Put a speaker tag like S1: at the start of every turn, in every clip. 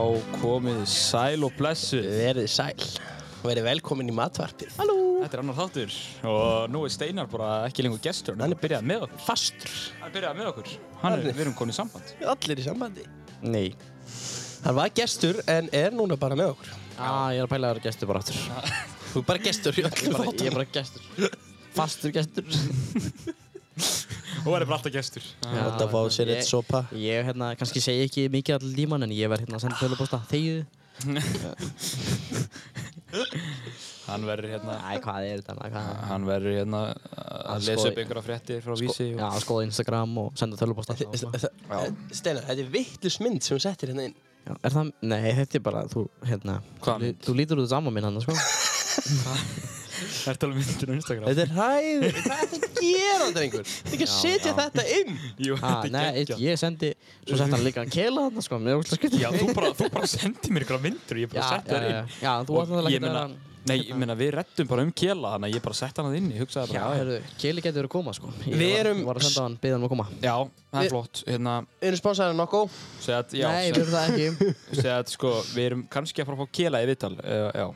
S1: Komið sæl og blessu
S2: Verið sæl og verið velkomin í matvarpið. Halló.
S1: Þetta er annar þáttur og nú er Steinar bara ekki lengur gestur Hann er byrjað með okkur
S2: Fastur.
S1: Hann er byrjað með okkur Hann er,
S2: Hann er-
S1: við erum konið samband
S2: Allir í sambandi.
S3: Nei.
S2: Hann var gestur en er núna bara með okkur.
S3: Ah, ég er að pæla að vera gestur bara aftur.
S2: Þú er bara gestur í öllum
S3: Bara, ég
S2: þáttunum.
S3: er bara gestur. Fastur gestur.
S1: Og hann er bara alltaf gestur
S2: Ég átt að fá sér eitt
S3: Ég-
S2: sopa.
S3: Ég hérna, kannski segi ekki mikið allir líman en ég verð hérna að senda tölupósta. Þegið.
S1: Hann verður hérna
S3: Æ, hvað er þetta? maður, Hvað?
S1: Hann verður hérna að lesa
S3: Sko-
S1: upp einhverja fréttir frá vísi
S3: Já, skoða Instagram og senda tölupósta.
S2: Steinar, þetta er vittlust mynd sem hún settir hérna inn.
S3: Er það, nei, þetta er bara, þú, hérna,
S1: Hvaða
S3: þú,
S1: mynd?
S3: þú lítur út saman minn hann, sko.
S1: Það er talað myndir á Instagram
S2: Þetta er hæð. Hvað er þetta að gera, drengur? Þetta er ekki að
S3: Já,
S2: setja
S3: já.
S2: þetta inn.
S1: Jú,
S3: Ah,
S1: þetta er
S3: nei,
S1: geggjað
S3: ég sendi, svo sett hann líka að keila hann, sko, með ósla
S1: Já, þú bara, þú bara sendir mér einhverja myndir og Ég bara
S3: já,
S1: setti
S3: já,
S1: það
S3: já,
S1: inn
S3: já, þú
S1: Og
S3: átt náttúrulega
S1: ég
S3: ekki að
S1: meina-
S3: vera-
S1: Nei, ég meina við rettum bara um kjela Þannig að ég bara setti hann að inn Ég hugsaði bara
S3: Já,
S1: já,
S3: herru, Keili getur verið að koma, sko. Ég
S2: Við
S3: var-
S2: erum-
S3: Var að senda hann, byggði hann um að koma.
S1: já, það
S2: Við-
S1: er flott Hérna,
S2: Við erum sponsaðið af Nokko.
S1: segja að já,
S3: Nei,
S1: segja-
S3: við erum það ekki.
S1: segja að sko, við erum kannski að fara að fá kela í viðtal uh, já,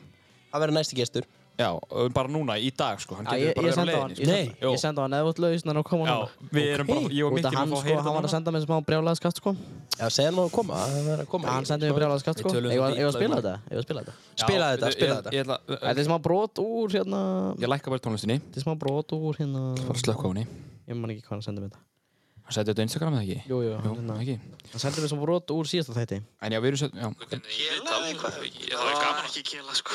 S2: Það verður næsti gestur.
S1: já, og bara núna í dag sko, hann
S3: Já,
S1: getur
S3: ég,
S1: bara
S3: ég
S1: verið á
S3: senda hann,
S1: leiðinni
S3: ég
S1: sko.
S3: senda-
S1: Jú,
S3: ég senda hann eða öllu auðvitað og koma
S1: já,
S3: hann.
S1: við erum bara, ég og
S3: Út af
S1: Mikki
S3: hann,
S1: erum að fá að
S3: sko,
S1: heyra
S3: hann var
S1: þetta
S3: að
S1: núna.
S3: senda mér smá brjálæðið skatt, sko.
S2: Já, segja hann að koma. Það verður að koma.
S3: Hann sendi mér brjálæðið skatt,
S1: Við
S3: sko.
S1: tölum
S3: Ég var
S1: þetta
S3: ég var
S1: illa
S3: að spila
S1: um-
S3: þetta, ég var að spila þetta.
S1: Já,
S2: Spila þetta,
S1: ég- ég-
S2: spila þetta.
S1: ég ætla-
S3: Þetta er smá brot úr, hérna,
S1: ég lækka bara tónlistinni
S3: þetta er smá brot úr, hérna,
S1: bara slökk á henni
S3: ég man ekki hvað hann sendi mér þetta.
S1: hann setti þetta á Instagram eða ekki
S3: Jú, jú,
S1: Jú,
S3: hérna,
S1: ekki
S3: hann sendi mér smá brot úr síðasta þætti.
S1: en já, við erum sett já, ok.
S4: Kela eða eitthvað? Það var gaman ekki kela sko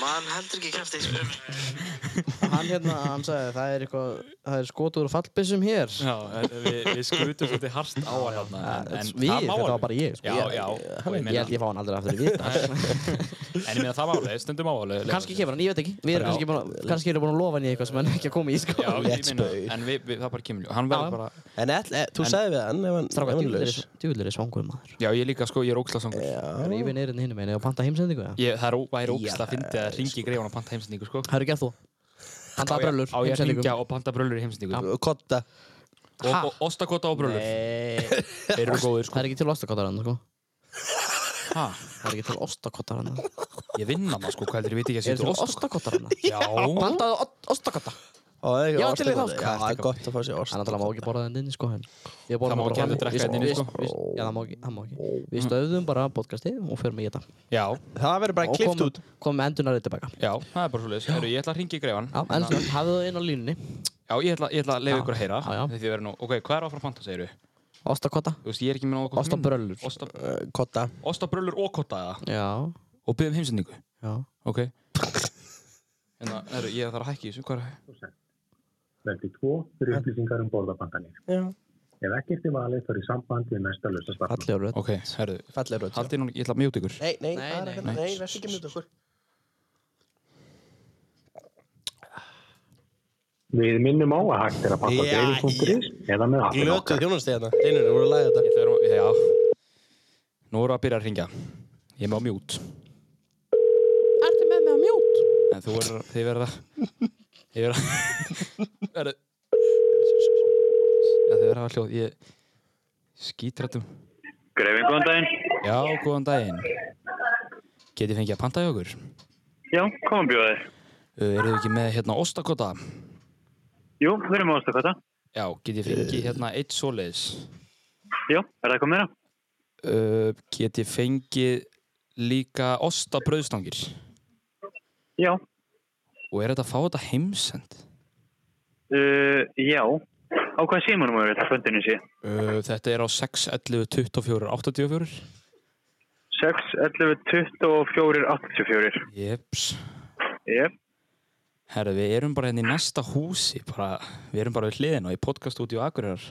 S4: Man heldur ekki kæft eins og
S3: Hann, hérna, hann sagði, það er eitthvað, það er skot úr fallbyssum hér.
S1: já, en við, við skutum svolítið hart á hann þarna, en, en
S3: Við, þetta var bara ég, sko.
S1: já, já og ég
S3: Ég
S1: meina-
S3: held ég fá hann aldrei aftur í viðtal.
S1: en ég meina það máli stundum máli
S3: Kanski kemur hann, ég veit ekki. Við erum
S1: Já.
S3: kannski búin að, kannski erum búin að lofa henni eitthvað sem hann er ekki að koma í, sko.
S1: já, ég
S2: Let's
S1: meina
S2: play.
S1: en við, við, það bara kemur ljó hann
S3: Já.
S1: verður bara
S2: En ætl, e, þú sagði við hann ef hann ef
S3: Stráka,
S2: hann er
S3: djúvilir
S2: laus.
S3: er- djúvilir er svangur maður.
S1: já, ég líka sko ég er ógslasangur
S2: Já.
S3: Rífi neyrinn hinum einu og panta heimsendingu, eða?
S1: Ég, það er ó- væri ógst
S2: Já,
S1: að fyndi að ringi í greifan og panta heimsendingu sko.
S3: Það eru gert þú.
S1: Á
S3: Panta
S1: ég-
S3: bröllur,
S1: Á ég að ringja og panta bröllur í heimsendingu sko.
S2: Kotta.
S1: Og, og ostakota og bröllur
S3: Nei,
S1: Þeir eru góðir
S3: það
S1: sko
S3: er ekki til ostakottar hann, sko.
S1: ha,
S3: Það er ekki til ostakottar hann.
S1: Ég vinn hann sko, hvað heldur ég veit ekki að
S3: Er
S1: setja
S3: til
S1: ost
S3: ostakottar hann?
S1: Já,
S3: Pantaðu ost- ostakotta.
S2: Ó, það er ekki
S3: Já,
S2: ost-
S3: til í þá, sko.
S2: Já, það er gott að fá sér ost.
S3: En náttúrulega má ekki borða þenn inni, sko. En ég borða
S1: Það má
S3: bara-
S1: ekki heldur drekka
S3: við-
S1: þenn inni, sko.
S3: við- við- Já, það má ekki, það má ekki. Við stöðum bara podcastið og förum í þetta.
S1: já,
S2: Það verður bara
S3: Og
S2: klift
S3: komum-
S2: út.
S3: komum með endurnarið tilbaka.
S1: já, það er bara svo leiðis Ég ætla að ringi í greifan
S3: Já, en svona, hafðu þau inn á línunni.
S1: Já, ég ætla, ég ætla að leiða
S3: Já,
S1: ykkur að heyra
S3: já, já.
S1: því þið verður nú, Ok, hvað er áfram að panta, segir
S3: Ostakotta.
S1: Þú veist, ég er ekki með nóg
S3: Osta bröllur.
S1: Osta,
S2: Uh, Kotta.
S1: Ostabröllur og kotta eða
S3: Já,
S1: Og byggðum heimsendingu
S3: já.
S1: Ok En það er, Hérna, ég þarf að hækki þessu Hvað er
S5: veldi tvo fyrir upplýsingar um borðabandanir.
S2: Já.
S5: Ef ekkert er valið þar í samband við næsta lausa svartmann.
S3: Fallegur rödd.
S1: Ok, herðu
S2: Falleg rödd.
S1: Haldið nú, ég ætla að mjóta ykkur
S2: Nei, nei,
S3: Nei,
S2: bara
S3: nei,
S2: hérna.
S1: nei.
S2: Nei, verður ekki mjög okkur.
S5: Við minnum á að hægt er að panta
S2: Já,
S5: dreifisúnduris eða með aðeins
S2: Glötu þjónusti hérna. Steinur, þú voru að laga þetta.
S1: Ég fer og, já Nú erum við að byrja að ringja Ég er með á mjút
S3: Ertu með mig á mjút?
S1: En þú verður, þið verða Þið verða Verðu Já, þið verða að hafa hljóð Ég skítrættum
S6: Greifin, góðan daginn.
S1: Já, góðan daginn Getið fengið að panta í okkur uh,
S6: Já, komum bjóðið.
S1: Eru þið ekki með hérna ostakota?
S6: Jú, við erum á Óstakvata.
S1: Já, getið fengið hérna eitt svoleiðis
S6: Jú, er það komið þeirra?
S1: uh, Getið fengið líka ostabrauðstangir
S6: Já.
S1: Og er þetta að fá þetta heimsend?
S6: Uh, já. Á hvað símanum eru þetta fundinu sé?
S1: Uh, þetta er á 6, 11, 24, 84
S6: 6, 11, 24, 84.
S1: Jeps
S6: Jep.
S1: Herra, við erum bara hérna í næsta húsi, bara, við erum bara við hliðina í podcaststúdíu Akureyrar.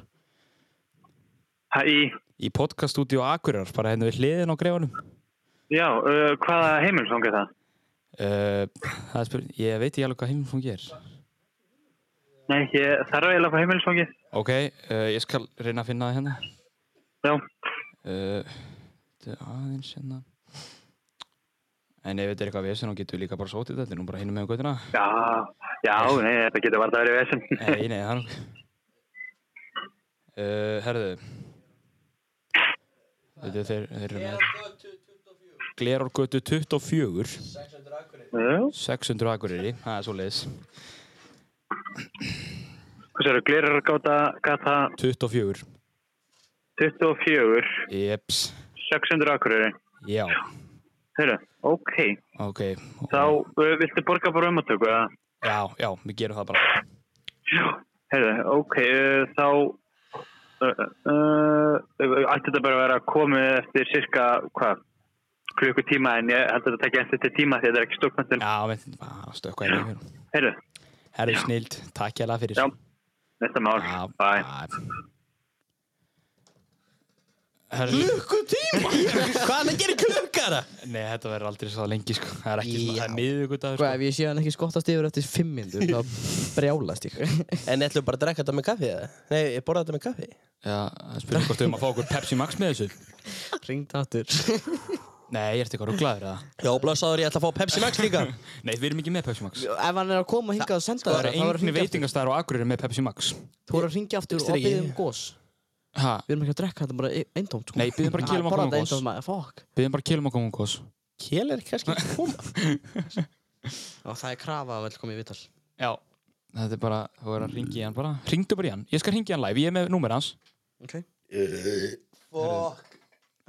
S6: Hæ, í,
S1: Í podcaststúdíu Akureyrar, bara hérna við hliðina á greifanum.
S6: já, uh, hvaða heimilsfang er það?
S1: Uh, það er spurning, ég veit ekki alveg hvað heimfóngi er.
S6: Nei, ég þarf eiginlega að fá heimilsfangið.
S1: Ok, uh, ég skal reyna að finna það hérna.
S6: Já.
S1: Uh, þetta er aðeins hérna. En ef þetta er eitthvað vesen, þá getum við líka bara sótið þetta, nú bara hinum með um göttina.
S6: Já, já, nei, þetta getur varð að vera í vesum.
S1: Nei, nei, Eh, það er nokkuð. Uh, herðu. Veitu, þeir, þeir eru með... Glerárgötu 24
S6: Já.
S1: 600 akureyri, það er svo leiðis
S6: Hvað sér, glerar gáta gata
S1: 24
S6: 24,
S1: Jeps,
S6: 600 akureyri.
S1: já,
S6: Hörru, ok.
S1: ok
S6: Þá uh, viltu borga bara umatöku, eða?
S1: Já, já, við gerum það bara
S6: Já. Hörru, ok, uh, þá... Uh, uh, uh, allt þetta bara að vera komið eftir cirka, hvað, klukkutíma en ég held að þetta tekja eftir tíma því að þetta er ekki stókmöndin.
S1: Já, við bara stökka einu hér
S6: Hörru,
S1: Herru snild, takk hérlega fyrir
S6: já, næsta mál.
S1: Já,
S6: Bye.
S1: Herru,
S2: Klukkutíma? Hvað hann að gera í klukkara?
S1: nei, þetta verður aldrei svo lengi sko Það er ekki svona, það
S3: Já.
S1: er miðugudagur
S3: Sko,
S1: sko
S3: ef ég sé hann ekki skottast yfir eftir fimm myndur, þá brjálast ég.
S2: En ætlum við bara að drekka þetta með kaffi eða? Nei, ég borða þetta með kaffi.
S1: Já, það spyrir hvort um að fá okkur Pepsi Max með þessu
S3: Ringd aftur.
S1: Nei, ég ert eitthvað rugglaður eða
S2: Já, blásaður, ég ætla að fá Pepsi Max líka.
S1: Nei, við erum ekki með Pepsi Max
S3: Ef hann er að koma hingað og senda
S1: Það
S3: þér,
S1: eru
S3: þá Sko,
S1: engin
S3: er að hringja aftur.
S1: veitingastæðar á Akureyri með Pepsi Max
S3: Þú er að ringja aftur og
S2: Veistu ekki?
S3: byggja um gós.
S1: Ha,
S3: Við erum ekki að drekka þetta bara eintómt, sko.
S1: Nei, biðjum bara
S3: Ah,
S1: Kilum að koma
S3: borða þetta
S1: gos.
S3: eintómt, maður, fuck.
S1: Byrðum bara kilum okkur um kos
S2: Kél er kannski ekki að koma.
S3: Og það er krafa að vel koma í vital.
S1: Já Þetta er bara, þú er að ringi í hann bara Ringdu bara í hann, ég skal ringi í hann live, ég er með númer hans
S3: Ok.
S2: Fuck.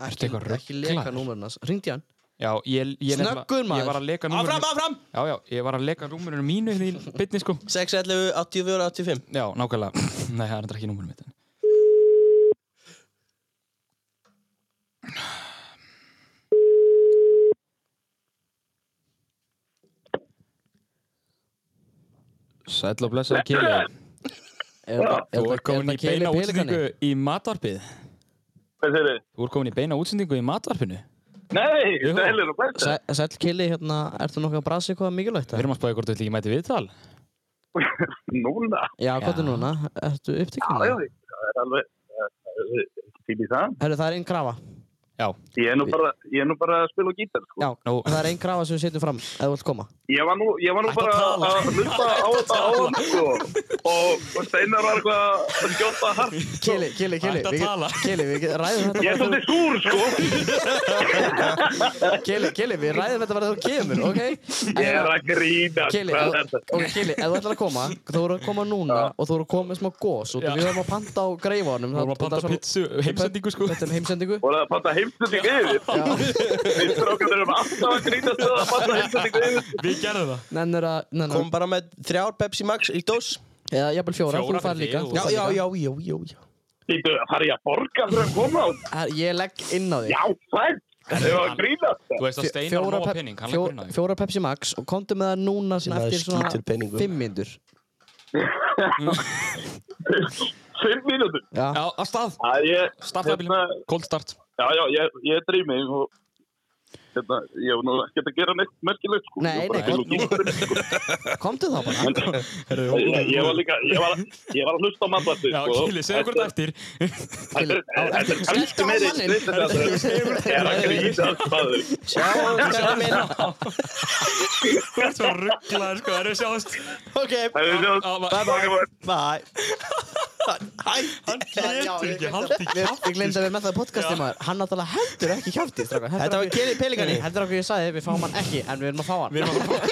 S1: Ertu eitthvað
S3: Ekki leka
S1: ruglaður?
S3: númerinn hans. Ringdi hann.
S1: Já, ég, ég nefnilega-
S3: Snöggur, maður.
S1: Ég var að leka
S2: Áfram,
S1: númerinu
S2: áfram!
S1: Já, já, ég var að leka númerinu mínu hérna í bytni sko
S2: 6, 11, 84, 85.
S1: Já, nákvæmlega Nei, það er reyndar ekki númerinu mitt en- Sæll og blessaði Kili
S3: Er þetta- er
S1: Þú
S3: þetta-
S1: er komin
S3: er
S1: í
S3: þetta
S1: beina
S3: Keli Pelikani?
S1: útsendingu í matvarpið
S5: Hvað segir þið?
S1: Þú er komin í beina útsendingu í matvarpinu
S5: Nei,
S1: Jú.
S5: stælir og blessa.
S3: Sæ- Sæll Kili, hérna, ertu nokkuð að brasa eitthvað mikilvægt?
S1: Við
S3: eða?
S1: erum að spáði hvort þú vill ekki mæti viðtal
S5: Núna.
S3: Já, hvað
S1: Já.
S3: er núna? Ertu upptekinn?
S5: Já, já,
S3: eða?
S5: það er alveg, það er ekki til í það.
S3: Herru, það er einn krafa.
S1: Já,
S5: Ég er nú bara, ég er nú bara að spila á gítar, sko.
S3: Já,
S1: nú
S3: það er einn krafa sem við setjum fram, ef þú vilt koma.
S5: Ég var nú, ég var nú
S2: Ættu
S5: bara
S2: að tala.
S5: að hlusta á þetta á hann, sko. Og, og Steinar var eitthvað að skjóta hart.
S3: Kili, Kili, Kili.
S1: Hættu að
S3: við-
S1: tala.
S3: Kili, við ræðum þetta
S5: Ég er
S3: bara
S5: svolítið súr, sko.
S3: þegar- Kili, Kili, við ræðum þetta bara þegar þú kemur, ok?
S5: Ég er að grína.
S3: Kili,
S5: Hvað
S3: ef-
S5: er þetta?
S3: ok, Kili, ef þú ætlar að koma, þú voru að koma núna og þú voru að koma með smá gós og
S1: Já.
S3: við vorum að panta á greifanum.
S1: Við vorum að panta pizzu, heimsendingu, sko.
S3: Þetta er heimsendingu.
S5: Voru það að panta heimsending yfir? Við strákan erum alltaf að grýta stöða að panta heimsending yfir.
S1: Við gerðum það
S3: Nennir að, nennir
S2: Kom
S3: að,
S2: bara með þrjár Pepsi Max í dós.
S3: eða jafnvel fjóra,
S1: Fjóra
S3: þú fær
S1: fyrir
S3: líka.
S1: þig og-
S3: þú
S2: Já,
S3: færð
S2: já, já,
S3: líka.
S2: já, já, já.
S5: Þýttu, har ég að borga fyrir að koma á?
S3: Her- Ég legg inn á þig.
S5: Já, sætt. Það er að grína.
S1: Þú veist að
S3: Fjó-
S1: Steinar
S3: fjóra
S1: nóg
S3: pep-
S1: pening, hann
S3: fjó-
S1: leggur inn á þig
S3: Fjóra Pepsi Max og komdu með það núna svona
S2: Sem að
S3: eftir svona
S2: skýtur peningum.
S3: fimm myndur.
S5: Fimm mínútur.
S1: Já, af stað,
S5: Já, ég,
S1: starta bílum,
S5: Hérna-
S1: cold start
S5: já, já, ég, ég drými og hérna, ég var nú ekkert að gera neitt merkilegt, sko.
S3: Nei,
S5: Ég var bara
S3: nei,
S5: að spila á gítarinn, sko.
S3: Komdu þá bara.
S5: Ég, ég var líka, ég var, ég var að hlusta á matvætti,
S1: Já,
S5: sko.
S1: Kili, segðu hvort eftir
S5: Þetta er- þetta er kannski meiri
S3: manninn.
S5: snitt en það er að gríta alls maður.
S2: Sjáum, skallar minn.
S1: Þú ert svo rugglaður, sko, það eru sjáðast
S2: Ok,
S5: Það er
S1: Já,
S5: það.
S1: bye,
S5: bye.
S2: bye. Hæ,
S1: Hann getur ekki, haldi
S3: Ég ég glemdi að við erum með það í podcasti maður Hann náttúrulega heldur ekki kjátti
S2: Þetta var Keli Pelikani.
S3: Heldur okkur ég sagði, við fáum hann ekki En við erum að fá hann
S1: Við erum að fara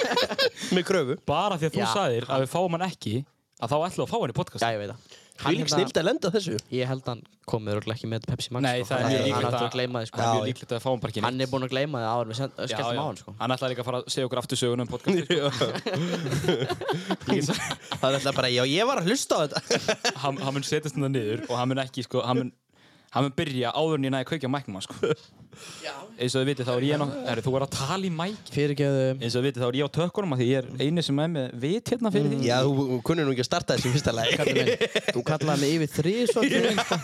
S2: Með kröfu.
S1: Bara því að þú
S3: Já.
S1: sagðir að við fáum hann ekki að þá ætlum við að fá hann í podcast
S3: Já, ég veit það
S2: Þú
S3: Hann
S2: lík
S3: hérna-
S2: snild að lenda þessu.
S3: Ég held hann komið örugglega ekki með Pepsi Max
S1: Nei,
S3: sko.
S1: það er
S3: Hann-
S1: mjög líklegt
S3: Hann
S1: að-
S3: ætlar að gleyma því
S1: Það er mjög
S3: sko.
S1: líklegt að við fáum bara ekki
S3: Hann er búinn að gleyma því áður Við
S1: Já,
S3: skelltum
S1: já.
S3: á hann sko
S1: Hann ætlaði líka að fara að segja okkur aftur söguna um podcast
S2: Það er alltaf bara, já, ég var að hlusta á þetta.
S1: hann, hann mun setjast þetta niður og hann mun ekki sko, hann mun, hann mun byrja áður en ég næði að kveikja á mæknum hans sko. eins og þið vitið þá er ég nokk, er, þú er að tala í mæk
S3: Fyrirgeðu
S1: eins og þið vitið þá er ég á tökkunum að því ég er einu sem er með vit hérna
S3: Mm,
S1: fyrir því
S2: Já, þú þú kunnir nú ekki að starta þessu í fyrsta lagi.
S3: Kalli minn, þú kallaði mig yfir þrísvar fyrir þig, sko.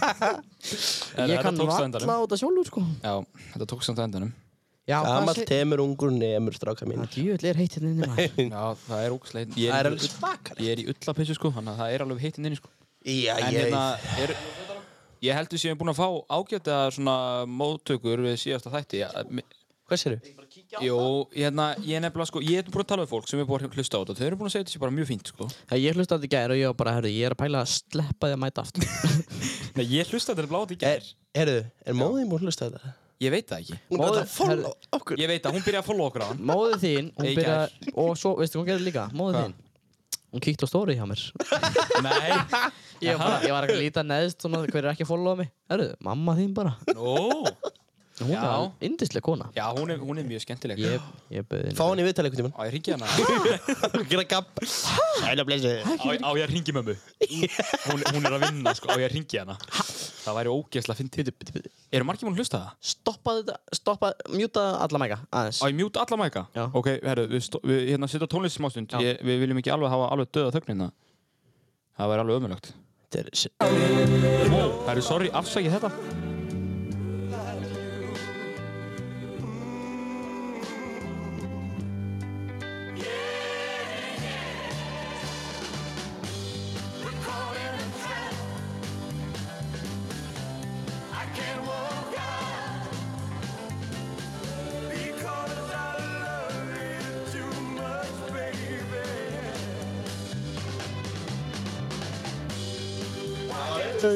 S1: En
S3: Ég
S1: þetta
S3: kann
S1: tókst á
S3: valla á
S1: endanum.
S3: þetta sjálfur sko
S1: Já, þetta tókst samt á endanum
S3: Já,
S2: Gamal
S3: hvað sé
S2: temur ungur nemur stráka mín.
S3: Jöfull er heitt hérna inni maður
S1: Já, það er ógæslega
S2: Það
S1: ég,
S2: er
S1: er
S2: alveg
S1: í-
S2: svakar.
S1: ég er í ullapissu sko, þannig að það er alveg heitt inni sko.
S2: Já,
S1: En
S2: ég...
S1: hérna, er, ég heldur sem ég er búin að fá ágæta svona móttökur við síðasta þætti Já,
S2: Hvað sér þú?
S1: Jú, hérna, ég er nefnilega sko, ég er búin að tala við fólk sem er búin að hlusta á þetta, þau eru búin að segja þetta sé bara mjög fínt sko.
S3: Það ég hlusta á þetta í gæri og ég var bara, herru, ég er að pæla að sleppa því að mæta aftur
S1: Nei, ég hlusta þetta er blátt í gær.
S2: Er, herðu, er móðið múið að hlusta á þetta?
S1: Ég veit það ekki
S2: Hún er bara
S3: Móðir-
S2: að follow okkur.
S1: Ég veit það, hún byrjaði að follow okkur á hann
S3: Móðið þín, hún
S1: Í gær.
S3: byrjar Og svo, veistu hvað hún gerði líka? Móðið
S1: Hvað?
S3: þín Hún kíkti á story hjá mér
S1: Nei
S3: Ég var, bara, ég var ekki að líta neðst svona hver er ekki að followa mig Herru, mamma þín bara
S1: Nú
S3: Hún
S1: Já.
S3: er yndislega kona
S1: Já, hún er, hún er mjög skemmtileg
S3: Ég, ég bauði
S2: Fá hann í viðtalið einhvern
S1: Á ég ringi hana Á,
S2: tímann. Gera gabb. Sæla blessuð.
S1: á ég ringi mömmu hún, hún er að vinna, sko Á ég ringi hana Það væri ógeðslega fyndið Eru margir múin að hlusta það?
S3: Stoppaði þetta, stoppaði, mjútaði alla mæka Aðeins
S1: Á ég mjút alla mæka?
S3: Já.
S1: Ok, herru, við, stó- við hérna setja tónlist smástund
S3: Já.
S1: ég, Við viljum ekki alveg hafa alveg döða þögnina Það væri alveg ömulögt
S2: Þetta er s-
S1: Wow, herru, sorry, afsækið þetta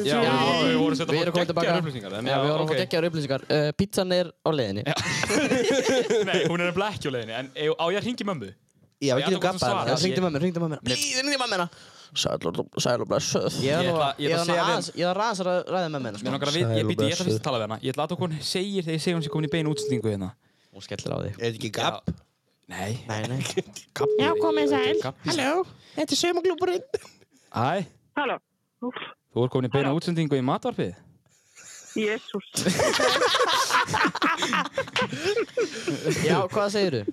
S1: Já, við vorum sett að
S3: Við erum
S1: fá
S3: komið tilbaka
S1: geggjaðar upplýsingar en
S3: Já, við vorum að
S1: ok.
S3: fá geggjaðar upplýsingar uh, Pizzan er á leiðinni Já,
S1: Nei, hún er nefnilega ekki á leiðinni, en ey, á ég að ringi mömmu?
S2: Já,
S1: Ég
S2: við
S1: ætla
S2: getum
S1: að
S2: gabbað
S1: svara.
S2: hann.
S1: ég-
S3: ringdi mamma, ringdi mamma Please, ringdi mamma
S2: hérna. Sæla blessuð.
S1: Ég
S3: Ég var nú
S1: ætla-
S3: að-
S1: ég
S3: ég
S1: ætla að
S3: var nú
S1: segja við-
S3: aðeins Ég var aðeins að ræða hérna, sko. með
S1: Mér
S3: menna
S1: langar að við, ég
S2: Sæl og
S1: býti, ég ætla
S2: blessuð.
S1: fyrst að tala við hana. Ég ætla að hvað hún segir þegar ég segir hún sé komin í beinu útsendingu hérna.
S3: Hún skellir á því
S2: Er þetta ekki gabb?
S1: Nei,
S3: Nei, nei
S1: kappi.
S7: Já, komið sæl.
S1: Kappi.
S2: Halló, þetta er saumaglúburinn.
S1: Hæ,
S7: Halló.
S1: þú er komin í beina útsendingu í matvarpið.
S7: Jésús.
S3: Já, hvað segir þú?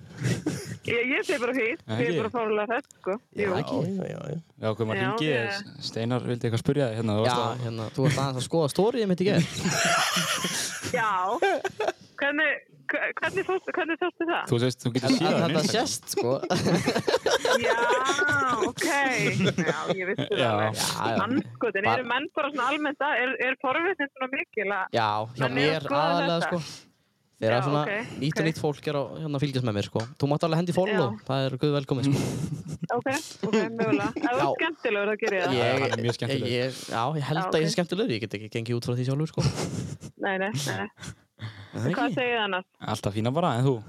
S7: Ég, ég sé bara hýtt.
S1: Já,
S7: Ég er
S1: ekki.
S7: bara fórlega hrætt, sko. Jú.
S2: Já, já, já.
S1: Já, hvað maður
S7: Já,
S1: ringi,
S7: ég-
S1: Steinar vildi eitthvað spyrja þig hérna. þú
S3: Já,
S1: varst að-
S3: hérna, þú ert aðeins að skoða stóriðið mitt í gerð
S7: Já. Hvernig, hve- hvernig, fórstu, hvernig tóstu það?
S1: Þú veist, þú getur síðan.
S3: Þetta sést, sko
S7: Já, ok. Já, ég vissi það
S1: Já.
S7: alveg.
S3: Já, já.
S7: Mannskotin,
S3: Bara-
S7: eru menn bara svona almennt að, er, er forvitnin svona mikil að...
S3: Já, hjá
S7: Hann er að
S3: mér
S7: skoða
S3: aðalega,
S7: þetta.
S3: sko Þeir eru
S7: Já,
S3: svona
S7: ok,
S3: nýtt
S7: ok.
S3: og nýtt fólk er að hérna, fylgjast með mér, sko Þú mátt alveg hendi follow,
S7: Já.
S3: það er guð velkomin, sko
S7: Ok, ok, mögulega. Ef þú
S3: Já.
S7: er skemmtilegur, þá ger ég það.
S1: Já, hann er mjög
S3: ég,
S1: skemmtilegur.
S3: ég, já, ég held
S7: Já,
S3: að ég
S7: ok.
S3: sé skemmtilegur, ég get ekki gengið út frá því sjálfur, sko
S7: Nei, nei, nei.
S3: Nei,
S7: Hvað
S3: ekki.
S7: segir það annars?
S1: Alltaf fína bara, en þú?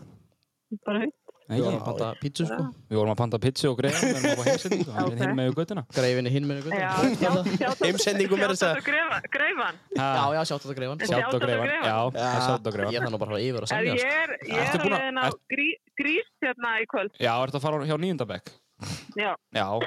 S7: Bara hýtt.
S1: Nei,
S3: Ég var að
S1: ekki.
S3: panta pítsu, sko
S1: Við vorum að panta pizza og greið, við vorum að heimsendingu, hann er
S7: Ok.
S1: hinn með göttuna.
S3: Greifinni hinn minni
S7: Já,
S3: guð
S7: sjáttu.
S2: Heimsendingum er þess að-
S7: Greifan.
S3: Já, já, sjátt þetta greifan
S7: Sjá-
S1: Sjátt og greifan,
S7: Sjátt og greifan.
S1: já, það er sjátt og
S3: Ég
S1: greifan.
S3: þarf nú bara að fara yfir að
S7: Er
S3: semja,
S7: ég er, ég er
S1: Ertu
S7: að
S1: búin að-
S7: leiðin á
S1: ert-
S7: grí, grís hérna í kvöld.
S1: Já, ertu að fara hjá nýjöndabæk?
S7: Já.
S1: Já, og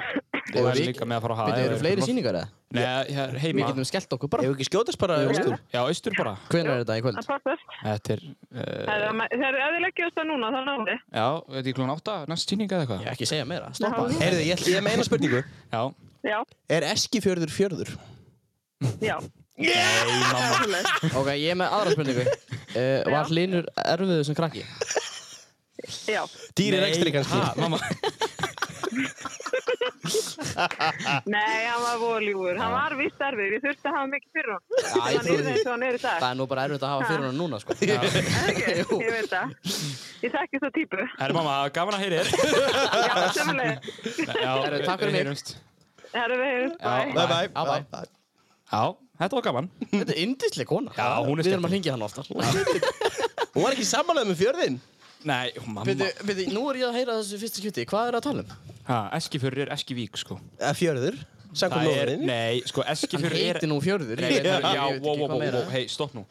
S3: Eru
S1: er
S3: við-
S1: líka með að fara að hafa.
S3: Við
S1: ef
S3: eru
S1: við-
S3: fleiri síningar eða?
S1: Nei, hér-
S3: Við
S1: heima.
S3: getum skellt okkur bara
S2: Ef við ekki skjótast bara
S3: Jú.
S2: austur.
S1: Já, austur bara.
S3: Hvenær er þetta í kvöld?
S7: Það passast.
S1: Þetta er, uh,
S7: Þegar þið leggja þess að núna, þá náum við.
S1: já, þetta er klón 8, næst síninga eða
S3: Ég
S1: eitthvað.
S3: er ekki að segja meira, stoppa
S7: Nei,
S2: Heyrðu, ég, ætl- ég er með eina spurningu.
S1: Já.
S7: Já,
S2: Er Eskifjörður fjörður?
S7: já.
S1: Nei, mamma.
S7: Alveg.
S3: Ok, ég er með aðra spurningu uh, Var Hlynur erfiður sem krakki?
S7: Já.
S2: Dýrir ekstri kannski.
S1: Ha, mamma.
S7: Nei, hann var voljúur. Hann var viss erfið. Ég þurfti að hafa mikið fyrir hann. Já,
S3: ég
S7: hann
S3: trúi
S7: er
S3: því.
S7: eins og hann er í dag.
S3: Það er nú bara erfitt að hafa fyrir hann núna, sko
S7: Það er
S3: Jú.
S7: ekki, ég veit það. Ég þekki svo típu.
S1: Herri, mamma, það var gaman að heyri þér.
S7: Já, semlega.
S1: Já,
S3: Herru, takk fyrir
S1: við
S3: mig.
S1: heyrumst.
S7: Herru, við hefum
S1: Já.
S7: bæ.
S2: Bye bye.
S3: Já, bye.
S2: bye.
S1: Já, þetta var gaman.
S3: Þetta er yndisleg kona
S1: Já, hún er
S3: Við erum að hringja hann oftar
S2: Hún var ekki um samanlega með fjörðin.
S1: Nei, mamma.
S3: Byrðu, byrðu, nú er ég að heyra þessu fyrsta skjuti Hvað er að tala um?
S1: Ha, Eskifjörður er Eskivík, sko.
S2: Eða fjörður. Sankum
S1: Það er,
S2: nóðurinn.
S1: nei, sko,
S3: Hann
S1: Eskifjörður er...
S3: heiti nú fjörður
S1: Nei,
S3: Ég veit
S1: já,
S3: ekki-
S1: já,
S3: ég veit
S1: wow,
S3: ekki
S1: wow,
S3: hvað meira.
S1: wow, hei, stopp nú.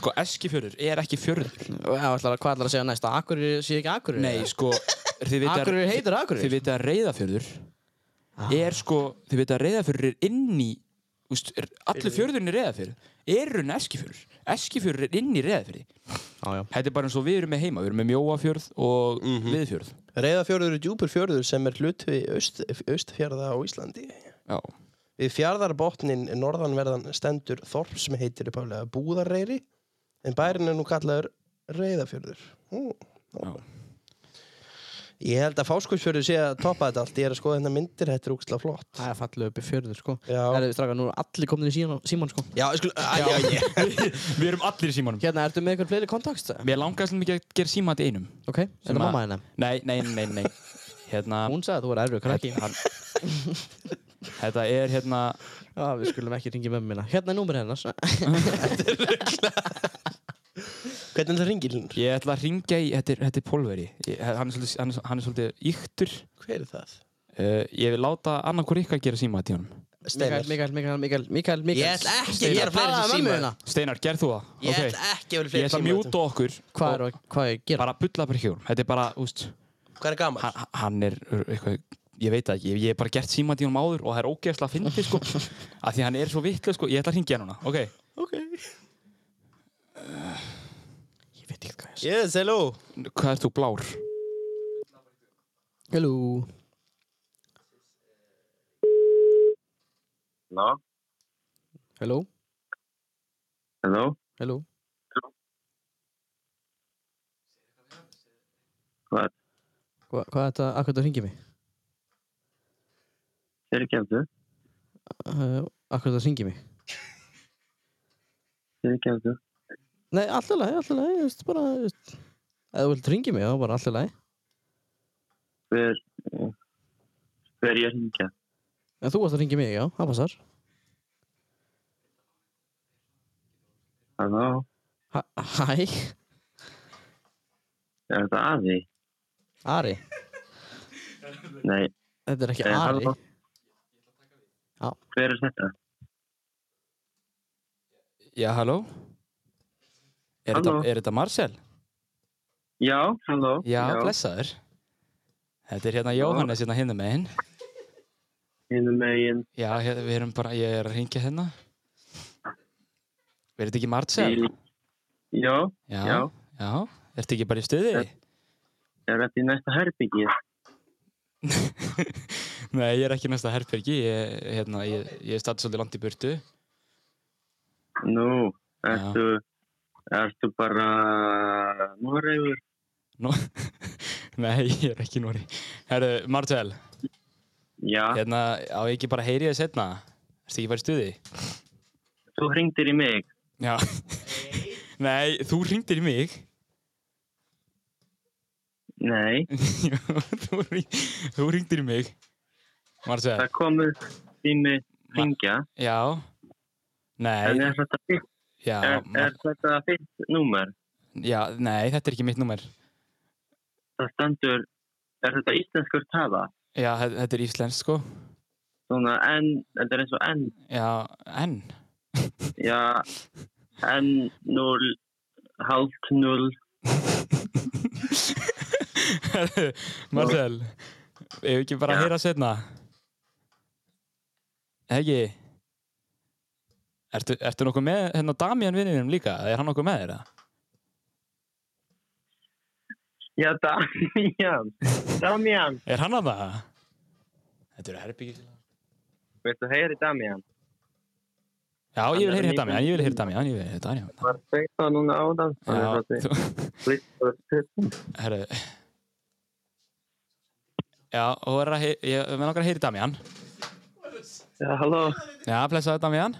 S1: Sko, Eskifjörður er ekki fjörður.
S3: Já, ætlar að- Hvað ætlar að segja næst? Akkurir sé ekki akkurir?
S1: Nei, sko, þið vita...
S3: Akureyri heitir Akureyri. Ah.
S1: Þið vita að reyðafjörður er sko, þið vita að reyðafjörður er inn í, úst, er, allir fjörðurinn er reyðafjörð, er hún eskifjörður. Eskifjörður er inn í reyðafjörði.
S3: Já, já
S1: Þetta er bara eins og við erum með heima, við erum með mjóafjörð og viðfjörð.
S2: Reyðafjörður er djúpur fjörður sem er hlut við aust, austfjörða á Íslandi.
S1: Já.
S2: Við fjarðarbotnin norðanverðan stendur þorp sem heitir upphaflega Búðarreyri en bærin er nú kallaður Reyðafjörður. Mm.
S1: Já.
S2: Ég held að Fáskursfjörður sé að toppa þetta allt. Ég er að skoða hérna myndir, þetta er úkslega flott.
S3: Það er fallið upp í fjörður, sko
S2: Já.
S3: Það er straka, nú er allir komin í síman, síman sko
S2: Já, ég skulle... Æ, já, ég...
S1: Við erum allir í símanum.
S3: Hérna, ertu með eitthvað fleiri kontakt?
S1: Mér langaði svolítið mikið að gera síma þetta einum.
S3: Ok, er
S1: Sem
S3: það
S1: að-
S3: mamma hennar?
S1: Nei, nei, nei, nei. Hérna,
S3: Hún sagði að þú var erfið krakki
S1: hann, þetta er hérna,
S3: Já, við skulum ekki ringja mömmu mína Hérna er númur hennar
S2: Hvernig er þetta ringilinn?
S1: Ég ætla að ringja í, þetta er, þetta er Pólveri ég, hann, er svolítið, hann, er- hann er svolítið yktur
S2: Hver er það?
S1: uh, Ég vil láta annarkur ykkar gera síma til honum
S2: Steinar.
S3: Mikael, Mikael, Mikael, Mikael, Mikael
S2: Ég ætla ekki að
S3: Steinar,
S2: gera fleiri
S3: talaðu
S2: sem
S3: mömmu
S2: síma.
S3: þína.
S1: Steinar, gerð þú það?
S2: Ég
S1: Ok.
S2: ætla ekki að vera
S1: Ég
S2: fleiri
S1: ætla að
S2: tíma
S1: mjúta okkur
S3: Hvað er
S1: og
S3: að, hvað er að gera?
S1: bara bulla bara ekki um Þetta er bara, úst,
S2: Hvað er gaman?
S1: hann, hann er eitthvað Ég veit það ekki, ég, ég hef bara gert síma til honum áður og það er ógeðslega að fyndi sko að því hann er svo vitlega sko, ég ætla að ringja hann núna Ok, Eh,
S2: Ok.
S1: ég veit ekki hvað
S2: Yes, hello.
S1: ég Hvað ert þú blár?
S3: Hello
S5: Ná,
S3: Hello
S5: hello,
S3: Hello
S5: Hvað?
S3: Hva, hvað er þetta, akkur þetta ringið mig?
S5: þeir ekki eftir,
S3: Uh, akkur þetta ringið mig?
S5: þeir ekki eftir.
S3: Nei, alltaf læg, alltaf læg, þú veist, bara, þú veist Ef þú vilt ringið mig, þá bara alltaf læg
S5: Hver, eh, hver ég hringja?
S3: En þú varst að ringið mig, já, það passar
S5: Halló,
S3: Hæ, hæ,
S5: er þetta aði?
S3: Ari
S5: Nei,
S3: Þetta er ekki
S5: Eh,
S3: Ari
S5: halló. hver er þetta?
S1: Já, halló? Er,
S5: Halló.
S1: þetta, er þetta Marcel?
S5: Já, halló.
S1: Já, blessaður Þetta er hérna Jóhannes hérna hinna megin
S5: Hinn megin
S1: Já, hér, við erum bara, ég er að ringja hérna Verður þetta ekki Marcel?
S5: í... Já,
S1: Já, já,
S5: já.
S1: já. Ertu ekki bara í stuði?
S5: er þetta í næsta herbyggið?
S1: Nei, ég er ekki í næsta herbergi Ég, hérna, ég, ég er statt svolítið langt í burtu
S5: Nú, ertu, ertu bara Noregur?
S1: Nú, Nei, ég er ekki í Nóri Herru, Marcel,
S5: Já,
S1: hérna, á ég ekki bara að heyri þess hérna Ertu ekki bara í stuði?
S5: þú hringdir í mig.
S1: Já Nei, þú ringdir í mig
S5: Nei,
S1: Já, þú, ring, þú ringdir í mig Marcel,
S5: það komuð tími hringja.
S1: já
S5: En
S1: Nei,
S5: er þetta, þitt-
S1: já,
S5: er,
S1: Mar-
S5: er þetta þitt númer?
S1: já, nei, þetta er ekki mitt númer
S5: Það stendur, er þetta íslenskur tala?
S1: Já, þe- þetta er íslensk sko
S5: Svona en, þetta er eins og en,
S1: Já, en
S5: já, en, null, hálft, null.
S1: Marcel, ef ekki bara
S5: Já.
S1: að heyra setna Ekki Ertu, ertu nokkuð með hérna Damian vinninum líka? Er hann nokkuð með þér? eða?
S5: Já, Damian, Damian,
S1: Er hann að það? Þetta eru herbyggjum
S5: veistu, heyri Damian.
S1: Já, ég vil
S5: er
S1: heyra
S5: nýbúinn
S1: Damian, ég vil heyra Damian, ég vil heyra Damian
S5: Var þetta núna áðan?
S1: Já, þú,
S5: þú...
S1: herru Já, og er að heyra, ég með nokkar að heyra Damian
S5: Já, halló,
S1: Já, blessaðu Damian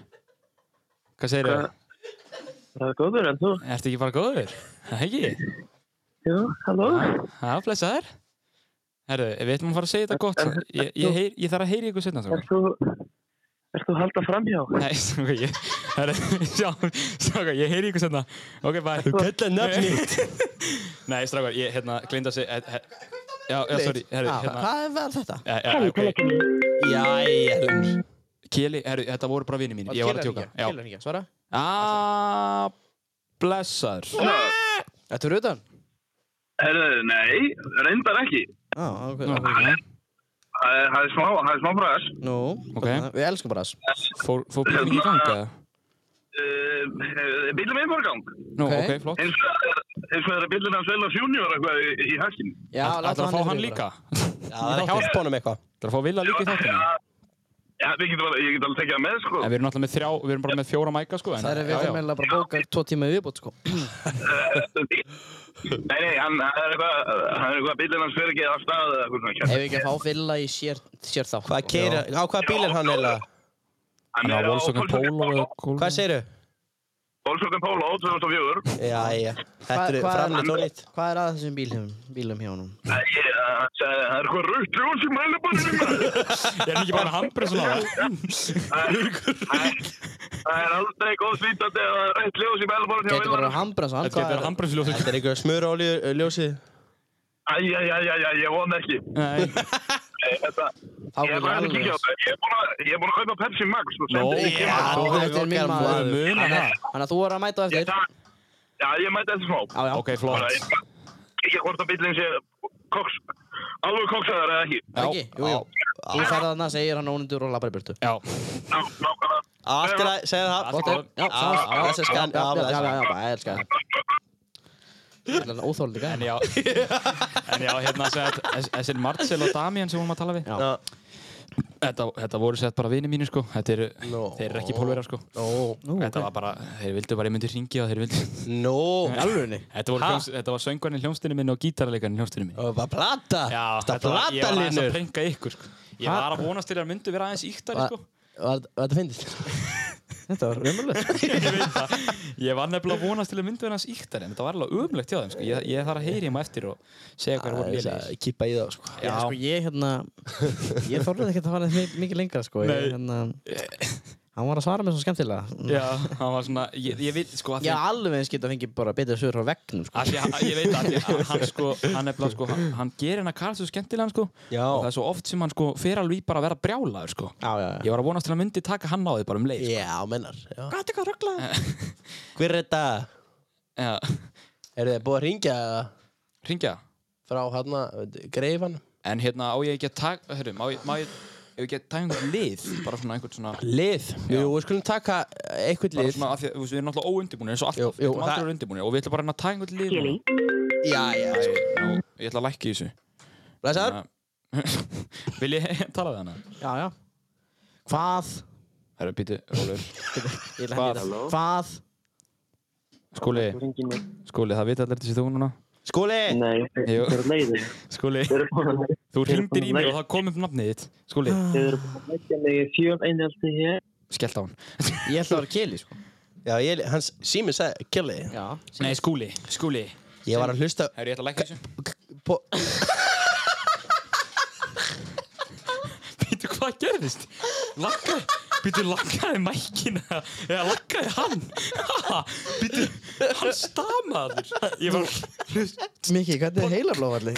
S1: Hvað segirðu?
S5: Hvað- það er góður en þú?
S1: Ertu ekki bara góður? Það ekki?
S5: Já, halló.
S1: Já, blessaður. Herru, við ætlum að fara að segja þetta gott.
S5: En-
S1: Ég, ég, heyr, ég þarf að heyri ykkur setna, strókar.
S5: Ert þú, ert þú halda framhjá?
S1: Nei, strókar, ég... Herru, sjá, strókar, ég heyri ykkur setna. Ok, bye.
S2: Þú kallaði nafnið.
S1: Nei, strókar, ég, hérna, glinda sig... Her, her, já, já, sorry, herru,
S3: Ah,
S1: hérna...
S3: Hvað var þetta?
S1: Já, já, ok.
S2: Jæja, Hlynur.
S1: Keli, herru, þetta voru bara vinið mínir. Ég var að tjóka. Já.
S3: Kjellar hringja, svara
S1: Ah, blessaður.
S3: Þetta er utan
S6: Herðu, nei, reyndar ekki.
S3: Já, ok,
S1: Nú,
S3: ok
S6: Það er- það er smá, það er smá bræðs.
S3: Nú,
S1: Ok.
S3: við elskum bara þess
S1: Fór, fór bílinn í ganga?
S6: Uh, bílum í morgang.
S1: Nú,
S3: Ok.
S1: ok, flott.
S6: Eins eins og það er bílum hans Vela Junior eitthvað í, í hækkinu.
S3: Já,
S1: Ætlar að fá hann líka?
S2: Já, það er að hjálpa honum eitthvað.
S1: Ætlar að fá Villa líka í þáttinu?
S6: Já, við getum alveg, ég get alveg tekið það með, sko.
S1: En við erum náttúrulega með þrjá, við erum bara með fjóra mæka sko en,
S3: Það er við
S1: já, já.
S3: þurfum eiginlega bara að bóka tvo tíma í viðbót sko
S6: Nei, nei, hann hann er eitthvað, hann er eitthvað bílum hans fyrir ekki af stað eða eitthvað svona.
S3: Ef við ekki að fá villa í sér, sér þá
S2: Hvað keira, á hvaða bíl er hann eiginlega?
S1: Hann á Volkswagen Polo eða Golf.
S2: Hvað segirðu?
S6: Volkswagen Polo 2004.
S2: Jæja, þetta eru
S3: Hvað- hvað-
S2: framleitt og nýtt.
S3: Hvað er að þessum bílum, bílum hjá honum?
S6: Æ, ég-
S5: eh,
S6: Það það er eitthvað raukt ljós í mælubanninum.
S1: Ég er hann ekki bara handbrið svona
S6: Það er-
S5: Það er aldrei góð svítandi að það er eitt ljós í melborun hjá
S3: Gæti bara að
S5: villanum.
S3: hambra svo hann
S1: Þetta
S3: hvað
S1: er
S3: er
S1: handbremsuljósið.
S2: Þetta er eitthvað smurolíu eh, ljósið.
S5: Æjæjæjæjæ, ég vona ekki.
S1: Nei,
S5: Nei, þetta...
S3: Þá
S5: Ég
S3: er
S5: er bara að
S3: alveg
S5: kíkja á
S3: eins.
S5: þetta. Ég er búinn að- ég er búinn að kaupa Pepsi Max. Nú,
S1: Nó,
S5: sendi ég-
S1: já.
S3: Þú- Þetta er minn maður
S1: maður muna það.
S3: Þannig að þú er að mæta á
S5: Ég
S3: eftir
S5: takk. Já, ég mæti eftir smá.
S3: Já, já
S1: Ok,
S5: Bara,
S1: flott.
S5: ég- Ég hvort að bílinn sé koks, alveg koksaðar eða ekki.
S1: Já,
S3: Ekki, jú, jú Þú ferð þarna, segir hann ónundur og labbar í burtu
S1: Já,
S5: Ná, nákvæmlega.
S2: Allt er að segja það.
S1: Allt
S3: Gott
S1: í
S3: er,
S1: góðu.
S3: já, sást,
S2: já,
S3: þessi skan, já,
S2: já,
S3: já,
S2: já,
S3: já, já, bara, ég elska það. Þetta er alveg óþólandi
S1: en
S3: gæði.
S1: já, en já, hérna sem sagt, þess- þessir Marcel og Damian sem við vorum að tala við,
S3: Já.
S2: Já.
S1: þetta, þetta voru sett bara vinið mínir sko, þetta er,
S2: Nó.
S1: þeir eru ekki pólverjar sko.
S2: Nó.
S3: Nú,
S1: Þetta var bara, þeir vildu bara, ég myndi ringja og þeir vildu.
S2: Nó.
S3: alveg niður.
S1: Þetta, voru hljóms, þetta var söngvarinn í hljómsdýrinu minni og gítarleikarinn í hljómsdýrinu minni.
S2: Það var plata.
S1: Já,
S2: Þetta
S1: þetta var, ég var aðeins að
S2: platalinur.
S1: prenga ykkur sko. Ég
S3: Ha?
S1: var að vonast til að myndu vera aðeins íktari sko.
S2: Var þetta fyndist?
S3: Þetta var umhverfilegt.
S1: Ég veit það. Ég var nefnilega að vonast til að myndu vera aðeins íktari, en þetta var alveg umlegt hjá þeim sko. Ég, ég þarf að heyri um eftir og segja hvað voru lélegir.
S2: Kippa í það, sko.
S1: Já,
S3: Sko, ég, hérna, ég þorðið ekkert að fara neitt mikið lengra, sko. Ég,
S1: Nei.
S3: hérna, hann var að svara mér svo skemmtilega.
S1: já, hann var svona, ég, ég vil sko að
S3: Ég hef alveg eins getað fengið bara betur sögur frá veggnum, sko.
S1: Af því að ég veit að af því að hann sko, hann nefnilega sko, hann, hann gerir hennar Karl svo skemmtilegan sko
S2: Já.
S1: og það er svo oft sem hann sko fer alveg í bara að vera brjálaður sko.
S3: Já, já, já.
S1: Ég var að vonast til að myndi taka hann á því bara um leið sko.
S2: Já, mennar. Já.
S1: Hvað er þetta hvað röglaður?
S2: Hver er þetta?
S1: Já,
S2: Er þið búið að ringja eða?
S1: ringja.
S2: frá hérna, hann að greifan?
S1: En hérna á ég ekki að taka, hörru, má ég, má ég, ef ég ekki að taka einhvern lið, bara svona einhvern svona,
S2: Lið.
S1: Já.
S2: Jú, við skulum taka eitthvað
S1: bara
S2: lið.
S1: svona, af því að þú veist, við erum náttúrulega óundibúinir eins og
S2: Jú,
S1: alltaf,
S2: jú,
S1: við erum aldrei
S2: það-
S1: óundibúinir og við ætlum bara að taka einhvern lið. núna.
S2: Já, já.
S1: Æ, nú, Ég ætla að lækka í þessu.
S2: Læsar?
S1: Þannig að- Vil ég tala við hana?
S3: Já, já. Hvað?
S1: Herru, býtu, Rólur.
S3: Ég ætla að
S1: Hvað?
S3: henni þetta. Hvað?
S1: Skúli,
S5: Ringi mig.
S1: skúli, það vita allir þessi þú núna.
S2: Skúli!
S5: Nei,
S1: Jú.
S5: þeir eru leiðir.
S1: Skúli,
S5: Þeir eru búin að
S1: þú
S5: Þeir eru
S1: hringdir í
S5: búin
S1: mig
S5: að
S1: og
S5: leggja-
S1: það kom upp nafnið þitt. Skúli,
S5: þeir eru búin að leggja mig í fjöl einhaldi hér.
S1: skellt á hann.
S3: Ég ætla að vera keli, sko.
S2: Já, ég, hans sími sagði, Kelly,
S3: Já.
S1: Nei, skúli, skúli.
S2: ég var að hlusta
S1: Herru, ég ætla að lækka í þessu.
S2: på...
S1: Býtu, hvað gerðist? Lakkaði, býtu, lakkaði mækina eða lakkaði hann Ha, Býtu, hann stamaður Ég var,
S3: Miki, hvernig er heilablóðvalli?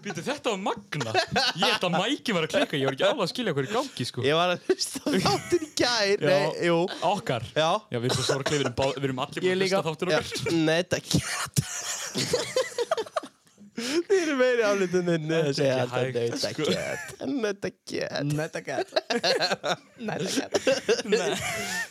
S1: býtu, þetta var magna Ég held að mækin var að klikka Ég var ekki alveg að skilja hverju gangi, sko
S2: Ég var að hlusta á þáttir í gær,
S1: Já.
S2: nei, jú.
S1: Okkar
S2: Já.
S1: Já, við erum svo sorglega, við erum, bá- við erum allir búin að
S3: líka.
S1: hlusta þáttir
S2: Já,
S1: okkar
S2: nei, þetta gæt. Þið eru meiri álítið en að segja
S1: ekki
S2: alltaf,
S1: hægt,
S2: nei, þetta
S1: sko.
S2: gæt, þetta gæt.
S3: Þetta gæti. Þetta gæti.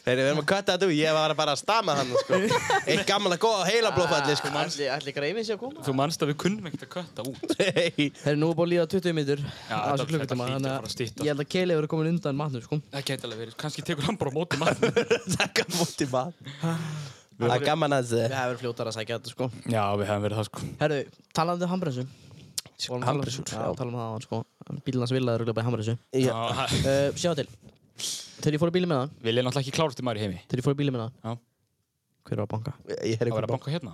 S2: Þeir eru verið að kvæta þetta úr, ég var bara að stama hann, sko. Eitt gamla góða heilablóðfalli, sko.
S3: Ætli, ætli greifin sé að koma?
S1: Þú manst að við kunnum ekkert að kötta út
S2: Nei.
S3: Þeir eru nú búin að líða 20 minnur á
S1: þetta-
S3: þessu klukkutíma
S1: þetta hlýtur
S3: þannig
S1: að fara að styttast.
S3: ég held að Keli hefur komin undan matnum sko
S1: Það gæti alveg verið, kannski tekur hann bara á móti maður
S2: Takk að móti maður. Það er gaman að
S3: Það hefur fljótar að sækja þetta sko
S1: Já, við hefum verið það sko
S3: Herru, talandi um hambremsu Vorum að tala um-
S2: Hambremsur,
S3: Já,
S2: já.
S3: talum um það á hann sko Bílarnas vilaður og glöpa í hambremsu
S1: Já,
S2: Já.
S1: það-
S3: uh, Sjá til Þegar ég fór í bíli með það
S1: Vil ég náttúrulega ekki klárast í maður í heimi
S3: Þegar ég fór í bíli með
S1: Já.
S3: það Hver var að banka?
S2: Ég er
S1: Það var
S2: ykkur
S1: að
S2: bank.
S1: banka hérna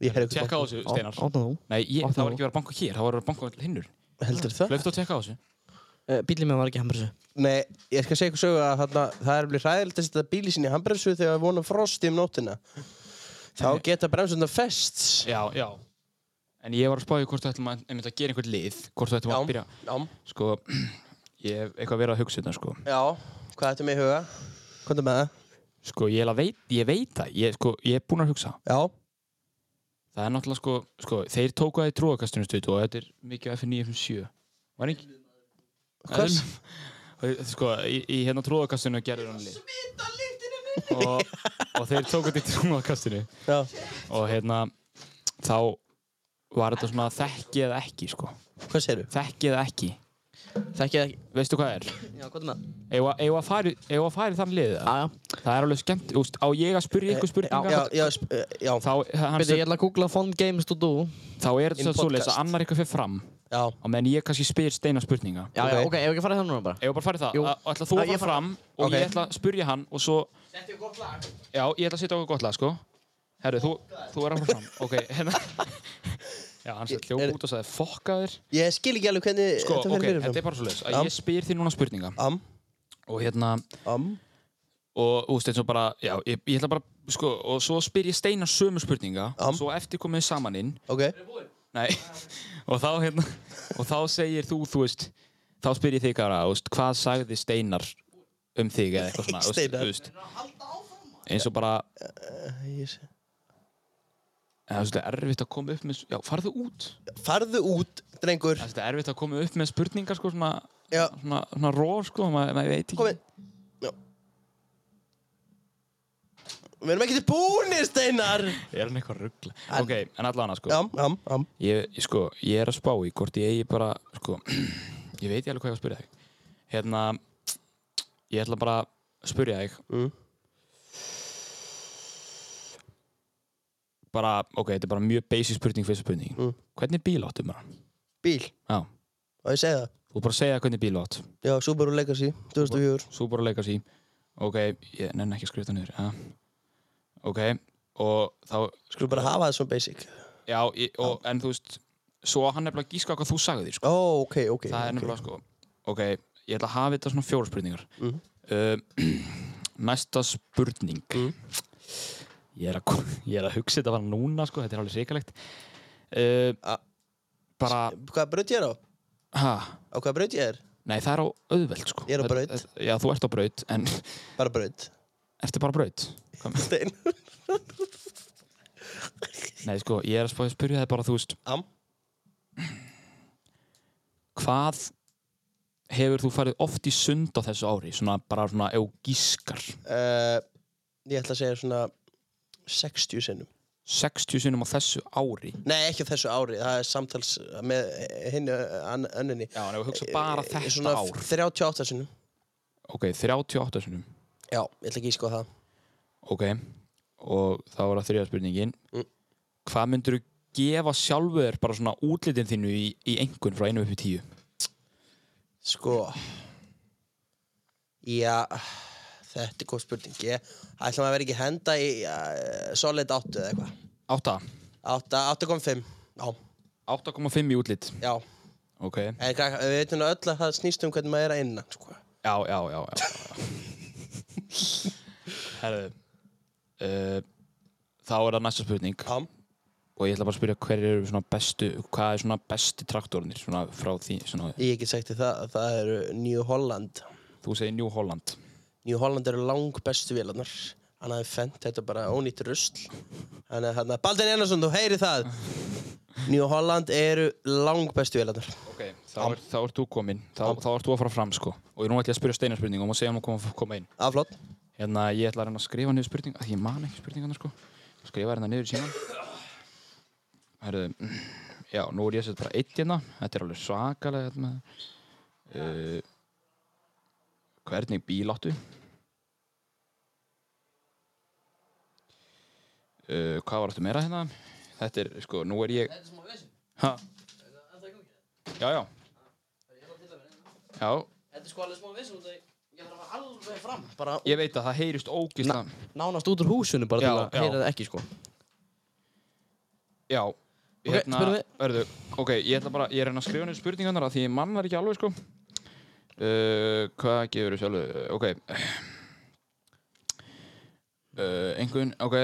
S2: Ég er ykkur
S1: Tjekka á
S2: bank.
S1: þessu,
S3: Á-
S1: Steinar
S3: Átna þú
S1: Nei, ég,
S3: Opnaðu.
S1: það var ekki verið að banka hér, það var verið að banka allir hinnur.
S2: Heldur það?
S1: Hlauptu að tjekka á þessu.
S3: uh, Bíli með var ekki hambremsu
S2: Nei, ég skal segja ykkur sögu að þarna, það er blið hræðilegt að setja bíli sinni í handbremsu þegar við vonum frosti um nóttina. Þá geta bremsundar fest.
S1: Já, já. En ég var að spáði hvort þú ætlum að, einmitt að gera einhvern lið, hvort þú ætlum að byrja.
S2: Já.
S1: Sko, ég hef eitthvað verið að hugsa þetta, sko.
S2: Já, hvað ættum við í huga? Hvað er með það?
S1: Sko, ég, eiginlega veit, ég veit það, ég, sko, ég er búinn að hugsa.
S2: Já.
S1: Það er náttúrulega, sko, sko þeir tóku það í trúakastunum stutu og þetta er mikið F957. Var ekki...
S2: Hvers?
S1: En- Sko, í, í hérna trúakastunum gerður hann lið. Og, og þeir tóku þetta í trúakastunum.
S2: Já.
S1: og hérna þá var þetta svona þekki eða ekki sko
S2: Hvað segir þú?
S1: þekki eða ekki,
S3: Þekki það ekki
S1: veistu hvað er
S3: Já, hvað er með það?
S1: eigum að- eigum að fara- eigum að fara í þann lið eða?
S3: Já, já
S1: það er alveg skemmt, úst, á ég að spyrja ykkur
S2: Eh, Já,
S1: spurningar
S2: já, sp- eh, já.
S1: þá, hans,
S3: Bíddu, ég ætla að googla Fun Games to do
S1: þá er
S2: In
S1: þetta svo leiðis
S2: podcast.
S1: að annar ykkur fyrir fram
S2: Já.
S1: og menn ég kannski spyr steina spurninga
S3: Já, já, ok, ef ekki farið það núna bara
S1: eigum við bara að fara í það,
S3: Jú.
S1: að, ætla þú
S3: Já,
S1: að fara
S3: ég fara.
S1: fram og
S2: Ok.
S1: ég ætla að spyrja hann og svo já, ég ætla að setja okkur gott lag sko herru, þú, þú er að fara fram ok, hérna já, hann sér
S2: Er-
S1: hljóð út og sagði fokkaður
S2: Ég skil ekki alveg hvernig
S1: sko,
S2: þetta
S1: ok,
S2: fyrir
S1: þetta
S2: fyrir
S1: er bara svo leiðis
S2: Já.
S1: að ég spyr þér núna spurninga
S2: Am.
S1: og hérna
S2: Am.
S1: og úst, eins og bara, já, ég, ég ætla bara sko, og svo spyr ég Steinar sömu spurninga
S2: Am.
S1: og svo eftir komum við saman inn
S2: Ok,
S1: Nei, og þá hérna og þá segir þú, þú veist þá spyr ég þig bara, þú veist, hvað sagði Steinar um þig eða eitthvað svona þú veist,
S2: Steinar.
S1: þú veist, eins og bara
S2: ég sé.
S1: eða, þú veist, það er erfitt að koma upp með já, farðu út
S2: Farðu út, drengur
S1: Það er erfitt að koma upp með spurningar sko, svona,
S2: Já.
S1: svona, svona róð sko, maður maður veit
S2: Kom
S1: ekki
S2: inn Já. Við erum ekki til búinir, Steinar
S1: Er hann eitthvað ruggla? Ok, en allan sko.
S2: Já, já, já
S1: Ég, ég, sko, ég er að spá í hvort ég eigi bara sko, ég veit ég alveg hvað ég á að spyrja þig Hérna ég ætla bara að spyrja þig
S2: Mm.
S1: bara, ok, þetta er bara mjög basic spurning fyrst spurning.
S2: Mm.
S1: Hvernig bíl áttu maður?
S2: Bíl,
S1: Já,
S2: og ég segi það
S1: þú bara segja hvernig bíl átt
S2: Já, Subaru Legacy, 2004
S1: svo bara leika sér Ok, ég nenni ekki að skrifa það niður ja. Ok, og þá
S2: Skulum bara hafa það svona basic
S1: Já, ég, og, en þú veist svo á hann nefnilega að gíska hvað þú sagði sko.
S2: Ó, ok, ok
S1: það er
S2: ok.
S1: nefnilega sko ok, ég ætla að hafa þetta svona fjóra spurningar
S2: Mhm.
S1: uh, næsta spurning
S2: Mm.
S1: ég, er að, kom- ég er að hugsa þetta bara núna sko, þetta er alveg sikalegt uh,
S2: A-
S1: bara,
S2: Eh, Hvað braut ég er á?
S1: ha
S2: Á hvað braut ég er?
S1: nei það er á auðveld sko
S2: Ég er á braut.
S1: Þetta- þetta- já, þú ert á braut, en
S2: Bara braut
S1: ertu bara á braut Hvað-
S2: Steinar
S1: nei sko, ég er að spá- spyrja það bara þú veist
S2: Am.
S1: hvað hefur þú farið oft í sund á þessu ári svona bara svona ef þú gískar
S2: uh, Ég ætla að segja svona 60 sinnum
S1: 60 sinnum á þessu ári
S2: Nei, ekki á þessu ári, það er samtals með henni, önninni
S1: Já, en ef við hugsa bara þetta
S2: Eh, Svona
S1: ár
S2: 38 sinnum
S1: Ok, 38 sinnum
S2: Já, ég ætla ekki að sko það
S1: Ok, og þá var það þriða spurningin
S2: Mm.
S1: Hvað myndirðu gefa sjálfu þér bara svona útlitin þínu í, í engun frá einu upp í tíu?
S2: Sko Já Þetta er góð spurning Ég ætla maður að vera ekki að henda í uh, Solid 8 eða eitthvað
S1: 8
S2: 8, 8.5 Já,
S1: 8,5 í útlit
S2: já
S1: Ok, já,
S2: En krakka, við veitum nú öll að það snýst um hvernig maður er að innan sko.
S1: já, já, já, já. Herðu uh, Þá er það næsta spurning
S2: Já,
S1: og ég ætla bara að spyrja hverju eru svona bestu hvað er svona besti traktornir svona frá því svona,
S2: ég get sagt þér það Það eru New Holland
S1: þú segir New Holland
S2: New Holland eru lang bestu vélarnar Hann hafði fent þetta er bara ónýtt rusl Þannig að hérna, Baldur Einarsson, þú heyri það New Holland eru lang bestu vélarnar
S1: Ok, þá, er, þá ert þú kominn, þá, þá ert þú að fara fram sko og nú ætla ég að spyrja Steinar spurningum og segja hann að koma, koma inn
S2: Aflott
S1: hérna ég ætla að reyna að skrifa niður spurning að ég man ekki spurningarna sko skrifa hérna niður í síman Herðu, mm, já, nú er ég að setja bara eitt hérna þetta er alveg svakalega hérna. uh, hvernig bíl áttu uh, hvað var áttu meira hérna þetta er, sko, nú er ég þetta er smá vesen já, já já,
S3: Þetta er sko alveg smá vissun út að ég þarf að alveg fram Bara
S1: ég veit að það heyrist ógist að
S3: nánast út úr húsinu bara
S1: Já,
S3: til að
S1: já.
S3: heyra það ekki sko
S1: Já hérna,
S3: spyrðu þig.
S1: verðu, ok, ég ætla bara, ég er hérna að reyna að skrifa niður spurningarnar af því mann var ekki alveg sko uh, Hvað gefur þú sjálfu, ok uh, Eh, Einhvern, ok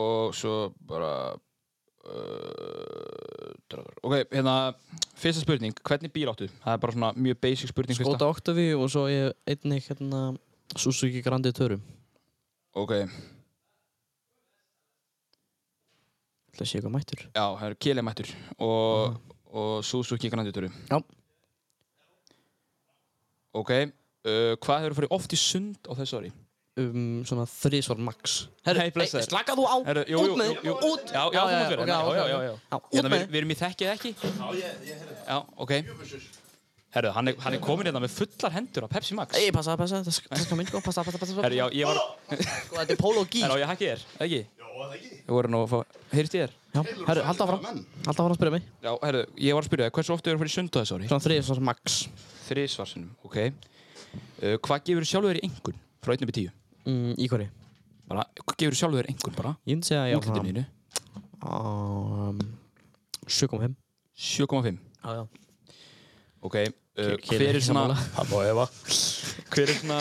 S1: Og svo bara uh, drar- Ok, hérna, fyrsta spurning, hvernig bíl áttu? Það er bara svona mjög basic spurning fyrsta
S3: Skoda Octavia Sko, og svo ég einnig hérna Suzuki Grandi Törum
S1: Ok,
S3: Það sé eitthvað mættur
S1: já, það eru kélemættur og, og Suzuki Grandituru
S3: Já.
S1: Ok, uh, hvað hefur farið oft í sund á þessu ári?
S3: um svona þrísvar max
S1: Nei, blessaður.
S3: slaka þú á,
S1: Herru, jú,
S3: út með
S1: jú, jú,
S3: þig, út
S1: Já, já, þú mátt vera,
S3: ok,
S1: já, já,
S3: ok,
S1: já,
S3: ok.
S1: já.
S3: Já, út
S1: Hérna,
S3: með
S1: við, við erum í þekkið ekki Já, ok Herru, hann er, hann er komin hérna með fullar hendur á Pepsi Max
S3: Ei, passa, passa, það sk- það skal minn, sko, passa, passa, passa, passa
S1: Herru, já, ég var
S3: Sko, þetta er pól og gís
S1: Herru, á ég hækki þér, eða ekki? Já, ekki Þú voru nú að fá, heyrst ég þér?
S3: Já, herru, halda áfram, halda áfram að spyrja mig
S1: Já, herru, ég var að spyrja þér, hversu oft hefur farið í sund á þessu ári?
S3: Svona þrísvar max
S1: Þrísvarsinum, ok uh, Hvað gefur sjálfur þér í engun frá 1 upp í 10?
S3: mm, Í hverju?
S1: Bara, hvað gefur sjálfur þér engun bara?
S3: Ég myndi segja að ég á
S1: Útlitinu þínu.
S3: svona um, 7,5
S1: 7,5
S3: Já, já
S1: Ok, uh, hver
S3: Ke- Keli
S1: Eh, er svona
S3: sammála.
S1: Hann má hefa Hver er svona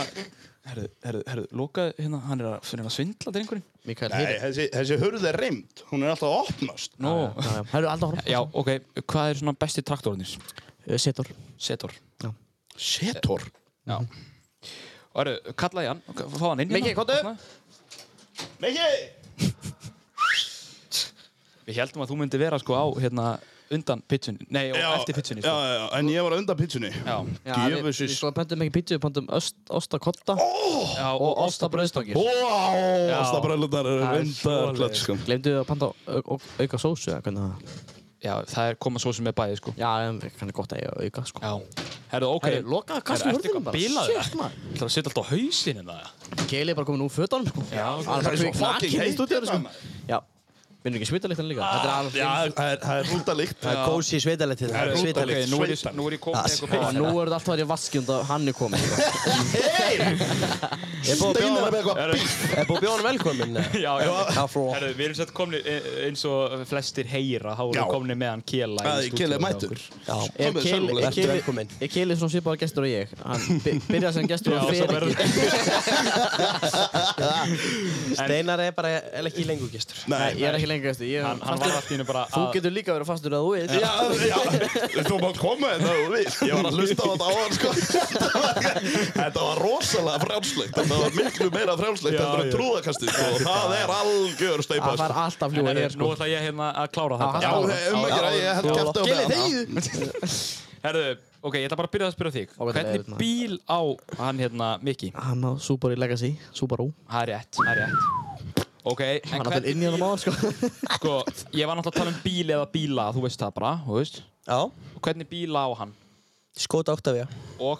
S1: Herðu, herðu, herðu, loka hérna Hann er að, hann er að svindla drengurinn
S3: Mikael
S8: Nei,
S3: Heyri.
S8: þessi, þessi hurð er reimt, hún er alltaf að opnast.
S1: Nó
S3: Það eru alltaf horf.
S1: Já, ok, hvað er svona besti traktornir?
S3: Setor.
S1: Setor
S8: Setor.
S1: Já Og herðu, kallaði hann ok, Fá hann inn hérna.
S2: Mikki, komdu.
S1: Opnaði.
S8: Mikki!
S1: Við heldum að þú myndi vera sko á hérna undan pitchunni Nei, og eftir pitchunni
S8: Já,
S1: sko.
S8: já, já, en ég var undan pitsunni.
S1: Já,
S8: Djöfusis.
S3: Við svo pöntum ekki pítsu, við pöntum ostakotta
S1: já,
S3: og ostabröðstangir.
S8: Wow,
S1: Já.
S8: ástabrælundar eru
S3: Það er
S8: reyndar
S3: svoleiðis.
S8: klart, sko.
S3: Glemdu að panta au- au- auka sósu eða hvernig það?
S1: já, það er koma svo sem er bæði sko
S3: Já, en hann er gott að eiga auka sko.
S1: Já Herðu, ok
S3: Herru, lokaðu kastum
S1: Herru, ertu
S3: hurðinum
S1: eitthvað
S3: bara.
S1: bilaður,
S3: Shit,
S1: eða?
S3: maður.
S1: Það er að setja alltaf á hausinn hérna? en það
S3: Keili er bara komin úr fötunum sko.
S1: Já,
S3: Hann er bara
S8: Það er svo
S3: kvik
S8: fucking
S3: nakin í
S8: heitt
S3: stúdíónu
S8: hérna, Ah,
S3: sko. Já. Vinnur ekki smittalíktan líka. Þetta er alveg
S8: Já, það er- það er rútalikt.
S2: Það er kósi sveitalættið.
S8: Það er
S1: Ok,
S8: rútalikt.
S1: nú er ég, nú er ég komið eitthvað
S3: Já,
S1: bóðan
S3: nú er þetta alltaf að vera vaskjum og hann er komið.
S8: Steinar með eitthvað.
S2: Er búið bjóðan velkomin? eða?
S1: Já, já,
S2: Það er fló.
S1: herru, við erum sett komni eins og flestir heyra, þá erum
S8: Já.
S1: við komni með hann Kela í
S8: Það er
S1: stúdíóið
S8: Kela
S1: hjá
S8: mættur.
S1: okkur.
S2: Já.
S3: Er
S8: Komið,
S3: Keili-
S8: sæl,
S3: er
S8: vertu
S3: Keili-
S2: velkominn.
S3: Er Keili svona svipaður gestur og ég? Hann by- byrjar sem gestur
S1: Já,
S3: og
S1: svo
S3: fer
S1: verður
S3: ekki.
S2: Steinar er bara er ekki lengur gestur.
S3: Nei,
S8: Nei,
S3: ég er ekki lengur gestur. Ég-
S1: Hann, hann var allt í hennu bara
S3: Þú getur líka verið fastur að þú við.
S8: Já, já, þú má koma þetta og við Ég var að hlusta á þetta áðan sko Þetta var- Þetta var rosalega frjálslegt Þetta var miklu meira frjálslegt heldur en trúðakastið sko. og það er algjör steipa
S3: Það
S8: sko.
S3: far alltaf
S1: En
S3: fljúa
S1: herru,
S3: hér
S1: Nú
S3: sko.
S1: ætla ég hérna að klára þetta
S8: Já, um ekki að ég held kæft á
S2: Gili
S8: meðan.
S2: þegið!
S1: Herðu, ok, ég ætla bara að byrja að spyrja þig
S3: Ágætlega erfitt,
S1: Hvernig
S3: maður.
S1: bíl á hann hérna Miki?
S3: Hann á Subaru Legacy, Subaru.
S1: Það er rétt, það er rétt Ok, en
S3: Hann átti
S1: hvernig,
S3: inn í hann á maður sko.
S1: sko, ég var náttúrulega að tala um bíl eða bíla, þú veist það bara, þú veist
S2: Já.
S1: Hvernig bíla á hann?
S2: Skot Octavia.
S1: Og,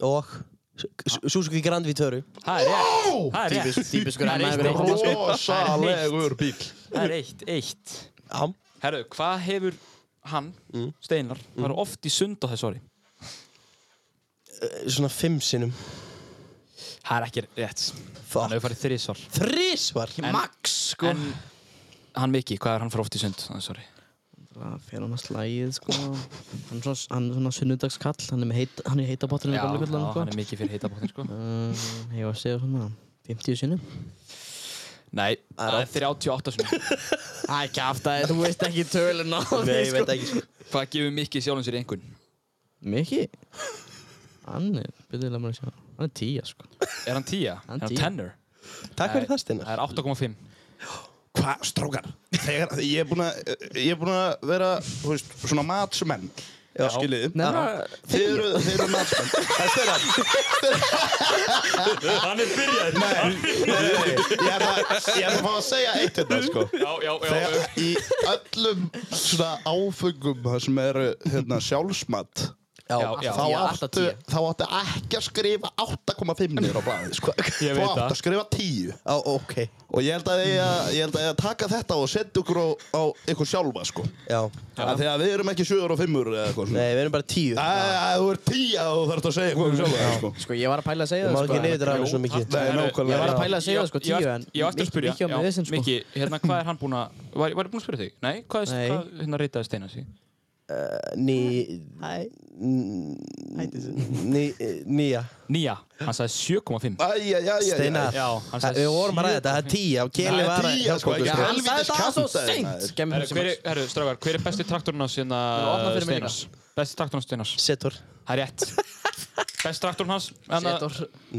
S2: Og S- Suzuki Grand Vitoru.
S1: það er rétt, það er rétt
S3: Típiskur
S1: Það er
S3: hann
S1: eitt
S3: hefur
S1: eitt.
S3: eitthvað sko.
S8: Rosalegur bíl
S1: Það er eitt, eitt
S2: Já.
S1: Herru, hvað hefur hann, Steinar, mm. var oft í sund á þessu ári?
S2: Svona fimm sinnum.
S1: Það er ekki rétt. Hann
S2: Fuck.
S1: hefur farið þrísvar.
S2: Þrísvar.
S1: Max, sko. En hann Miki, hvað er hann fyrir oft í sund á þessu ári?
S3: Það fer hann að slæðið sko. Hann er svona, hann er svona sunnudagskall, hann er, með heit, hann er heita bóttinu með gamla gullan
S1: hann
S3: sko.
S1: er mikið fyrir heitabóttin, sko.
S3: Uh, ég var að segja svona 50 sinnum.
S1: Nei, það er 38 sinni.
S3: Æ, kæft að þú veist ekki tölun á því
S2: Nei, ég veit ekki. sko.
S1: Hvað gefur Miki sjálfum sér einhvern?
S3: Mikki? Hann er, byrjuðið að maður sjá, hann er tíja sko.
S1: Er hann 10? er
S3: Hann
S1: hann
S3: 10.
S1: tenner?
S2: Takk fyrir það, Steinar.
S1: Það er 8,5.
S8: Hvað, strákar? Þegar, ég er búinn að- ég er búinn að vera, þú veist, svona matsmenn Skiljiði
S3: Nei, bara-
S8: Þið eru, þið eru matsmenn En Steinar sko.
S1: Hann er byrjað.
S8: Nei, ég er að ég er að fá að segja eitt hérna sko
S1: Já, já, já.
S8: Þegar í öllum svona áfengum það sem eru hérna, sjálfsmat
S1: Já, já.
S8: þá,
S3: Tíu, alltaf
S8: áttu,
S3: tíu.
S8: þá áttu ekki að skrifa 8,5 niður á blaði sko.
S1: Ég
S8: Þú
S1: veit
S8: áttu
S1: það.
S8: að skrifa 10
S2: Já, ok.
S8: og ég held að ég að, ég held að ég að taka þetta og setja okkur á, á ykkur sjálfa sko.
S2: Já.
S8: ja. Þegar við erum ekki 7 og 5 eða eitthvað svona.
S2: Nei, við erum bara tíu.
S8: Æ, æ, Þú ert 10 og þú þarfst að segja eitthvað um sjálfa sko.
S3: Sko, ég var að pæla að segja
S2: Ég má
S3: það
S2: ekki
S3: sko.
S2: niður draga svo mikið.
S8: Nei, nákvæmlega.
S3: Ég var að
S2: Já.
S3: pæla að segja það sko, tíu en
S1: Ég var eftir að spyrja.
S3: Mikki á með þessum sko.
S1: Miki, hérna, hvað er hann búinn að... Var, var ég búinn að spyrja þig? Nei, hvað er
S3: Nei.
S1: hvað, hérna reytaði Steinar sig?
S2: Ný...
S3: Hæ.
S2: Ný... Nýja.
S1: Nýja, hann sagði 7,5.
S8: Æ, æ, æ, æ, æ, æ.
S2: Steinar.
S1: Já, hann
S2: Það-
S1: sagði
S2: Við vorum bara að ræða þetta, það er tíja og Keli
S8: Það
S2: var
S8: er
S2: að
S8: 10 sko, ekki
S2: Já, hann sagði
S8: helvítis
S2: þetta að svo
S8: kjaftaði, maður.
S3: Seint! Gemmi
S1: Herru, hver,
S3: fyrir sem
S1: er, herru, strákar, hver er besti traktorinn hans hérna
S3: Nú, opna fyrir mig
S1: Steinars? Besti traktorinn hans Steinars?
S2: Setor
S1: Það er rétt. Besti traktorinn hans? hérna,
S3: Setor.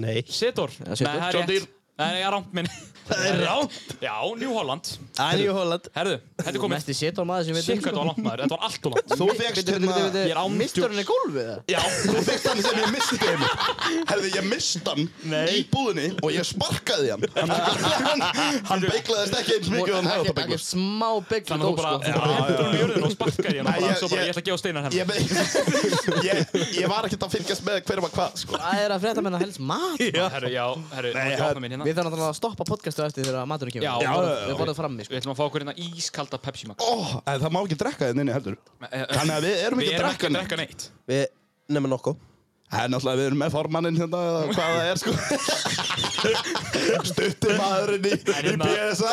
S2: Nei
S1: Setor. Nei,
S3: Setor.
S1: það er
S8: John Deere.
S1: rétt. Nei, það er rámt minn. Það er rámt? Já, New Holland.
S2: Anju Holland
S1: Herru, þetta er komið.
S3: Mesti Setor maður sem
S1: Sikk, þetta var langt maður. Þetta var allt og langt.
S8: Þú fegst hérna
S1: Ég er ándjúr.
S3: Mistur hann í gólfið það?
S8: Já, þú fyrst hann sem ég misti heimur. Herði, ég misti hann í búðinni og ég sparkaði hann. Hann, hann, hann beiglaðist ekki eins mikið og hann hefði átt að
S3: Ekki
S8: beiglast.
S3: smá byggt
S1: Þannig að þú bara, þú bara hendur hann í jörðin og sparkar í hann og
S8: Nei,
S1: bara,
S8: sko? ég-
S1: svo bara,
S8: ég-
S1: ég ætla að gefa Steinar hennar.
S8: Ég, be- ég, ég var ekkert að fylgjast með hver var hvað, sko.
S3: Það er að frétta menna helst mat
S1: Herru, já, herru, má ekki
S8: það-
S1: opna minn hérna.
S3: Við þarfum náttúrulega að stoppa podcastu eftir þegar maturinn kemur
S1: Já,
S3: Við
S1: já,
S3: borðum-
S8: já,
S3: Við borðum frammi
S1: Við
S3: sko
S1: ætlum að fá okkur hérna ískalda Pepsi Max.
S8: Ó, en það má ekki drekka þinn inni heldur.
S9: Eh,
S8: Þannig að við erum
S1: Við
S8: ekki að
S1: erum ekki að
S8: drekka þinn.
S1: drekka neitt.
S2: Við nefnum nokko
S8: Það er náttúrulega, við erum með formanninn hérna, eða hvað það er, sko. Stuttir maðurinn í, í
S1: hérna-
S8: PSA.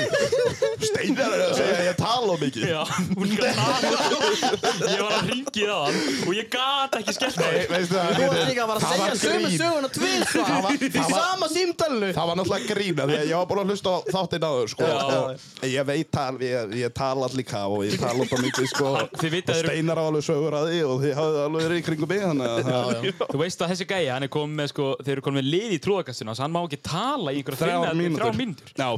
S8: Steinar er að segja að ég tala of mikið
S9: sko. Já, hún líka það Ég var að ringi það og ég gat ekki skellt það
S8: Nei, veistu það
S3: Þú ert líka að fara að
S8: var
S3: segja sömu
S8: grín.
S3: söguna
S8: Það var-
S3: tvisvar í
S8: það var-
S3: sama símdalinu.
S8: Það var náttúrulega grína því að ég var búin að hlusta á þáttinn áður sko og ég veit að ég, ég tala allir kaf og ég tala alltaf mikið sko
S9: Hann- þið vitið
S8: og
S9: að þeir-
S8: steinar á alveg sögur að því og þið hafði alveg verið í kringum mig þannig að það
S9: Þú veist að þessi gæja, hann er komið með sko, þeir eru komið með lið í trúðakastinu hans, hann má ekki tala í einhverja
S8: Þrjár mínútur.
S9: þrjá mínútur.
S8: Já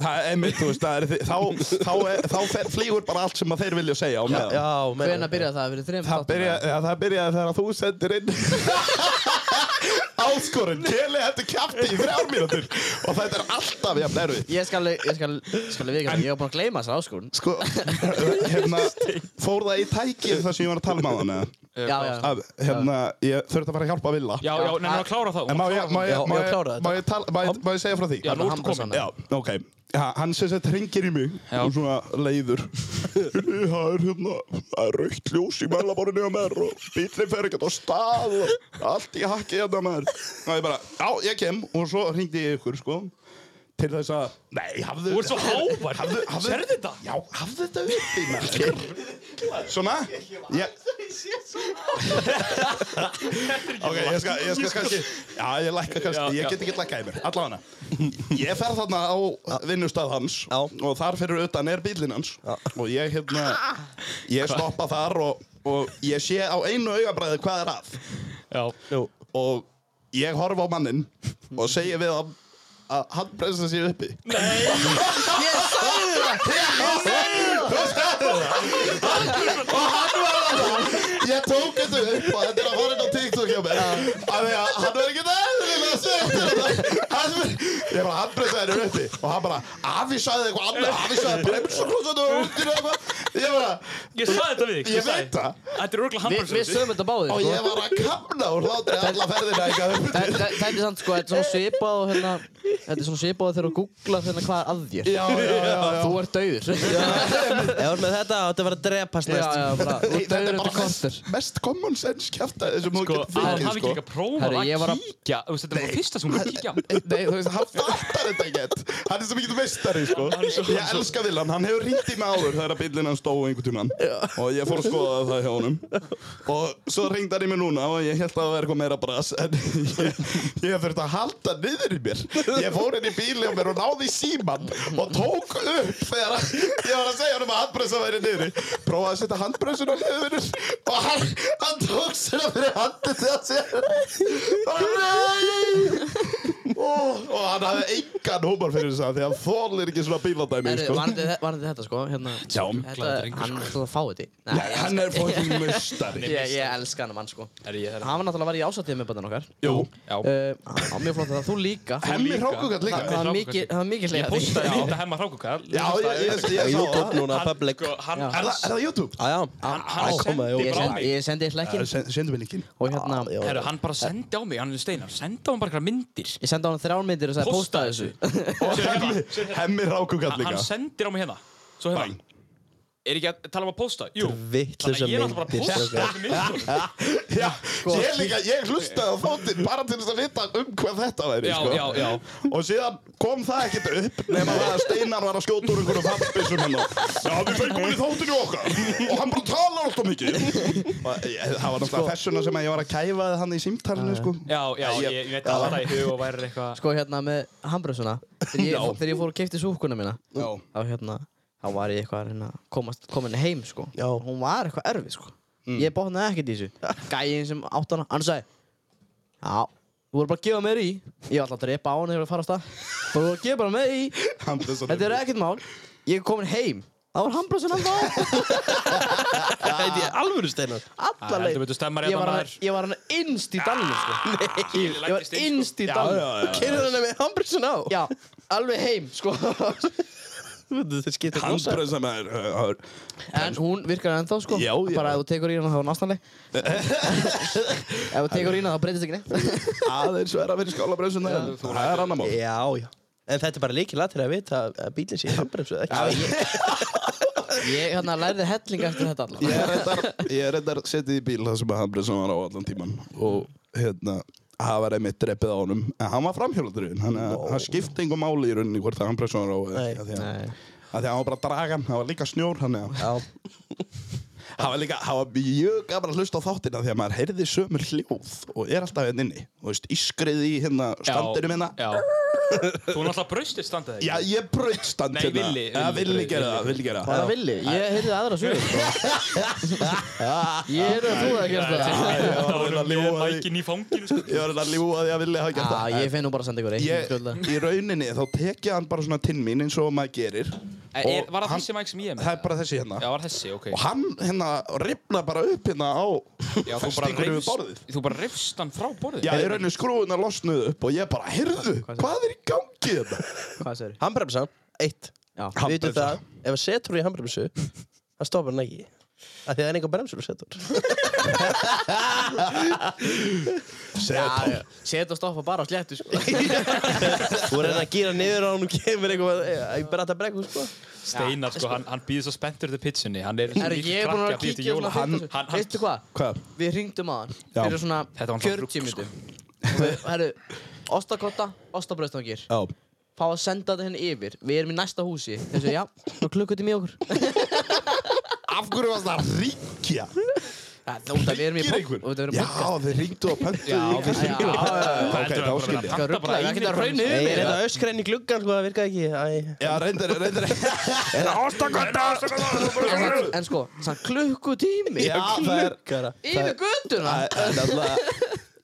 S8: Það er mitt, þú veist, það er, þi- þá, þá, er, þá fer, flýgur bara allt sem að þeir vilja segja á meðan.
S2: Já,
S3: Hvena
S2: meina
S3: byrjaði það? Fyrir þreim
S8: Það byrjaði, ja, það byrjaði þegar þú sendir inn áskorun, keli þetta kjafti í þrjár mínútur og þetta er alltaf jafn erfið.
S3: Ég skal, ég skal, ég skal við ekki það, ég var búin að gleyma þessar áskorun.
S8: Sko, hérna, fór það í tækið það sem ég var að tala með hann eða?
S3: Já, já.
S8: Að, hérna, ég þurfti að fara að hjálpa Villa.
S9: Já, já, nefnir að klára það.
S8: En má ég, má
S2: Já,
S8: ég, má
S2: ég
S8: ég,
S2: kláraði þetta.
S8: má ég, tala, má ég, má ég segja frá því?
S9: Já, nú
S3: hann
S9: ertu komin.
S3: bara
S8: Já, ok. Ja, hann sem sagt ringir í mig
S1: Já.
S8: og svona leiður. Heyrðu, Það er hérna, það er raukt ljós í mælaborinu á mér og bílinn fer ekkert á stað og allt í hakki hérna á mér. Og ég bara, já, ég kem og svo ringdi ég ykkur, sko, til þess að, nei, hafðu...
S9: Þú ert svo hávar.
S8: Hafðu, hafðu...
S9: Sérðu þetta?
S8: Já, hafðu þetta uppi, maður. Svona? Ég... Ok, ég skal, ég skal kannski Já, ég lækka kannski,
S9: Já,
S8: ég
S9: já.
S8: get ekki lækka í mér Allavega Ég fer þarna á vinnustað hans
S2: Já.
S8: Og þar fyrir utan er bílinn hans Og ég hérna Ég stoppa þar og, og ég sé á einu augabræði hvað er að
S9: Já,
S2: Nú,
S8: Og ég horf á mannin Og segi við hann að hann pressa sér uppi
S3: Ég sagði það!
S8: Ég tók þetta upp og þetta er að fara inn á TikTok hjá mér Af því að hann verður ekki eðlilega sveitur Hann verður Ég bara hann pressa þér uppi Og hann bara Afi sagði eitthvað annað Afi sagði bremsurklossan og útinu eitthvað Ég bara
S9: ég saði þetta við þig.
S8: Ég
S9: sagði-
S8: veit það.
S9: Þetta er örgulega
S3: Við, við
S9: handbremsur.
S3: sögum þetta báðir,
S8: Og
S3: sko.
S8: ég var að kamna úr hlátri alla ferðina eitthvað
S3: Þa- þa- Þetta er samt, sko, þetta er svona svipað og hérna, þetta er svona svipað og þegar þú googlar hérna hvað er að þér.
S8: Já, já, já, já.
S3: Þú ert dauður. Já,
S2: ef þú ert með þetta áttu að vera að drepast
S3: já,
S2: næst
S3: já, bara, þú
S8: Nei,
S3: ert dauður eftir
S8: mest,
S3: korter.
S8: mest common sense kjæftæði sem þú
S9: Sko,
S8: getur
S9: að hann hafi
S8: fengið,
S9: ekki
S8: sko.
S9: líka prófað
S3: Herra, ég var
S9: að
S3: að-
S9: kíkja. Þú veist, þetta var fyrsta sem hún var að kíkja. á.
S8: Nei, þú veist, hann fattar þetta ekkert. Hann er svo mikið meistari, sko. Ég elska Villan, hann hefur ringt í mig áður þegar bílinn hann stóð einhvern tímann. Og ég fór að skoða það hjá honum. Og svo ringd hann í mig núna og ég held að það var eitthvað meira brass. En ég, ég þurfti að halda niður í mér. Ég fór inn í bíli á mér og náði í símann og tók upp þegar hann- ég var að segja honum að handbremsa væri niður. Prófaði að setja handbremsun á niður og hann, hann tók sér að fyrir handi til að sér. Bara, nei! og, og hann hafði engan húmar fyrir þess að því að þólir ekki svona bíladæmi
S3: Herru,
S8: sko.
S3: varandi þe- varandi þetta, sko, hérna,
S8: Já,
S3: þetta, hann er alltaf að fá þetta. Nei,
S8: Nei, hann er fókin mustari
S3: Ég, ég elska hann mann sko
S9: Herra, ég er-
S3: Hann var náttúrulega að vera í ásatið með böndan okkar
S8: Jú,
S3: uh, á, Mjög flott að það, þú líka
S8: hemmi
S9: líka.
S8: hrákugat líka
S3: Það var mikið, það var mikið
S9: Ég
S3: hleyja
S9: postaði þetta hemmar hrákukall.
S8: Já, ég, ég, ég, ég sá
S2: YouTube
S8: það
S2: núna, public
S9: Sko, hann,
S8: Er það, er það YouTube?
S2: Já, já,
S9: hann, hann
S2: komaði,
S9: sendi
S3: Ég
S9: frá
S3: sendi,
S9: mig.
S3: ég sendi hlækkin
S8: Sendu mig linkinn
S3: og hérna
S2: já.
S9: Herru, hann bara sendi á mig, hann er steinar. Sendi á mig bara eitthvað myndir.
S3: Ég sendi á hann þrjár myndir og sagði posta
S9: Postaði
S3: þessu
S9: þessu.
S8: Og hemmi, hemmi hrákugat
S9: Hann
S8: líka
S9: sendir á mig hérna. Svo hefur
S8: Bang.
S9: Er ekki að tala um að posta? Jú. Þannig
S2: vittlösa
S9: að ég er alltaf bara að
S2: myndir
S9: posta
S2: strákar.
S9: þessu sko. myndum.
S8: Já, ég líka, ég hlustaði á þóttinn bara til þess að vita um hvað þetta væri
S9: Já,
S8: sko.
S9: já, já.
S8: Og síðan kom það ekkert upp nema það að Steinar var að skjóta úr einhverju fannbissum hann og Já, við fengum hann í þáttinu okkar og hann bara talar alltaf mikið og ég, það var náttúrulega þessuna sem að ég var að kæfa þið hann í símtalinu sko
S9: Já, já, ég, ég veit að það í hug og væri eitthvað
S3: Sko hérna með hambröðsuna Þegar ég, þegar ég fór og keipti súkuna mína
S8: Já.
S3: Þá hérna, þá var ég eitthvað að reyna að komast, komin heim sko
S2: Já.
S3: Hún var eitthvað erfið sko Ég botnaði ekkert í þessu Gæin sem átt hana, hann sagði Já, þú voru bara að gefa mér í Ég var alltaf að drepa á hann þegar ég var að fara á stað Þú voru að gefa bara mér í
S8: Hann þess að-
S3: Þetta er ekkert mál. Ég er komin heim. Það var handblásin hann þá.
S2: Þetta er alvöru steinar
S3: Alla
S9: Það
S3: leið.
S9: heldur betur stemmar
S3: Ég
S9: hérna
S3: var hann,
S9: maður Ah,
S3: ég var hann innst í dalnum, sko. Nei. Ég var
S9: læddist inn, sko.
S3: innst í dalnum.
S2: Kynir hann með hambrísun á
S3: Já, alveg heim, sko.
S2: Þetta skiptir rosa.
S8: Handbremsa maður uh, uh,
S3: En hún virkar ennþá, sko.
S8: Já, já.
S3: Bara ef þú tekur í hana, þá er hún ástæðanleg. ef þú tekur í hana, þá breytist ekki neitt.
S8: aðeins vera fyrir skálabremsuna Það er annar mál
S2: Já, já En þetta er bara líkið latir að vita að bílinn sé hambrísu ekki
S3: Ég hérna lærði helling eftir þetta allavega.
S8: Ég er reyndar, ég er reyndar setið í bíl þar sem að handbremsan var á allan tíman og hérna það var einmitt dreppið á honum en hann var framhjóladurinn hann, no. hann skipti engum máli í rauninni hvort að hann pressur á
S2: Nei.
S8: að því að, að því að hann var bara dragan það var líka snjór hann að
S2: Já,
S8: Það var líka, það var mjög gaman að hlusta á þáttina því að maður heyrði sömur hljóð og er alltaf hérna inni. Þú veist, ískrið í hérna standinum hérna.
S1: Já Þú náttúrulega braustið standið ekki
S8: Já, ég braut stand
S1: Nei,
S8: hérna.
S1: Villi,
S8: Ja,
S1: Villi
S8: villi
S1: braut,
S8: gera
S1: Villi
S8: það, villi gera
S3: Það
S8: það.
S3: villi, ég heyrði aðra sögur sko. Ég heyrði að þú það að gera það
S8: var
S9: Það
S8: hérna
S9: var
S8: að
S9: með
S8: ljúga því.
S9: mækin í fanginu sko.
S8: Ég var hérna að ljúa því að villi
S1: Ah,
S8: hafa gert
S3: Já,
S8: það.
S3: Ah, ég finn nú bara að senda ykkur
S8: Ég,
S3: eitt
S8: í rauninni, þá tekja hann bara svona tinn mín eins og maður gerir.
S1: Er,
S8: Og
S1: var það
S8: hann-
S1: þessi mæk sem ég er með?
S8: Það er bara þessi hérna.
S1: Já, var þessi, ok.
S8: Og hann hérna ripna bara upp hérna á
S1: Já, þú bara
S8: festingunni við
S1: reifst-
S8: borðið.
S1: Þú bara rifst hann frá borðið?
S8: Já, í rauninni skrúðuna losnuð upp og ég bara, heyrðu, hvað er í gangi hérna?" þetta?
S3: Hvað segir
S2: handbremsa, eitt
S3: Já,
S2: Við veitum
S8: Handbremsa.
S2: það, ef að setur í handbremsu það stoppar hann ekki af því að það er einhver bremsur að setur
S8: Seta.
S3: Set og stoppa bara á sléttu sko.
S2: Þú reynir að gýra niður á hann og kemur einhver að brata brekku sko
S9: Steinar sko, hann, hann býður svo spenntur til pitsunni Hann er svo
S3: Herri,
S9: mikill
S3: ég er búin að
S9: krakki að bíða til
S3: kíkja hérna
S9: jóla. Hann- hann-
S3: svona fyrst og svo.
S9: hann-
S3: Veistu hvað?
S8: Hvað?
S3: Við hringdum að hann
S8: Já.
S3: Fyrir svona
S1: Þetta var náttúrulega
S3: 40
S1: rugl, sko.
S3: minnum Herru, ostakotta, ostabraustangir
S8: Já.
S3: Fá að senda þetta henni yfir Við erum í næsta húsi Þessu, já, og klukkutum í okkur
S8: Af hverju varst það að ringja?
S3: Það út að við erum í
S8: Ringir
S3: pop-
S8: einhver?
S3: út að við erum í
S8: Já,
S3: podcast.
S8: þið ringdu og pöntu
S3: Já, við hringjum.
S8: Ok, þá skil ég.
S3: Hvað ruggla, ég ekkert að raunni
S2: Ég
S3: yfir
S2: er þetta öskræn í gluggan sko, það virkaði ekki Æ.
S8: Já, reyndar, reyndar. Er það ástakvölda?
S3: En- En sko, samt klukkutími
S8: Já, það er...
S3: Yfir gönduna
S8: Það er náttúrulega...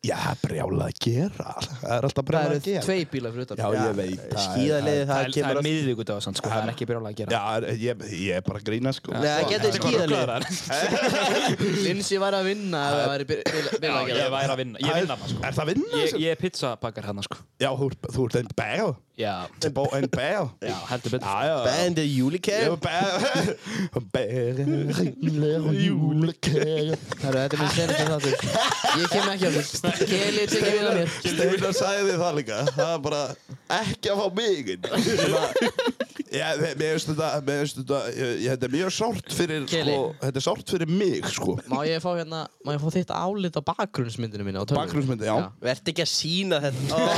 S8: Já, brjálað að gera. Það er alltaf
S3: Það
S8: brjálað að
S3: eru
S8: gera.
S3: tvei bílar fyrir utan
S8: Já, ég veit. það er-
S2: Skíðaliði það kemur að
S1: miðvíkudag og sann, sko, það er ekki byrjað að gera.
S8: Já, ég, ég er bara að grína, sko.
S2: Nei, það getur skíðaliði
S3: Linsi var að vinna ef það væri bílar að
S1: Já, ég
S3: gera
S1: væri að vinna, ég vinna hann, sko.
S8: Er það vinna
S1: Ég,
S8: þessu?
S1: ég er pizzabakkar hann, sko.
S8: Já, þú ert- þú ert einn bæl.
S1: Já,
S8: Bó einn bæl.
S1: já, heldur betur.
S8: Já, já.
S2: Bandið
S8: Ég
S2: júlikæm
S8: var bæl. Bæl. Júlekæl.
S3: Herru, þetta er minn senast þáttur Ég kem ekki á því Keli, tekið vinna mér
S8: Steinar sagði það líka Það er bara ekki að fá mig inn. Já, mér mér finnst þetta, mér finnst þetta, ég, ég- þetta er mjög sárt fyrir,
S3: Keli.
S8: sko, þetta er sárt fyrir mig, sko.
S3: Má ég fá hérna, má ég fá þitt álit á bakgrunnsmyndinu mínu á tölvunni?
S8: Bakgrunnsmyndi, já.
S2: Vertu ekki að sína þetta Ó,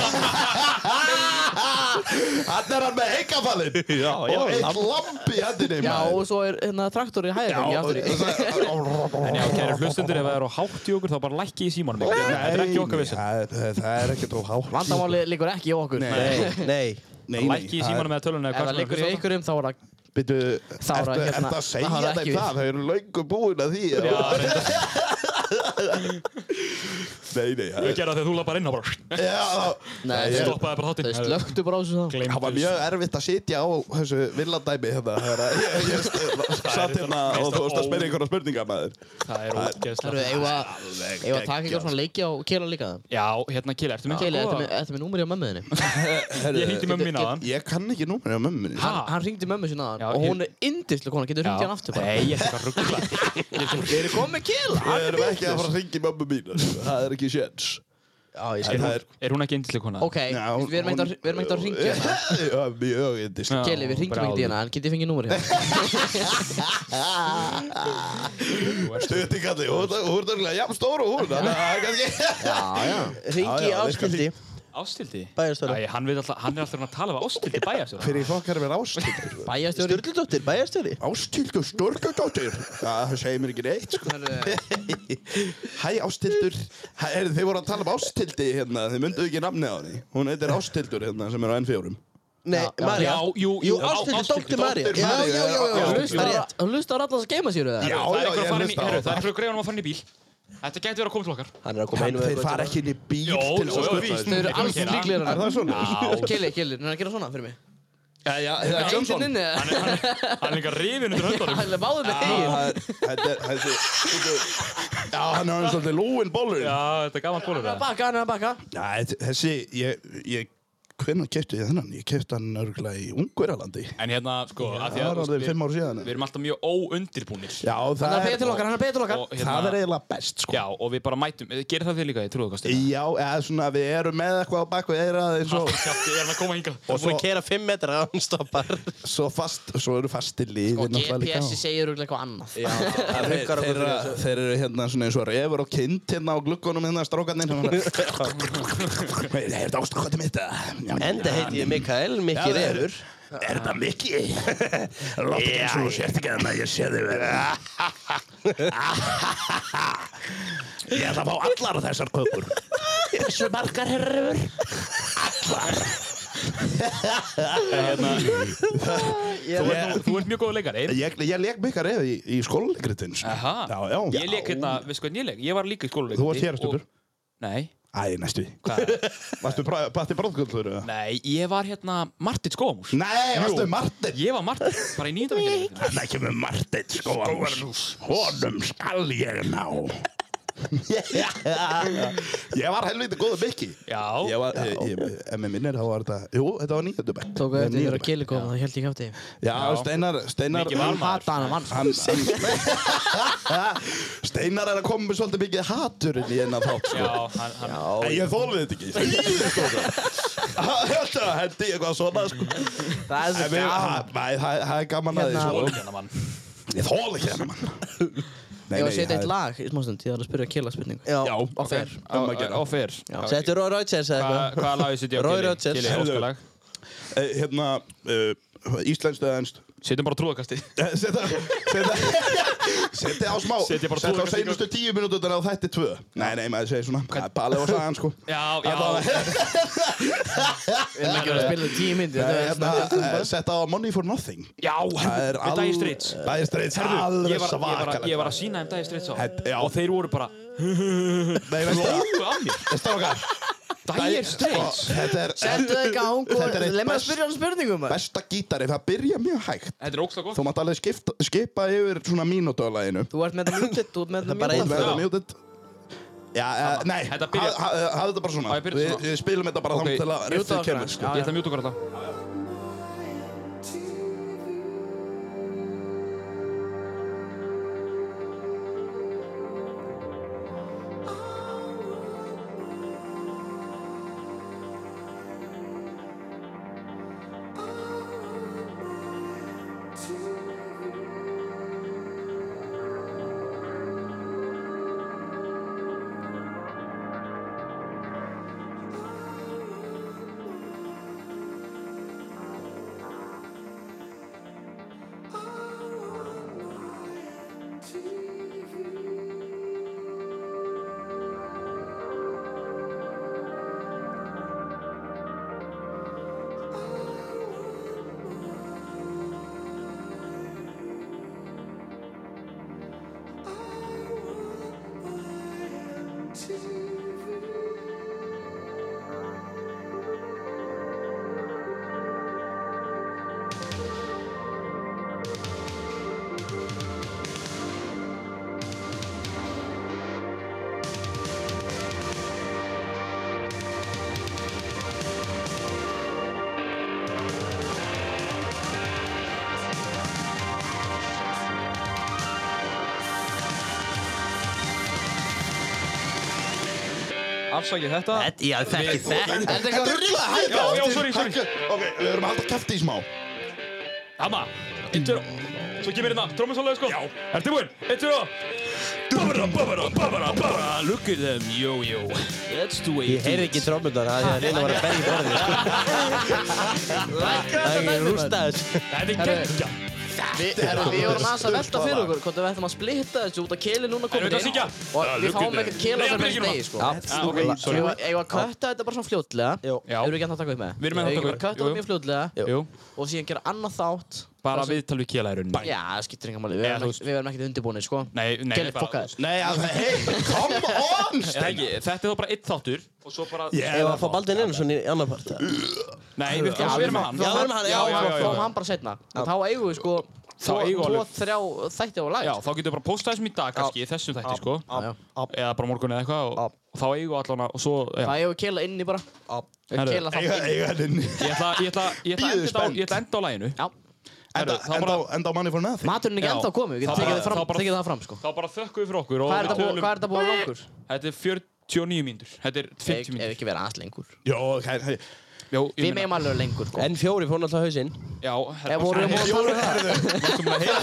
S8: Hann er hann með heikafallin já,
S1: já,
S8: og eitt lampi í hendinni.
S3: Já,
S8: maður.
S3: og svo er hérna traktor í
S8: já,
S3: hæðinni
S8: og
S3: aftur í
S8: það-
S1: En já, kæri hlustundur, ef það eru hátt í okkur, þá bara lækki í símanum ykkur. Þetta er ekki okkar vissin.
S8: Nei, Það það er ekki þú hátt.
S3: Vandamáli liggur ekki í okkur Ef
S2: Nei, nei
S8: Nei,
S1: Lækki í símanum eða tölunum eða
S3: það
S1: hvað
S3: liggur í einhverjum þá er það
S8: Býtu,
S3: Þá er
S8: ertu
S3: það hérna-
S8: ertu að segja
S3: það er
S8: þeim
S3: ekki við.
S8: það? Þau eru löngu búin að því.
S1: Já, reyndar.
S8: Nei, nei. það
S9: Þau
S8: er-
S9: gerða þegar þú lappar inn og bara
S8: Já,
S3: Nei,
S8: ég-
S9: stoppaði bara
S3: Þau
S9: hátinn
S3: slöktu bara á þessu þá
S8: Það var mjög erfitt að sitja á þessu villadæmi hérna. þegar að Ég, ég st- satt hérna og þú veist að spyrja einhverja spurningar maður.
S9: Það er
S3: Herru,
S9: ógeðslega
S3: eigum að eigum að taka ykkur svona leiki á Kela líka það
S1: Já, hérna, Kili, ertu með
S3: Keli, þetta er með- þetta er með númeri á mömmuðinni
S9: Ég hýtti mömmu mín á hann
S8: Ég kann ekki númur á mömmu minni.
S3: Hann, hann ringdi mömmu sinna
S1: Já,
S3: aðan og
S1: ég-
S3: hún er indislega kona, getur ringdi hann aftur bara.
S1: Nei, ég er eitthvað ruggla.
S3: Við erum komið kila!
S8: Við erum ekki að fara að ringi mömmu mín. sko. Það er ekki séns.
S2: Já, ég
S8: En
S2: skil
S8: það er...
S1: Er hún ekki indislega kona?
S3: Ok, við erum ekkert að- við erum ekkert að ringja hana.
S8: Já, mjög indislega.
S1: Já,
S3: Keli, við ringdum ekkert í hana, en getið fengið númerið hérna?
S8: Stöðtingalli, þú ert- þú ert örgulega jafn stór og hún. þannig að það er kannski-
S3: Já, já.
S8: Já,
S2: Ringi
S8: já,
S2: áskildi
S1: Ástildi?
S2: Bæjarstjóri.
S1: Æ, hann, veit alltaf, hann er alltaf að tala um Ástildi bæjarstjóra.
S8: Fyrir fokkar með ástildur.
S3: Bæjarstjóri.
S2: Sturludóttir, bæjarstjóri
S8: Ástildur, stórkadóttir. Það segir mér ekki neitt, sko. Hæ Ástildur Hæ, er, Þið voru að tala um Ástildi hérna Þið mynduðu ekki namnið á henni Hún heitir Ástildur hérna sem er á N4
S2: Nei, Marja
S1: Já, jú, jú,
S2: Jú, Ástildur, dóttir Marja
S8: dóttir
S2: Já,
S8: Maríu,
S2: já, já, já
S8: já,
S2: Það
S3: Hlustar
S2: er rétt.
S3: á- Hlustar allar að geima sér það?
S8: Já,
S1: það er einhver
S8: já, ég
S1: að fara inn í,
S8: hlusta á
S1: heyrðu, það
S8: það.
S1: er einhver að greiða hann að fara inn í bíl. Þetta getur verið að koma til okkar.
S2: Hann er að koma
S8: Hann,
S2: einu
S8: Þeir fara ekki inn í bíl
S9: Jó,
S8: til
S9: jó,
S8: að
S9: víst.
S3: Þau
S8: stöðva þetta
S3: eru alls líklegir
S8: Er
S3: en
S8: það svona?
S3: hann. Keli, Keli, hann er að gera svona fyrir mig.
S1: Já, já,
S3: Það er
S1: Johnson.
S3: Johnson inni.
S9: Hann er- hann er hann er líka rifin undir höndunum
S3: Hann er báðið með eigin.
S8: Þetta er, þetta er þetta- Já, hann er hann svolítið lúin bólur
S9: Já, þetta er gaman bólur
S3: Bakka, hann er að bakka.
S8: Já, þessi, ég, ég hvernig kefti ég þennan? Ég kefti hann örgulega í Ungverjalandi.
S1: En hérna, sko,
S8: Já,
S1: af því
S8: það
S1: að
S8: er orðið fimm ár síðan.
S1: Við erum alltaf mjög óundirbúnir
S8: Já, það,
S3: Hann er að
S8: er,
S3: beða til okkar, hann er að beða til okkar
S1: Og hérna-
S8: það er eiginlega best, sko.
S1: Já, og við bara mætum, gerir það þið líka í trúðakastinu?
S8: Já, eða svona við erum með eitthvað á bakvið eirað eins og
S9: Kjátti, ég er að koma hingað.
S8: og
S2: Svo
S8: svo,
S2: að keira 5 metra án stoppar.
S8: svo, fast, svo eru fastir lífið
S3: Og GPS segir örugglega eitthvað annað
S8: Þeir, þeir, þeir, þeir eru hérna svona eins og refur og kind hérna á gluggunum hérna strókarnir Nei, er þetta ástakotið mitt? Já,
S2: Enda heiti ég Mikael, Mikki
S8: Já, það er-
S2: Refur.
S8: Er þetta Mikki? Láttu ekki eins og þú sért ekki þannig að ég sé þig verið. Ég ætla að fá allar þessar kökur.
S2: Þessu margar herrur.
S1: Þú ert nú- Þú ert mjög góð leikari
S8: Ég, ég leik mikka reyð í, í skóluleikritin. sko.
S1: Aha.
S8: Já, já.
S1: Ég leik hérna, við sko hvernig ég leik Ég var líka í skóluleik
S8: Þú varst hér, Stubbur.
S1: Nei,
S8: Æ, næstu.
S1: hvað?
S8: Varstu pra- Patti Bróðkvöldur?
S1: Nei, ég var hérna Martin Skóamús
S8: Nei, varstu Martin?
S1: Ég var Martin, bara í hérna. nýjöndafengjarleikinu
S8: Það kemur Martin Skóarnús. sko. Honum skal ég ná. ég var helviti góðu Mikki.
S1: Já,
S8: Ég var, ég, ég, ef mér minnir þá var þetta, jú, þetta var nýjöndubæk.
S3: Tók að þetta þegar að keli koma, það held ég kæfti
S8: Já,
S1: Já.
S8: Steinar, Steinar,
S1: Mikið var maður
S3: Hata hann að mann
S8: hann, hann Steinar er að koma með svolítið mikið hatur inn í hennar þátt sko.
S1: Já, hann, hann
S8: En ég þólið þetta ekki Ég þolið þetta ekki. Þetta hendi eitthvað svona sko.
S3: Það er
S8: En
S3: svo
S8: við-
S3: gaman
S8: ha- nei, Það það er gaman að því
S3: Hérna.
S8: sko.
S1: Þólir hérna mann
S8: Ég þólið ekki hennar mann Nei,
S3: Ég var
S8: nei,
S3: að setja
S8: það
S3: eitt
S8: er-
S3: lag í smástund, ég var að spyrja kela spurningu
S2: Já,
S8: Já,
S2: og fer.
S8: um að gera.
S1: Offer
S2: Settu Roy Rogers eða
S1: Hvaða
S2: eitthvað.
S1: hvaða lag við sitja á
S2: Roy
S1: Kili?
S2: Rogers.
S1: Kili,
S8: Heyrðu.
S1: óskalag
S8: Eh, Hérna, uh, íslenskt eða ennst
S1: Sitjum bara trúðakasti
S8: Eh, Setja setja- Setja á smá
S1: Setja bara
S8: Setja á
S1: túlkastík á-
S8: seinustu tíu minútur á þætti tvö Nei, nei, maður segir svona Það er Balið og sagan sko
S1: Já, já
S3: Við erum ekki að spila
S1: um
S3: tíu myndi, þetta er
S8: Hérna, eh, Setta á Money for Nothing
S1: Já,
S8: Það er
S1: herru, Dagi Streets
S8: Dagi Streits,
S1: Herru, ég
S8: alveg
S1: var, ég, var,
S8: svakalegt
S1: að- ég var að sína þeim Dagi Streets á
S8: Þetta- já.
S1: Og þeir voru bara
S8: Nei, veistu það?
S1: Hú, af mér
S8: Veistu það okkar?
S1: Dagi Streets
S8: Sko, Þetta er
S3: Settu það í gang og
S8: Þetta er
S3: leið
S8: eitt
S3: mig að
S8: best-
S3: spyrja hann spurningum maður.
S8: besta gítari Það byrja mjög hægt
S1: Þetta er óksla gott
S8: Þú mátt alveg skipta, skipa yfir svona mínútuðalaginu
S3: Þú ert með þetta mjútið, þú ert með þetta
S2: bara
S8: Það
S2: einn
S3: mjútið
S8: verður
S1: Já.
S8: mjútið Já, eh, nei,
S1: Þetta
S8: ha-
S1: byrjar-
S8: ha- eh, hafðu þetta bara svona
S1: Á, ég byrja
S8: Við
S1: svona.
S8: við spilum þetta bara
S1: Ok,
S8: þangað til að riffið
S3: mjútaðu
S8: kemur
S3: okkur.
S8: sko.
S1: Ég ætla að mjúta okkur þetta Afsakið þetta
S2: Þetta, já, þekki þetta.
S3: Þetta er eitthvað
S8: Drulla, hækka
S1: Já, já,
S8: aftur,
S1: sorry, sorry.
S8: hækka. eh, Ok, við erum alltaf kæfti í smá
S1: Amma, eitt, tveir og Svo kemur hérna, trómið svolítið sko Já Er tilbúin, eitt, tveir og Babara, babara, babara, babara Look at them, yo, yo That's the way
S2: Ég heyrði ekki trómundar að því að Lina var að berja í borðið. sko. Það er ekki rústa þessu.
S1: Þetta er geggja
S3: Herru, við vorum aðeins að velta fyrir okkur hvort við ætlum að splitta þessu út að keli núna
S1: Erum
S3: komin
S1: við að syngja?
S3: og
S1: Já,
S3: við
S1: look
S3: fáum
S1: at
S3: ekkert
S1: them.
S3: kela
S1: Nei,
S3: þar
S1: ég
S3: með
S1: byrja
S3: stegi, sko.
S1: Ah, ok, sorry
S3: Ég var að kötta þetta bara svona fljótlega.
S1: Já.
S3: Erum við ekki að taka upp með?
S1: Við erum með að taka
S3: Eigum
S1: upp,
S3: að kötta
S1: jú,
S3: þetta
S1: jú.
S3: mjög fljótlega
S1: Jú,
S3: og síðan gera annað þátt.
S1: bara viðtal við kjela í rauninni
S3: Já, það skiptir enga máli. Við
S1: Eða,
S3: erum
S1: þú
S3: ekkert- við erum ekkert undirbúinir, sko.
S1: Nei, nei,
S3: Kelly,
S1: bara-
S3: fokkaður.
S8: Nei, að- hey, come on
S1: Eða ekki, Þetta er þá bara eitt þáttur og svo bara
S8: Ég
S2: Ég var að fá Baldin Einarsson í annar part.
S1: Nei, við erum að vera með hann
S2: Já, við erum hann, já,
S1: já, já,
S3: Fáum
S1: já,
S3: hann bara setna. En þá eigum við, sko,
S1: Þá eigum við
S3: tvo,
S1: alveg-
S3: þrjá þætti á lag
S1: Já, þá getum við bara postað þessum í dag kannski, í þessum þætti, sko.
S3: Já.
S1: Eða bara morgun eða eitthvað og, og þá eigum við allan að, og svo, já.
S3: Það eigum við að keila inni bara
S1: Herru,
S3: Keila það
S8: Eiga, eiga henni
S1: Ég ætla, ég ætla, ég ætla,
S8: Bíðið
S1: ég ætla,
S8: spennt.
S1: ég ætla að enda á læginu.
S3: Já.
S1: Herru,
S8: Enda,
S1: þá
S8: enda,
S1: bara,
S8: á- enda á manni for nothing
S3: Maturinn er ekki
S1: Já.
S3: ennþá komið, við
S1: Þá
S3: getum tekið
S1: bara-
S3: það fram,
S1: þá bara-
S3: tekið það fram sko.
S1: þá bara þökkum við fyrir okkur og
S3: Hvað er
S1: við
S3: þetta búið-
S1: tölum,
S3: hvað er þetta búið langur?
S1: þetta er 49 mínútur, þetta er 50
S3: Ef
S1: mínútur.
S3: ekki vera aðeins lengur.
S8: Jó, hei, hei
S1: Jó,
S3: Við
S1: ég meina,
S3: meðum alveg lengur sko.
S2: En fjóri fór náttúrulega hausinn.
S1: já,
S3: Ef voru við móðum að tala um það?
S1: Vartum að heyra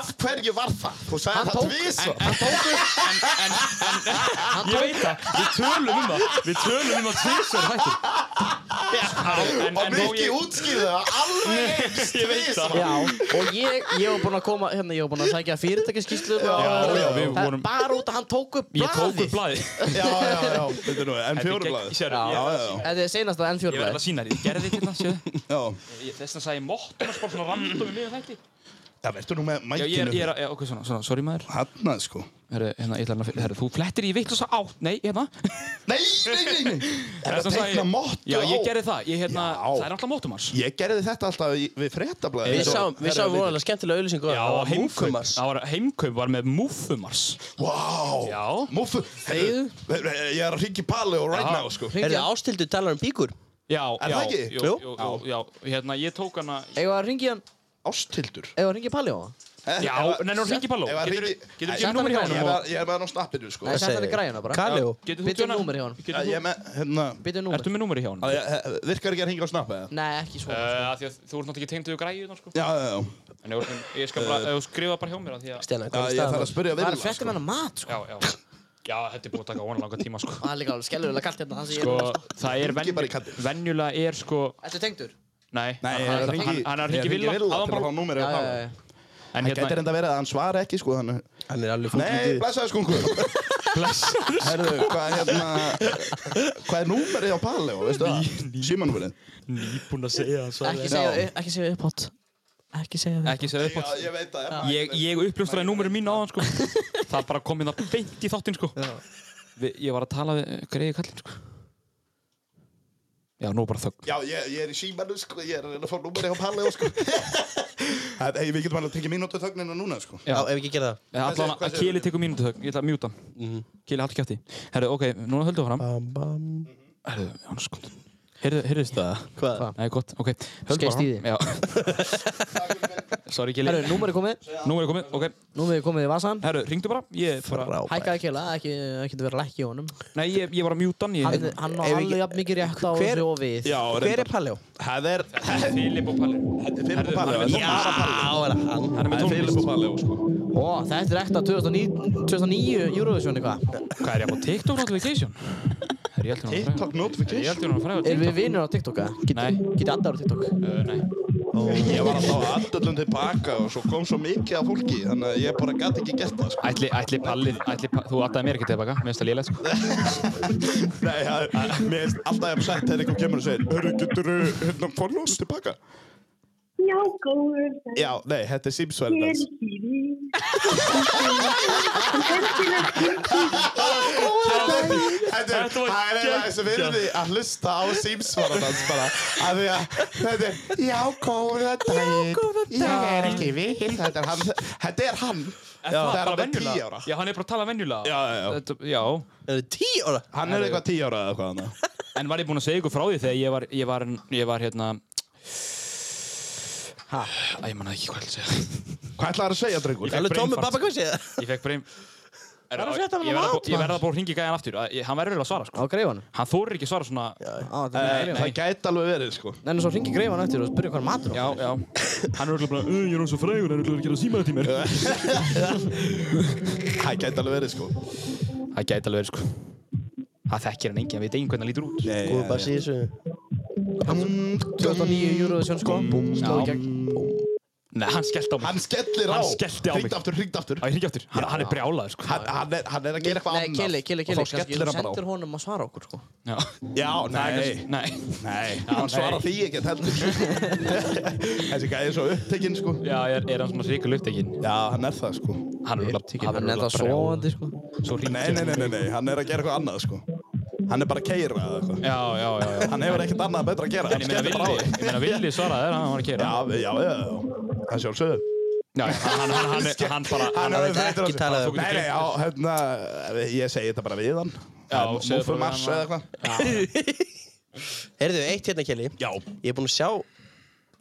S8: Af hverju var það? Þú sagði það tvísa
S1: En tóku En, en, en Ég veit það Við tölum um það Við tölum um það tvisar hættur En,
S8: Og
S1: en má
S8: Mikki
S1: ég
S8: útskýrði það alveg eins
S1: Ég veit
S8: tvisvar.
S1: það.
S3: Já, og ég, ég var búinn að koma, hérna, ég var búinn að sækja fyrirtækiskíslu
S1: já, já, við vorum-
S3: Bara út að hann tók upp
S1: Ég tók
S3: blaðið.
S1: upp blaði
S8: Já, já, já Þetta er nú M4-blaðið
S1: Já,
S8: Já, já, já
S3: Þetta er senast að
S1: Ég verði
S3: N4-blaðið.
S1: að sína þér Ég gerði þetta, hérna, séu
S8: Já,
S1: Ég- Þess vegna sagði ég móttum að spá svona random í miðan þætti
S8: það verður nú með
S1: Já, ég er,
S8: mækinu
S1: ég er, að- já, ok, svona, svona, sorry maður
S8: Hanna, sko
S1: Herru, hérna, ég ætla hérna, herru, þú flettir í vitt og svo átt, nei, hérna
S8: Nei, nei, nei,
S1: Þess
S8: nei Er það
S1: vegna sagði
S8: teikna
S1: ég-
S8: mottu
S1: Já, ég
S8: á-
S1: gerði það, ég, hérna,
S8: Já.
S1: það er alltaf móttumars
S8: Ég gerði þetta alltaf í- við frettablaði
S2: Við sáum, við sáum vonalega skemmtilega auðlýsingu á
S1: Já,
S2: það var
S1: heimkaup,
S2: Múfumars.
S1: það var, heimkaup var með múfumars
S8: Vá
S1: Já.
S8: Múfu
S3: Þegiðu.
S8: Ég er að ringi Pali og right
S1: Já.
S8: now, sko
S2: Er
S3: Hringdu.
S2: það ástildu talar um bíkur?
S1: Já,
S8: Er
S1: já,
S8: það ekki?
S1: Jú,
S2: Jú.
S1: jú, jú, já, hérna, ég tók hana
S3: Eigum við að ringi hann,
S8: Ástildur
S3: eigum við að ringi Palli á það?
S8: Eh,
S1: Já, nei, nú hringi Palló
S8: Ef að
S1: Getur
S8: hringi-
S1: þú
S8: Nei,
S1: gefið númer hjá
S8: Ég er
S1: honum og-
S8: með- ég er með hann á snappinu,
S2: Hvað
S3: Nei,
S8: sko Já,
S3: sett hann
S2: segir
S3: í
S2: þau?
S3: græjuna bara.
S2: Kalló.
S1: Getur þú
S3: Byttu
S1: tjóna
S3: númer hjá hann.
S1: Getur
S8: Ég er
S1: þú
S8: með, hérna
S3: Byttu númer.
S1: Ertu með númeri hjá honum?
S8: á,
S1: Uh,
S8: ég- he- Virkar ekki að ringa á snapp, eða?
S3: Nei, ekki svona.
S1: af því að þú ert náttúrulega ekki tengd við græðunar sko
S8: Já, já, já
S1: En ég, ég skal bara, ef þú skrifa bara hjá mér af því að
S2: Stena,
S8: Já,
S2: hvað er
S8: Ég þarf að
S2: staðan?
S8: spyrja
S3: Það er að
S8: Villa,
S3: frétta með hann mat, sko.
S1: Já, já Já, þetta er búið að taka óan langa tíma sko
S3: Það er líka alveg skellulega kalt hérna, þannig
S1: Sko,
S3: að ég...
S1: það er
S8: Hringi bara í
S1: venjulega,
S8: kallinn.
S1: venjulega er sko
S3: Ertu tengdur?
S1: Nei,
S8: Nei, ég
S1: hann,
S8: hringi-
S1: hann, hann er að
S8: ég
S1: ringi
S8: hringi
S1: Villa
S8: Villa
S1: áðan
S8: til að
S1: bara-
S8: fá númerið
S3: Já,
S8: á
S3: já,
S8: Palla.
S3: já.
S1: En
S8: Það gæti
S1: hérna,
S8: reynda verið að hann svar ekki sko hann
S2: Hann er alveg
S8: Nei,
S2: fólkið.
S8: blessaði skungu Herðu, hvað er hérna Hvað er númerið á Palli og veistu það? Símanúmerið
S9: Nýbúinn að segja það
S3: Ekki segja, ekki segja upphátt. Ekki segja upphátt.
S1: ekki segja upp átt
S8: ég veit það hérna.
S1: Ég, ég uppljóstraði númurinn mín áðan sko Það bara kom hérna beint í þáttinn sko Vi, Ég var að tala við greiði kallinn sko Já, nú er bara þögn
S8: Já, ég, ég er í símanu sko, ég er að reyna að fá númerið á Palli og sko Það- Hey, við getum alveg að tekja mínútu þögnina núna sko
S2: Já, ef ekki gera það.
S1: Eða
S8: hvað
S1: allan
S8: segir- Mhm. hvað
S1: að
S8: segir
S1: Kili
S8: þú?
S1: tekur mínútu þögn, ég ætla að mjúta hann. Kili haldur kjátti Herðu, ok, núna höldum við fram
S2: Bam, bam.
S1: Herðu, hann sko Heyrðu, heyrðist það?
S2: Hvað?
S1: Nei, gott, ok Höldum
S3: Skeist í
S1: bara fram Já Sorry, Kili
S3: Herru, númerið komið.
S1: Nú er ég komið, ok
S3: Númerið komið í vasan.
S1: Herðu, ringdu bara Ég, bara,
S3: Hækkaði keila, ekki, ekki vera lækki í honum.
S1: nei, ég, ég var að mjúta hann
S3: Hann,
S1: ég-
S3: hann á
S2: Ef ekki-
S3: alveg jafn mikið rétt á
S2: Hver-
S3: þessu og við.
S8: Já,
S2: Hver er Palló?
S8: Það er
S1: Filip og Palli
S8: Þetta er Filip og Palli þetta er bara Palli.
S2: Á, er það hann?
S1: Hann er með
S8: Það er Filip
S1: tónlist
S8: og Palli sko
S3: Ó, þetta er ekta 2009, 2009 Eurovision eitthvað.
S1: Hvað er ég á TikTok notification? Er ég heldur hann að fræða?
S8: TikTok notification
S1: Ég heldur hann að fræða
S3: Erum við vinnir á TikTok, eða? Get-
S1: Nei.
S3: Getið andar á TikTok?
S1: Uh, nei
S8: Ég var alltaf aðdöllum tilbaka og svo kom svo mikið af fólki þannig að ég bara gæti ekki gert það sko.
S1: Ætli, ætli Palli, ætli, pa- þú attaði mér ekki tilbaka, mér finnst það lélegt sko.
S8: Nei, það er, mér finnst alltaf ég sætt þegar einhver kemur og segir Hörru, getur þú hérna fórlóðum tilbaka?
S7: Já, góður, það
S8: Já, nei, þetta er símsverðans
S7: ekki við.
S8: Þetta
S9: var
S8: er, það er eða þessu virði að hlusta á símsverðans bara af því að þetta er Já, góða daginn Já, góða daginn Ég er ekki við Þetta er hann Þetta er hann Já, það er alveg 10 ára
S1: Já, hann er bara að tala venjulega.
S8: Já, já, já.
S1: Þetta, já.
S2: Er það tíu ára?
S8: Hann er eitthvað 10 ára eða eitthvað annað
S1: En var ég búinn að segja ykkur frá því þegar ég var, ég var, ég var hérna... Hæ? Æ, ég manna ekki hvað ég ætla að segja.
S8: Hvað ætlaðu að segja, drengur?
S1: Ég-
S2: Alveg tómur
S1: brainfart.
S2: babba hvað segja?
S1: Ég fekk bara einn... Er,
S3: er að frétta með
S1: ég verð að um
S3: mat,
S1: bú- ég verð að búið að hringi gæðan aftur. að- ég- Hann verður eiginlega að svara,
S3: Á
S1: sko.
S3: greifanum?
S1: Hann þorir ekki að svara svona... Já,
S3: Á, þetta er
S8: Nei,
S3: greifan.
S8: það gæti alveg verið, sko
S3: Nei, en svo ringi greifan eftir og spyrja hvað er matur á.
S1: já. Hann er eiginlega bara, "Uh, ég er eins og frægur, hann er eiginlega að gera símaði tímir.
S8: Það gæti alveg verið, sko
S1: Það gæti alveg verið, sko. Það þekkir hann enginn, hann veit enginn hvernig hann lítur út.
S8: Nei,
S2: Góðu bara síðu þessu.
S3: 2009 Eurovision sko. Sló í gegn.
S1: Nei, hann skellt á mig.
S8: Hann skellir á
S1: Hann skellti á mig.
S8: Hringt aftur, hringt aftur
S1: Á, ég hringi aftur. Hann, hann er brjálaður, sko.
S8: hann, hann, er, hann er að gera eitthvað
S3: Nei,
S8: annað
S3: Kelly, Kelly, Kelly.
S8: Og þá skellir hann bara
S3: Sendir honum að svara okkur sko.
S1: Já.
S8: á Já, nei
S1: Nei.
S8: Nei, hann svarar því ekki heldur Þessi gæði er svo upptekinn, sko
S1: Já, er, er hann svona ríkul upptekinn?
S8: Já, hann er það, sko
S1: Hann er
S3: Tíkir hann er það svoandi sko.
S1: Svo ríkul.
S8: Nei, nei, nei, nei, nei, hann er að gera eitthvað annað, sko Hann er bara að keira eða eitthvað
S1: Já, já, já. já.
S8: Hann hefur ekkert annað betra að gera
S1: En ég meina
S8: Skellir bara á
S1: villi,
S8: þig.
S1: ég meina villi svaraði þér, hann var að kera.
S8: Já, já, já, já Það sjálfsögðu
S1: Já, hann, hann, hann, hann, hann bara
S2: Hann
S1: hann-
S2: hefði ekki talað um
S8: Nei, nei, á, hérna, ég segi þetta bara við hann
S1: Já, segðu bara
S8: Mú-
S1: við
S8: Múfumars
S1: hann.
S8: eða eitthvað
S2: Heyrðu, eitt hérna, Kelly.
S8: Já,
S2: Ég er búinn að sjá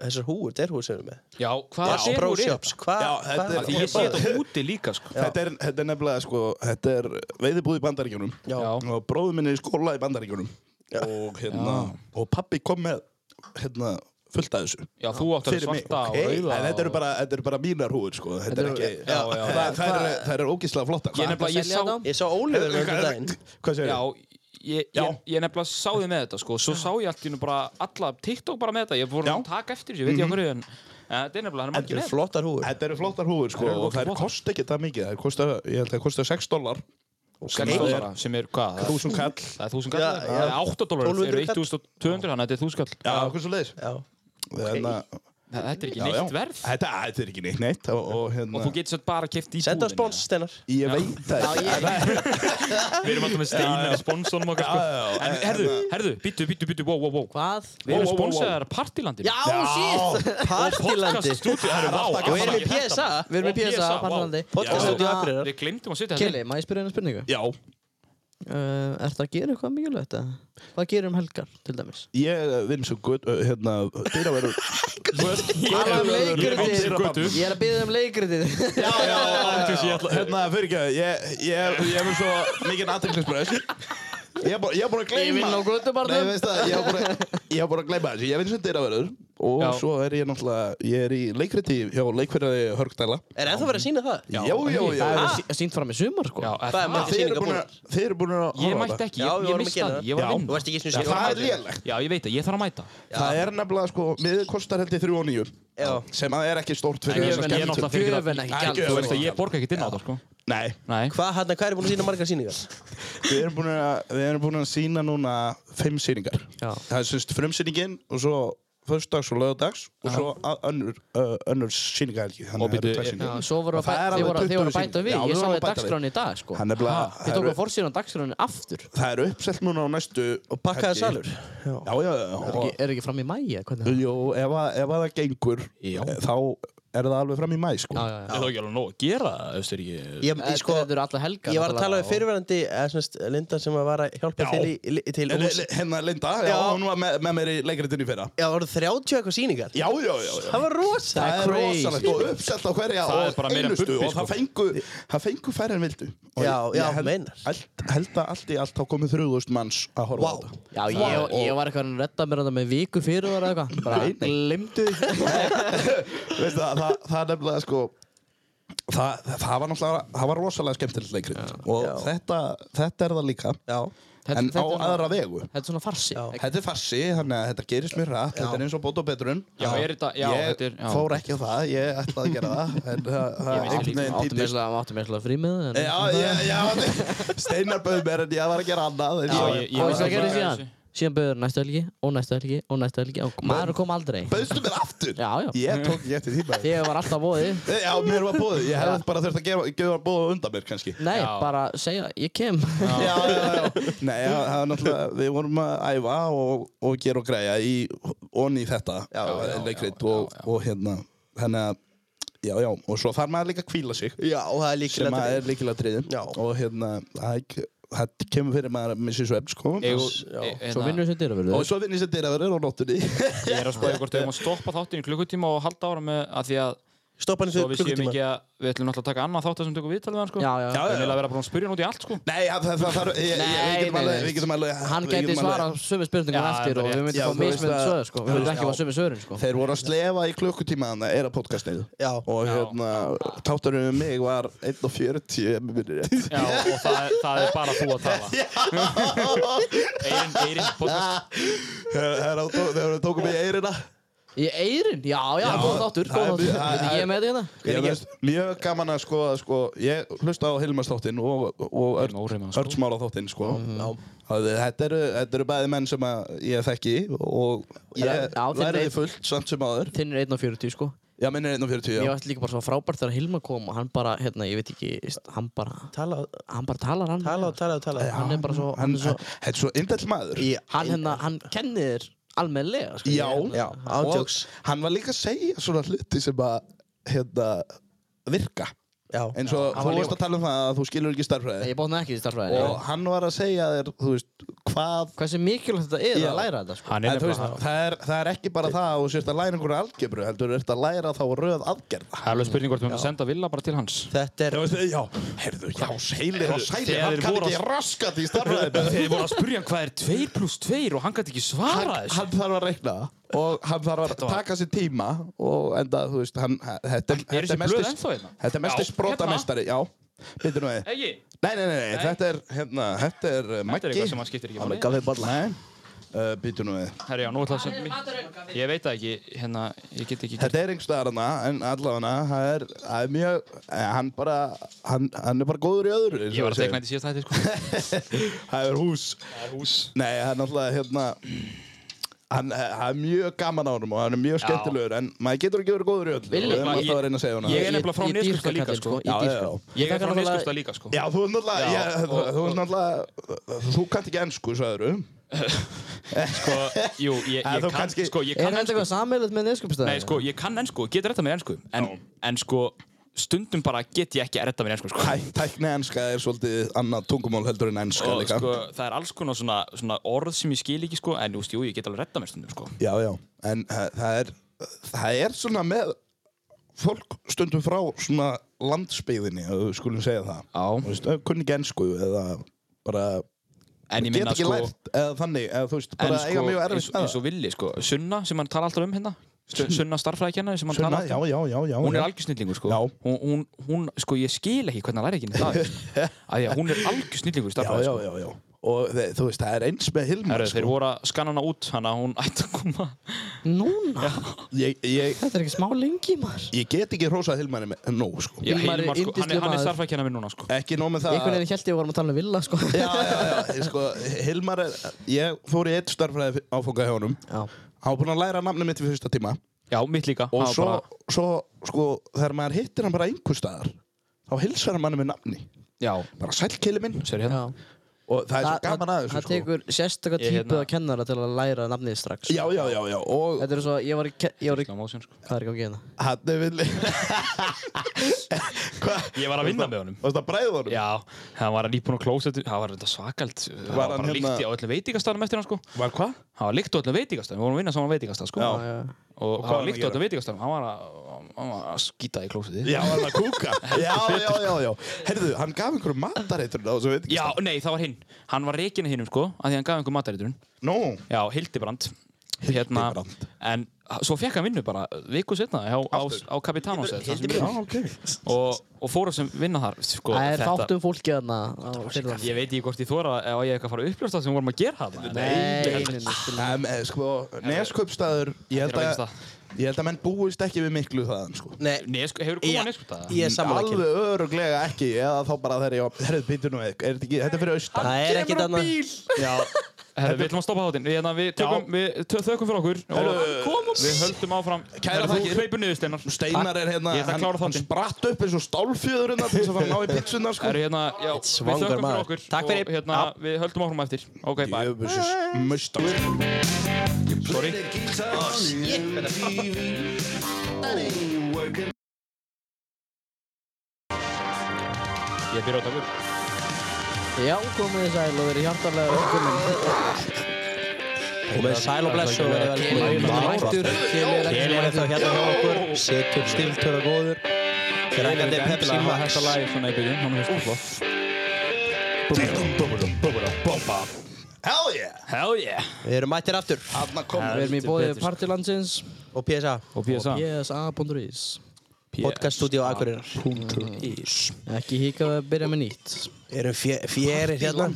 S2: þessar húur, þetta er húur sem við erum með.
S1: Já, hvað
S2: Já,
S1: er úr þetta?
S2: Bróshops, hvað?
S8: Já, þetta
S2: hvað-
S8: er-
S1: Því ég sé þetta úti líka sko
S8: þetta er, þetta er nefnilega, sko, þetta er veiðibúð í bandaríkjunum
S2: Já.
S8: Og bróður minni í skóla í bandaríkjunum Og hérna, og pappi kom með, hérna, fullt af þessu
S1: Já, þú átt að
S8: Fyrir mig,
S1: svarta og
S8: ok?
S1: auða
S8: En þetta eru
S1: og-
S8: bara, þetta eru bara mínar húður, sko Þetta er
S3: Þetta
S8: ekki,
S3: eru-
S8: já,
S1: já, já.
S8: það- það eru- það eru ógíslega flottar
S1: Ég nefnilega, ég
S3: selja
S1: sá
S3: þetta?
S2: Ég sá Ólífur með þetta daginn.
S8: Hvað segir
S1: Já,
S8: þú?
S1: ég,
S8: Já.
S1: ég, ég nefnilega sá þið með þetta sko Svo sá ég allt í hennu bara alla TikTok bara með þetta Ég voru
S8: Já.
S1: að taka eftir þessu, ég veit ég okkur en en Þetta er nefnilega, hann er
S2: Þetta
S1: margir
S2: eru
S1: með
S2: flottar húur.
S8: Þetta eru flottar húður, sko,
S1: Þær eru
S8: og
S1: ógeðslega
S8: þær
S1: flottar.
S8: kosta ekki það mikið, þær kosta, ég held að þær kosta 6 dólar,
S1: Sex dollara, sem er hvað? Það er-
S8: 1000 kall,
S1: Það er 1000
S2: Já,
S1: kall
S2: já.
S1: Það er 8 dólar, það eru
S2: 1200 kall.
S1: 1200 Þannig að þetta er 1000 kall
S8: já, hvað svo leiðis?
S2: Já.
S8: Okay.
S1: Það- Þetta er ekki
S8: Já, já.
S1: neitt verð
S8: Þetta, þetta er ekki neitt neitt og, og, hérna,
S1: Og þú getur sett bara að kefti í
S2: Senda á
S1: búðinni.
S2: spons, Steinar.
S8: Ég veit það ekki.
S9: Við erum alltaf með steina að sponsónum okkar
S8: Já, já, já.
S9: sko. En
S1: En herðu, herðu, býttu, býttu, býttu, wow, wow, wow
S3: Hvað?
S1: Við erum
S8: Wow, wow, wow, wow.
S1: sponsaðar Partilandinu
S3: Já, shit!
S2: Partilandi.
S1: Stúdíu, herru, vá
S2: Og
S1: allt
S2: erum
S1: að
S2: við
S1: gera
S2: PSA?
S1: þetta.
S3: Við erum í
S1: Og
S3: PSA,
S1: vá.
S3: Partilandi.
S2: Podcaststúdíu Akureyrar.
S1: Við glemtum að setja þetta
S3: Kelly, má ég spyrja henni spurningu?
S8: Já,
S3: Uh, er það að gera eitthvað mikilvægt? eða? Hvað gerir um helgar, til dæmis?
S8: ég vinn svo gutt, uh, hérna, dyraverður.
S3: Tala um
S8: Ég er
S3: leikritið.
S8: götu.
S3: Ég er að byrja um leikritið.
S8: Já, já,
S9: Ándís, ég ætla-
S8: hérna, fyrir ekki, ég, ég, ég er með svo mikinn aðtækningsbröð. Ég er bú- ég er búin að gleyma.
S3: Ég vinn á
S8: Nei,
S3: göttubarnum.
S8: veist það, ég er búin að, ég er búin að gleyma þessu. Ég vinn sem dyraverður og
S1: Já.
S8: svo er ég náttúrulega, ég er í leikriti hjá leikverði Hörgdæla.
S2: Er ennþá verið að sína það?
S8: Já, já, já.
S3: Það er sínt fram í sumar, sko.
S1: Já, er
S2: Það er
S1: það
S2: margt.
S8: Þeir eru búin að, þeir eru búin að
S1: Ég
S8: horfa á
S1: mætti
S8: þetta.
S1: ekki,
S2: Já,
S1: ég,
S2: við
S1: ég
S2: vorum að
S1: misti
S2: gera
S1: það
S2: það.
S1: Ég var
S8: Já.
S1: að
S2: Þú
S1: vinna
S2: veist ekki eins og
S1: Já,
S2: ég
S8: Það er lélegt.
S1: Já, ég veit það, ég þarf að mæta
S8: Það er nefnilega, sko, miður kostar held ég 3 og 9
S2: Já.
S8: sem að er ekki stórt
S1: En
S8: fyrir
S1: ég,
S8: þessa
S1: ég náttúrulega
S8: skemmtun.
S1: fyrir ekki
S3: Gjöfin ekki
S8: Nei,
S3: gjald.
S8: gjöf.
S1: Þú veist að ég borga ekki inn á það, sko
S8: Nei,
S1: Nei,
S2: Hvað, hérna, hvað er búin að sína margar síningar?
S8: við erum búin að, við erum búin að sína núna fimm síningar.
S3: Já.
S8: Það er semst frumsýningin og svo föstudags og lögadags og svo a- önnur, ö, önnur síningahelgi.
S1: Og
S8: Þannig að það
S1: býtu,
S8: eru tvær
S1: er-
S3: Já,
S8: síningar.
S3: svo voru
S8: Og
S3: að
S8: það er
S3: bæta,
S8: alveg
S3: þeir voru, þeir voru að
S8: 20
S3: bæta
S8: sýningar.
S3: við,
S8: Já,
S3: ég
S8: við
S3: sá
S8: vorum að
S3: þið
S8: bæta við.
S3: dagskráni í dag, sko.
S8: Hann er bara,
S3: Þið
S8: það
S3: tóku
S8: eru-
S3: forsýðan og dagskráni aftur.
S8: það eru uppsellt núna á næstu
S2: Og pakkaði
S8: helgi.
S2: salur.
S8: Já, já, já.
S3: Er
S8: og-
S3: ekki, er ekki fram í mæja, hvernig er það?
S8: Jú, ef að, ef að það gengur, þá er það alveg fram í mæ, sko.
S3: Já, já, já.
S9: Er það ekki alveg nóg að gera það, ef þeir ekki
S2: Ég, ég, sko,
S3: Þetta eru alla helgar.
S2: ég var að tala við
S3: náttúrulega,
S2: fyrirverandi, eða semst, Linda sem var að hjálpa
S8: Já.
S2: til, í, li- til
S8: En,
S2: hús.
S8: Hérna Linda, já,
S2: Já.
S8: hún var með, með mér í leikritinu í fyrra.
S2: Já, voru 30 eitthvað síningar?
S8: Já, já, já, já.
S2: Það var rosa.
S8: Það er
S3: crazy.
S8: rosalegt og uppselt á hverja
S1: Það er
S8: og
S1: bara meira en
S8: einustu
S1: bubbi,
S8: og
S1: sko.
S8: það fengu, það fengu færre en vildu. Og
S2: Já,
S8: ég-
S2: já,
S8: ég held-
S2: meinar.
S8: allt- Held að allt í allt þá komið 3000 manns að horfa á
S2: Vá.
S8: þetta.
S3: Já, ég, ég var eitthvað að redda mér þetta með viku fyrir það eða eitthvað. Bara glimtu því.
S8: Veistu það, það, það er nefnilega sko, það, það, það var náttúrulega, það var rosalega skemmtilegt leikrit. Og
S2: Já.
S8: þetta, þetta er það líka,
S2: Já.
S3: Þetta-
S8: en á
S3: þetta er svona-
S8: aðra vegu.
S3: Þetta er svona farsi.
S2: Já.
S8: Þetta er farsi, þannig að þetta gerist mjög rætt, þetta er eins og bóta og betrun.
S1: Já, er þetta- já,
S8: ég
S1: þetta er- já.
S8: fór ekki á það, ég ætlaði að gera það, en það, það
S1: Ég vissi
S8: einhvern veginn
S3: Áttum
S8: týndist.
S3: við áttum við frí með það. en-
S8: Já, já, já, Steinar bauð mér en ég var að gera annað. en
S1: Já,
S8: svo-
S1: ég- ég-
S3: Og veist
S1: var
S3: hvað
S1: bara-
S3: gerði síðan? Síðan bauður næstu helgi og næstu helgi og næstu helgi og maður kom aldrei.
S8: Bauðstu mér aftur?
S3: Já, já.
S8: Ég tók ekki eftir því bara.
S3: Þegar var alltaf voðið.
S8: Já, mér var bóðið. Ég hefði bara þurft að gefa, gefa bóðið undan mér, kannski.
S3: Nei,
S1: Já.
S3: bara segja, ég kem.
S8: Já, já, já. Nei, já, það var náttúrulega, við vorum að æfa og, og gera og græja í, onni í þetta, eh, leikrit og, og hérna, þannig að, já, já, og svo þarf maður líka að kvíla sig,
S2: Já, og það er
S8: sem
S2: líkilega
S8: að er líkilega triðum,
S2: Já.
S8: og hérna, það er ekki- það kemur fyrir maður að missi svo eftir, sko.
S1: Eigum-
S2: Já.
S1: e- hérna,
S3: Svo vinnum við sem
S8: Og
S3: dyraförður.
S8: svo vinn ég sem dyraverður á nóttunni.
S1: Ég er að spáði hvort við erum að stoppa þáttinn í klukkutíma og halda ára með að því að
S2: Stoppa hann
S1: svo
S2: fyrir
S1: við séum
S2: klukkutíma.
S1: ekki að við ætlum náttúrulega að taka annað þátt sem tökum viðtalið við hann sko
S3: Já, já.
S8: Já, já,
S1: Þannig
S8: já.
S1: að vera búin að spyrja hann út í allt sko
S8: Nei, það, það, það þarf, ég, ég, við
S3: Nei,
S8: getum
S3: nei,
S8: alveg,
S3: nei.
S8: við getum alveg,
S3: Hann
S8: við
S3: gæti
S8: getum alveg-
S3: svarað sömu spurningum
S1: Já,
S3: eftir
S1: það er
S3: og við
S1: rétt.
S3: myndum að
S8: Já,
S3: fá
S8: þú veist
S3: mismunandi
S8: að-
S3: sögur, sko. Við myndum ekki að fá sömu sögurin, sko.
S8: Þeir voru að slefa í klukkutíma þannig að er að podcastið
S2: Já.
S8: Og hérna, táturinn um mig var 1.40 ef mig minnir rétt.
S1: Já, og það, er- það er bara þú að tala Eirin, Eirin, podcast
S8: Þeir þeir- þeir- þeir tóku mig í eyrina
S3: Í eirin? Já, já, góð þáttur,
S8: það
S3: góð
S8: er-
S3: þáttur.
S8: það er-
S3: Ég er með þetta hérna.
S8: Ég veist, mjög gaman að sko, að sko ég hlusta á Hilmars þáttinn og, og Örn,
S1: Hilmar Óreima, sko.
S8: Örn Smára þáttinn sko. Það- þetta, eru, þetta eru bæði menn sem að ég þekki og ég
S3: Já, þeir
S8: læriði
S3: veit-
S8: fullt samt sem áður
S3: Þinn er 1.40, sko.
S8: Já, minn er 1.40
S3: Mér
S8: já.
S3: varst líka bara svo frábært þegar Hilma kom og hann bara, hérna, ég veit ekki, veist, hann bara,
S2: Tala,
S3: hann bara talar hann.
S2: tala, tala, tala.
S3: hann er bara svo, hann
S8: Hann
S3: er svo,
S8: þetta er svo indell maður
S2: Í-
S3: hann hérna, hann kennir þér almennilega, sko.
S8: Já.
S2: Já,
S8: Og
S2: ándjóks.
S8: Hann var líka að segja svona hluti sem að hérna, virka
S2: Já.
S8: eins og
S3: hann
S8: þú
S3: var
S8: varst að tala um það að þú skilur ekki starfræði
S3: Ég bóðna ekki í starfræðinni.
S8: og hann var að segja þér þú veist, hvað
S3: Hversu mikilvægt þetta er
S8: Já.
S3: að læra þetta, sko.
S1: Hann
S8: En
S1: er
S8: þú veist,
S1: nefnilega
S8: það er, það er ekki bara það að þú sért að læra einhverja algebru, heldur þú ert að læra þá röð aðgerða.
S1: Það er alveg spurning hvort við höfum að senda Villa bara til hans
S2: Þetta er
S8: Já, heyrðu, já, seilir og sælir,
S1: þegar
S8: hann
S1: þeir
S8: kann
S1: voru
S8: ekki
S1: að-
S8: raskat í starfræðinu.
S1: Þeir voru að spurja hann hvað er 2 pluss 2 og hann gæti ekki svara
S8: Hann, hann þarf að reikna og hann þarf að taka sér tíma og enda, þú veist, hann, þetta, er-
S1: Er
S8: þetta
S1: þessi
S8: er
S1: blöð
S8: mestis,
S1: ennþá hérna?
S8: þetta er mestis
S1: Já,
S8: sprótamestari, já, byrju nú þið.
S1: Egi,
S8: Nei, nei, nei, nei, þetta er, hérna, þetta er uh,
S1: þetta
S8: Maggi.
S1: er eitthvað sem hann skiptir ekki
S8: Hann
S1: máli.
S8: er gafið balla. Nei, uh, byrju nú þið.
S1: Herra, já, nú ætla að senda mér Ég veit það ekki, hérna, ég get ekki
S8: Þetta er einhvers staðar hana, en allavega það er, það er mjög, eh, hann bara, hann, hann er bara góður í öðru. eins
S1: Ég
S8: og
S1: var að
S8: segir.
S1: tekna þetta í síðast hætti, sko
S8: Það er hús.
S1: Það er hús
S8: Nei, það er náttúrulega, hérna, hann, eh, það er mjög gaman á honum og hann er mjög
S1: Já.
S8: skemmtilegur, en maður getur ekki verið góður í öllu.
S3: Villi,
S8: Við erum
S1: maður-
S8: alltaf að reyna að segja hana.
S1: Ég er nefnilega frá
S3: ég- ég
S1: Neskaupstað
S3: dýrka
S1: líka,
S3: kallinn,
S1: sko.
S3: sko.
S8: Já,
S3: Ég
S8: já,
S3: dýrka.
S8: já.
S1: Ég
S3: Þetta
S1: er frá
S3: náttúrulega-
S1: nýskusta líka, sko
S8: Já, þú er náttúrulega,
S1: Já,
S8: ég, þú, þú er náttúrulega, þú kannt ekki ennsku, sagður
S1: Sko, jú, ég,
S8: Ja,
S1: ég
S8: þú
S1: kann,
S8: kannski-
S1: sko, ég
S3: Er
S1: kann
S3: þetta
S1: ennsku
S3: eitthvað sammeilegt með neskjöpstæði?
S1: Nei, sko, ég kann ennsku, getur þetta með ennsku En, en sko, stundum bara get ég ekki að redda mér ennsku, sko
S8: Tækni ennska er svolítið annað tungumál heldur en ennska
S1: Og
S8: líka.
S1: sko, það er alls konar svona, svona orð sem ég skil ekki, sko En, þú veist, jú, ég get alveg redda mér stundum, sko
S8: Já, já, en eh, það er, það er svona með fólk stundum frá svona landsbyðinni, ef við skulum segja það. Þú
S1: Já
S8: veist, eh, kunni ekki ennsku eða bara,
S1: En ég
S8: get
S1: minna,
S8: ekki
S1: sko
S8: lært eða þannig, eða þú veist,
S1: En
S8: bara eiga
S1: sko,
S8: mjög
S1: eins,
S8: erfitt með
S1: eins og Villi, sko Sunna, sem hann tala alltaf um hérna Stu- Sunna starfræðikennari sem hann
S8: Sunna,
S1: tala
S8: já,
S1: alltaf um
S8: já, já, já.
S1: Hún
S8: já.
S1: er algjörsnillingur, sko
S8: Já.
S1: hún, hún, hún, sko, ég skil ekki hvernig hann læri ekki neitt að þessu, sko. Af því að Hún er algjörsnillingur í
S8: Já,
S1: starfræði,
S8: já,
S1: sko
S8: já, já. Og þe þú veist, það er eins með Hilmar,
S1: Herru,
S8: sko.
S1: þeir voru að skanna hana út, hann að hún ætti að koma
S3: Núna?
S8: Ég, ég,
S3: Þetta er ekki smá lengi, maður.
S8: ég get ekki hrósað Hilmari með nóg, sko.
S1: Já,
S3: Hilmar er
S1: Hilmar, sko, hann er,
S3: yndislegur
S1: hann er
S3: maður.
S1: starfrækjana minn núna, sko
S8: Ekki nóg með það.
S3: Einhvern veginn held ég að við varum að tala um Villa, sko.
S8: Já, já, já, ég sko, Hilmar er, ég fór í eitt starfræði áfóka hjá honum.
S3: Já.
S8: Hann var búinn að læra nafnum mitt í fyrsta tíma.
S1: Já, mitt líka
S8: og
S1: Hann var
S8: svo,
S1: bara,
S8: svo sko, þegar maður hittir hann bara einhver staðar þá hilsar hann manni með nafni
S1: Já,
S8: bara sælkeli minn
S1: sér hérna
S3: Já.
S8: og það er svo
S3: Það-
S8: gaman
S3: það-
S8: aðeins
S3: Það
S8: sko.
S3: tekur sérstakka
S1: Ég,
S3: típu
S1: hérna-
S3: að kennara til að læra nafnið strax.
S8: já, já, já, já og
S3: Þetta er svo, ég var í, ke- ég var í, hérna?
S1: Slow motion, sko.
S3: hvað er ekki að gena?
S8: hann er villi hvað,
S1: Ég var að vinna með honum
S8: varst það bræð honum?
S1: Já, hann var að nýpa hún á klósetu Það var þetta svakald Það
S8: Var
S1: var
S8: hann
S1: bara
S8: hérna-
S1: líkt í á öllum veitingastæðanum eftir hann, sko
S8: var hvað?
S1: Hann var líkt á öllum veitingastæðanum Við vorum að vinna saman á veitingastæð, sko
S8: Já.
S3: Já,
S1: Og hann
S8: hvað var hann
S1: var
S8: að
S1: líkt á
S8: gera?
S1: öllum veitingastæðanum Hann var að, hann var að skýta í klósetu
S8: já, var hann að kúka já, já, já, já heyrðu, hann gaf einhverju matareitur á þessu veit ekki
S1: Já, nei, það var hinn Hann var reikinu hinnum, sko af Því hann gaf einhver matariturinn
S8: no
S1: Já, Hildibrand Hérna,
S8: Hildibrand.
S1: en svo fekk hann vinnu bara viku setna á, á, á Capitanos
S8: já, ok
S1: og, og fór að sem vinna þar sko,
S3: Það er um-
S1: þetta-
S3: þáttum fólki þarna á Finnlandi.
S1: Ég veit ekki hvort ég þóra ef ég eitthvað að fara að uppljósta það sem við vorum að gera það
S3: Nei, nei, nei, nei.
S8: um, eh, sko, neskaupstaður ég held
S1: Þetta er á
S8: að ég held að menn búist ekki við miklu þaðan sko
S2: Nei,
S1: Nesk, Hefur þú komið
S2: Já.
S1: að neskúta það?
S2: ég er sammála ekki
S8: Alveg öruglega ekki, eða þá bara þegar ég var, herrið, býtu nú, er þetta ekki, þetta er fyrir austan.
S2: Það er ekkert annað
S1: Herra, við ætlum að stoppa hátinn Við, hérna, við, tökum, við tö- þökkum fyrir okkur og við höldum áfram
S8: Kærar
S1: Herra,
S8: þakkir.
S1: Þú hleypur niður steinar
S8: Steinar er hérna,
S1: Ég ætla að
S8: hann,
S1: klára
S8: hann
S1: þáttinn.
S8: spratt upp eins og stálfjöðurinn til þess að fara að ná í pítsunar, sko.
S1: Herra, hérna, já, Við
S2: svangur
S1: þökkum fyrir
S2: maður.
S1: okkur
S2: Takk fyrir.
S1: og, hérna, Við höldum áfram eftir Ok, bye
S8: Jöfnbussis, mustar.
S1: Sorry Ég byrja á um takur
S3: Já, komið þið sæl og verið hjartalega velkomin.
S2: Og með sæl og bless og verið velkomin
S3: Kemur mættur, kemur ekki
S2: Keli er
S3: mættur.
S2: eftir hérna hjá okkur Situr stiltur og góður Grækandi Pepsi
S1: Hann var
S2: Max
S1: hægt að lægja svona í byrjun Hann var hægt flott
S8: Hell yeah!
S1: Hell yeah
S2: Við erum mættir aftur
S8: Hanna kom.
S3: Við erum í bóði Partilandsins
S2: Og PSA
S1: Og PSA
S3: PSA.is
S2: Podcaststudio Akureyrar
S3: Ekki híka að byrja með nýtt.
S2: Við erum fjö- fjörir hérna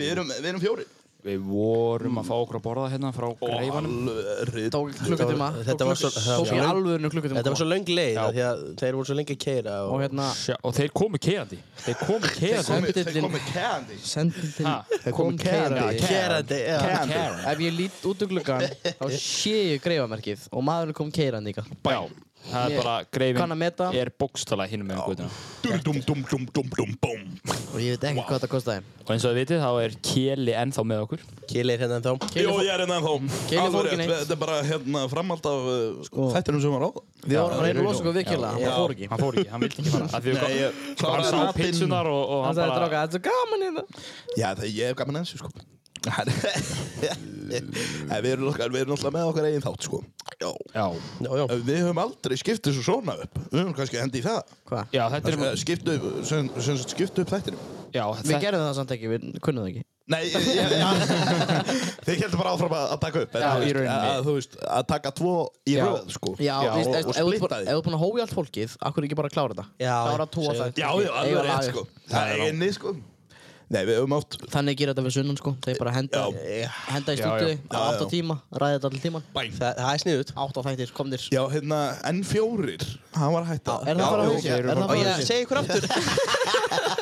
S8: Við erum, við erum fjóri.
S1: Við vorum að fá okkur að borða hérna frá greifanum
S8: Alveg,
S3: Tók klukkutíma.
S2: Þetta var- þetta var svo- það var
S3: Tók
S2: svo
S3: í
S2: löng-
S3: alvöðinu klukkutíma.
S2: Þetta var svo löng leið af Því að þeir voru svo lengi að keira
S3: Og hérna,
S1: Sjá, Og þeir komu keirandi Þeir komu keirandi
S8: komið, þeir
S3: sendillinn-
S8: komið candy.
S3: sendið til...
S1: Ha,
S8: Þeir komið candy.
S2: Kerandi
S8: Keirandi.
S3: Ef ég lít út um gluggan, þá sé ég greifamerkið og maðurinn kom keiran líka.
S1: Já, Það
S3: Ég
S1: er bara
S3: kann að meta.
S1: greifin er bókstala hinn með gutuna.
S8: Dum, dum, dum, dum, dum, dum, bum.
S3: Og ég veit ekki hvað þetta kostiði.
S1: Og eins og þið vitið þá er Keli ennþá með okkur.
S2: Kili er hérna en þá.
S8: Jó, ég er hérna ennþá.
S3: Keili
S8: Alveg
S3: fór
S8: rétt,
S3: ekki Mm, neitt.
S8: Þetta er bara hérna framhald af uh,
S3: Sko.
S8: þættinum sem var á.
S3: Við vorum að reyna að losa okkur við killa, hann
S1: Já.
S3: bara fór ekki.
S1: Hann fór ekki, hann vildi ekki fara. Af því
S8: Nei,
S1: að
S8: ég
S1: hann
S8: kláraði
S1: sá
S8: að pinn.
S1: pitsunar og, og
S3: Hann
S1: hann
S3: sagði
S1: bara...
S3: dráka, þetta er svo gaman hérna.
S8: Já, það ég hef gaman að þessu, sko. En við erum okkar- við erum náttúrulega með okkar eigin þátt, sko. Já.
S1: Já,
S2: Já, já.
S8: Við höfum aldrei skipt þessu svona upp. Við höfum kannski hendið í það.
S3: Hvað?
S1: já, þetta er...
S8: Eh, Skipt upp, sem, sem sagt, skipt upp þættinum.
S1: Já,
S3: Við
S1: þetta...
S3: gerðum það samt ekki, við kunnum það ekki.
S8: Nei, ég, ég, já. Þið heldur bara áfram að, að taka upp. en
S1: Já, í
S8: þú veist,
S1: rauninni.
S8: Að, Eh, þú veist, að taka tvo í
S1: Já.
S8: röð, sko.
S3: Já,
S1: Já,
S3: þú veist,
S8: og-
S3: ef- ef
S8: og
S3: þú ert
S8: splitta
S3: bara-
S8: því.
S3: ef þú ert búin að hófi allt fólkið, akkur ekki bara að klára þetta?
S2: Já,
S3: Klára tvo
S2: segðu
S3: þætti.
S8: Já, já,
S3: Eiga
S8: alveg
S3: lag
S8: rétt,
S3: upp.
S8: sko. Það er einni, sko. Nei, við höfum átt
S3: Þannig gerir þetta við sunnan sko, þeir bara henda,
S8: Já.
S3: henda í
S1: Já,
S3: stúdíu
S1: já.
S3: á 8 tíma, ræði þetta allir tíman.
S2: Bæn. Það, það er sniðut.
S3: 8 þættir, komnir.
S8: Já, hérna, N4, hann var hægt að...
S3: Er það bara
S8: Já,
S3: hausinn?
S8: ok.
S3: Er það
S2: Og
S3: bara
S2: ég
S3: hausinn?
S2: segi ykkur aftur.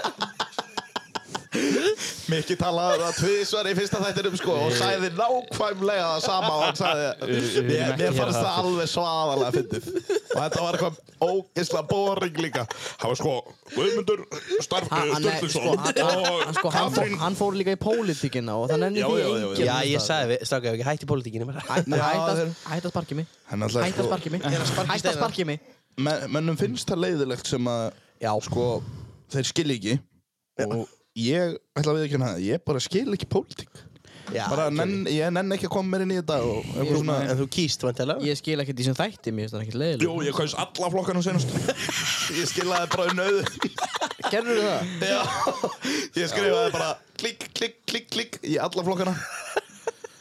S8: Mikki talaði það tvísvar í fyrsta þættinum, sko, og sagði nákvæmlega það sama og hann sagði...
S1: Við- við viljum
S8: Mér,
S1: ekki
S8: mér
S1: gera
S8: fannst
S1: það
S8: það
S1: aftur.
S8: alveg svaðalega fyndið. Og þetta var eitthvað ógisla boring líka. Það var sko, Guðmundur
S3: Hann- hann- nei, sko,
S8: Starfsson
S3: hann- hann- hann-
S8: og
S3: sko, hann fór-
S8: Katrín...
S3: Hann fór líka í pólitíkina og það nenni
S8: Já,
S3: því
S8: já, já,
S3: enginn.
S8: já.
S2: Já, ég sagði við, stráka, ef ekki hætti pólitíkinni bara.
S3: Hætta
S8: Já,
S3: hætta-
S8: þeir-
S3: hætta að sparki mig.
S8: Hann
S3: Hætta
S8: alltaf,
S3: að
S8: sko-
S3: sparki mig.
S2: Þeir að sparka í
S3: Hætta að
S2: steinar.
S3: sparki mig.
S8: Men, mennum finnst það leiðilegt sem að,
S2: Já.
S8: sko, þeir skilja ekki. Og ég ætla að við ekki það, ég bara skil ekki pólitík.
S2: Já,
S3: Ah,
S8: bara
S2: ok.
S8: nenn, ég nenn ekki að koma mér inn í þetta og eitthvað svona
S2: En þú kýst, vantilega.
S3: Ég skil ekkert í sem þætti, mér finnst það ekkert leiðilega.
S8: Jú, ég kaus alla flokkana senast Ég skilaði bara um nöðu
S3: Gerður það?
S8: Já, ég skrifaði bara klikk, klikk, klikk, klikk í alla flokkana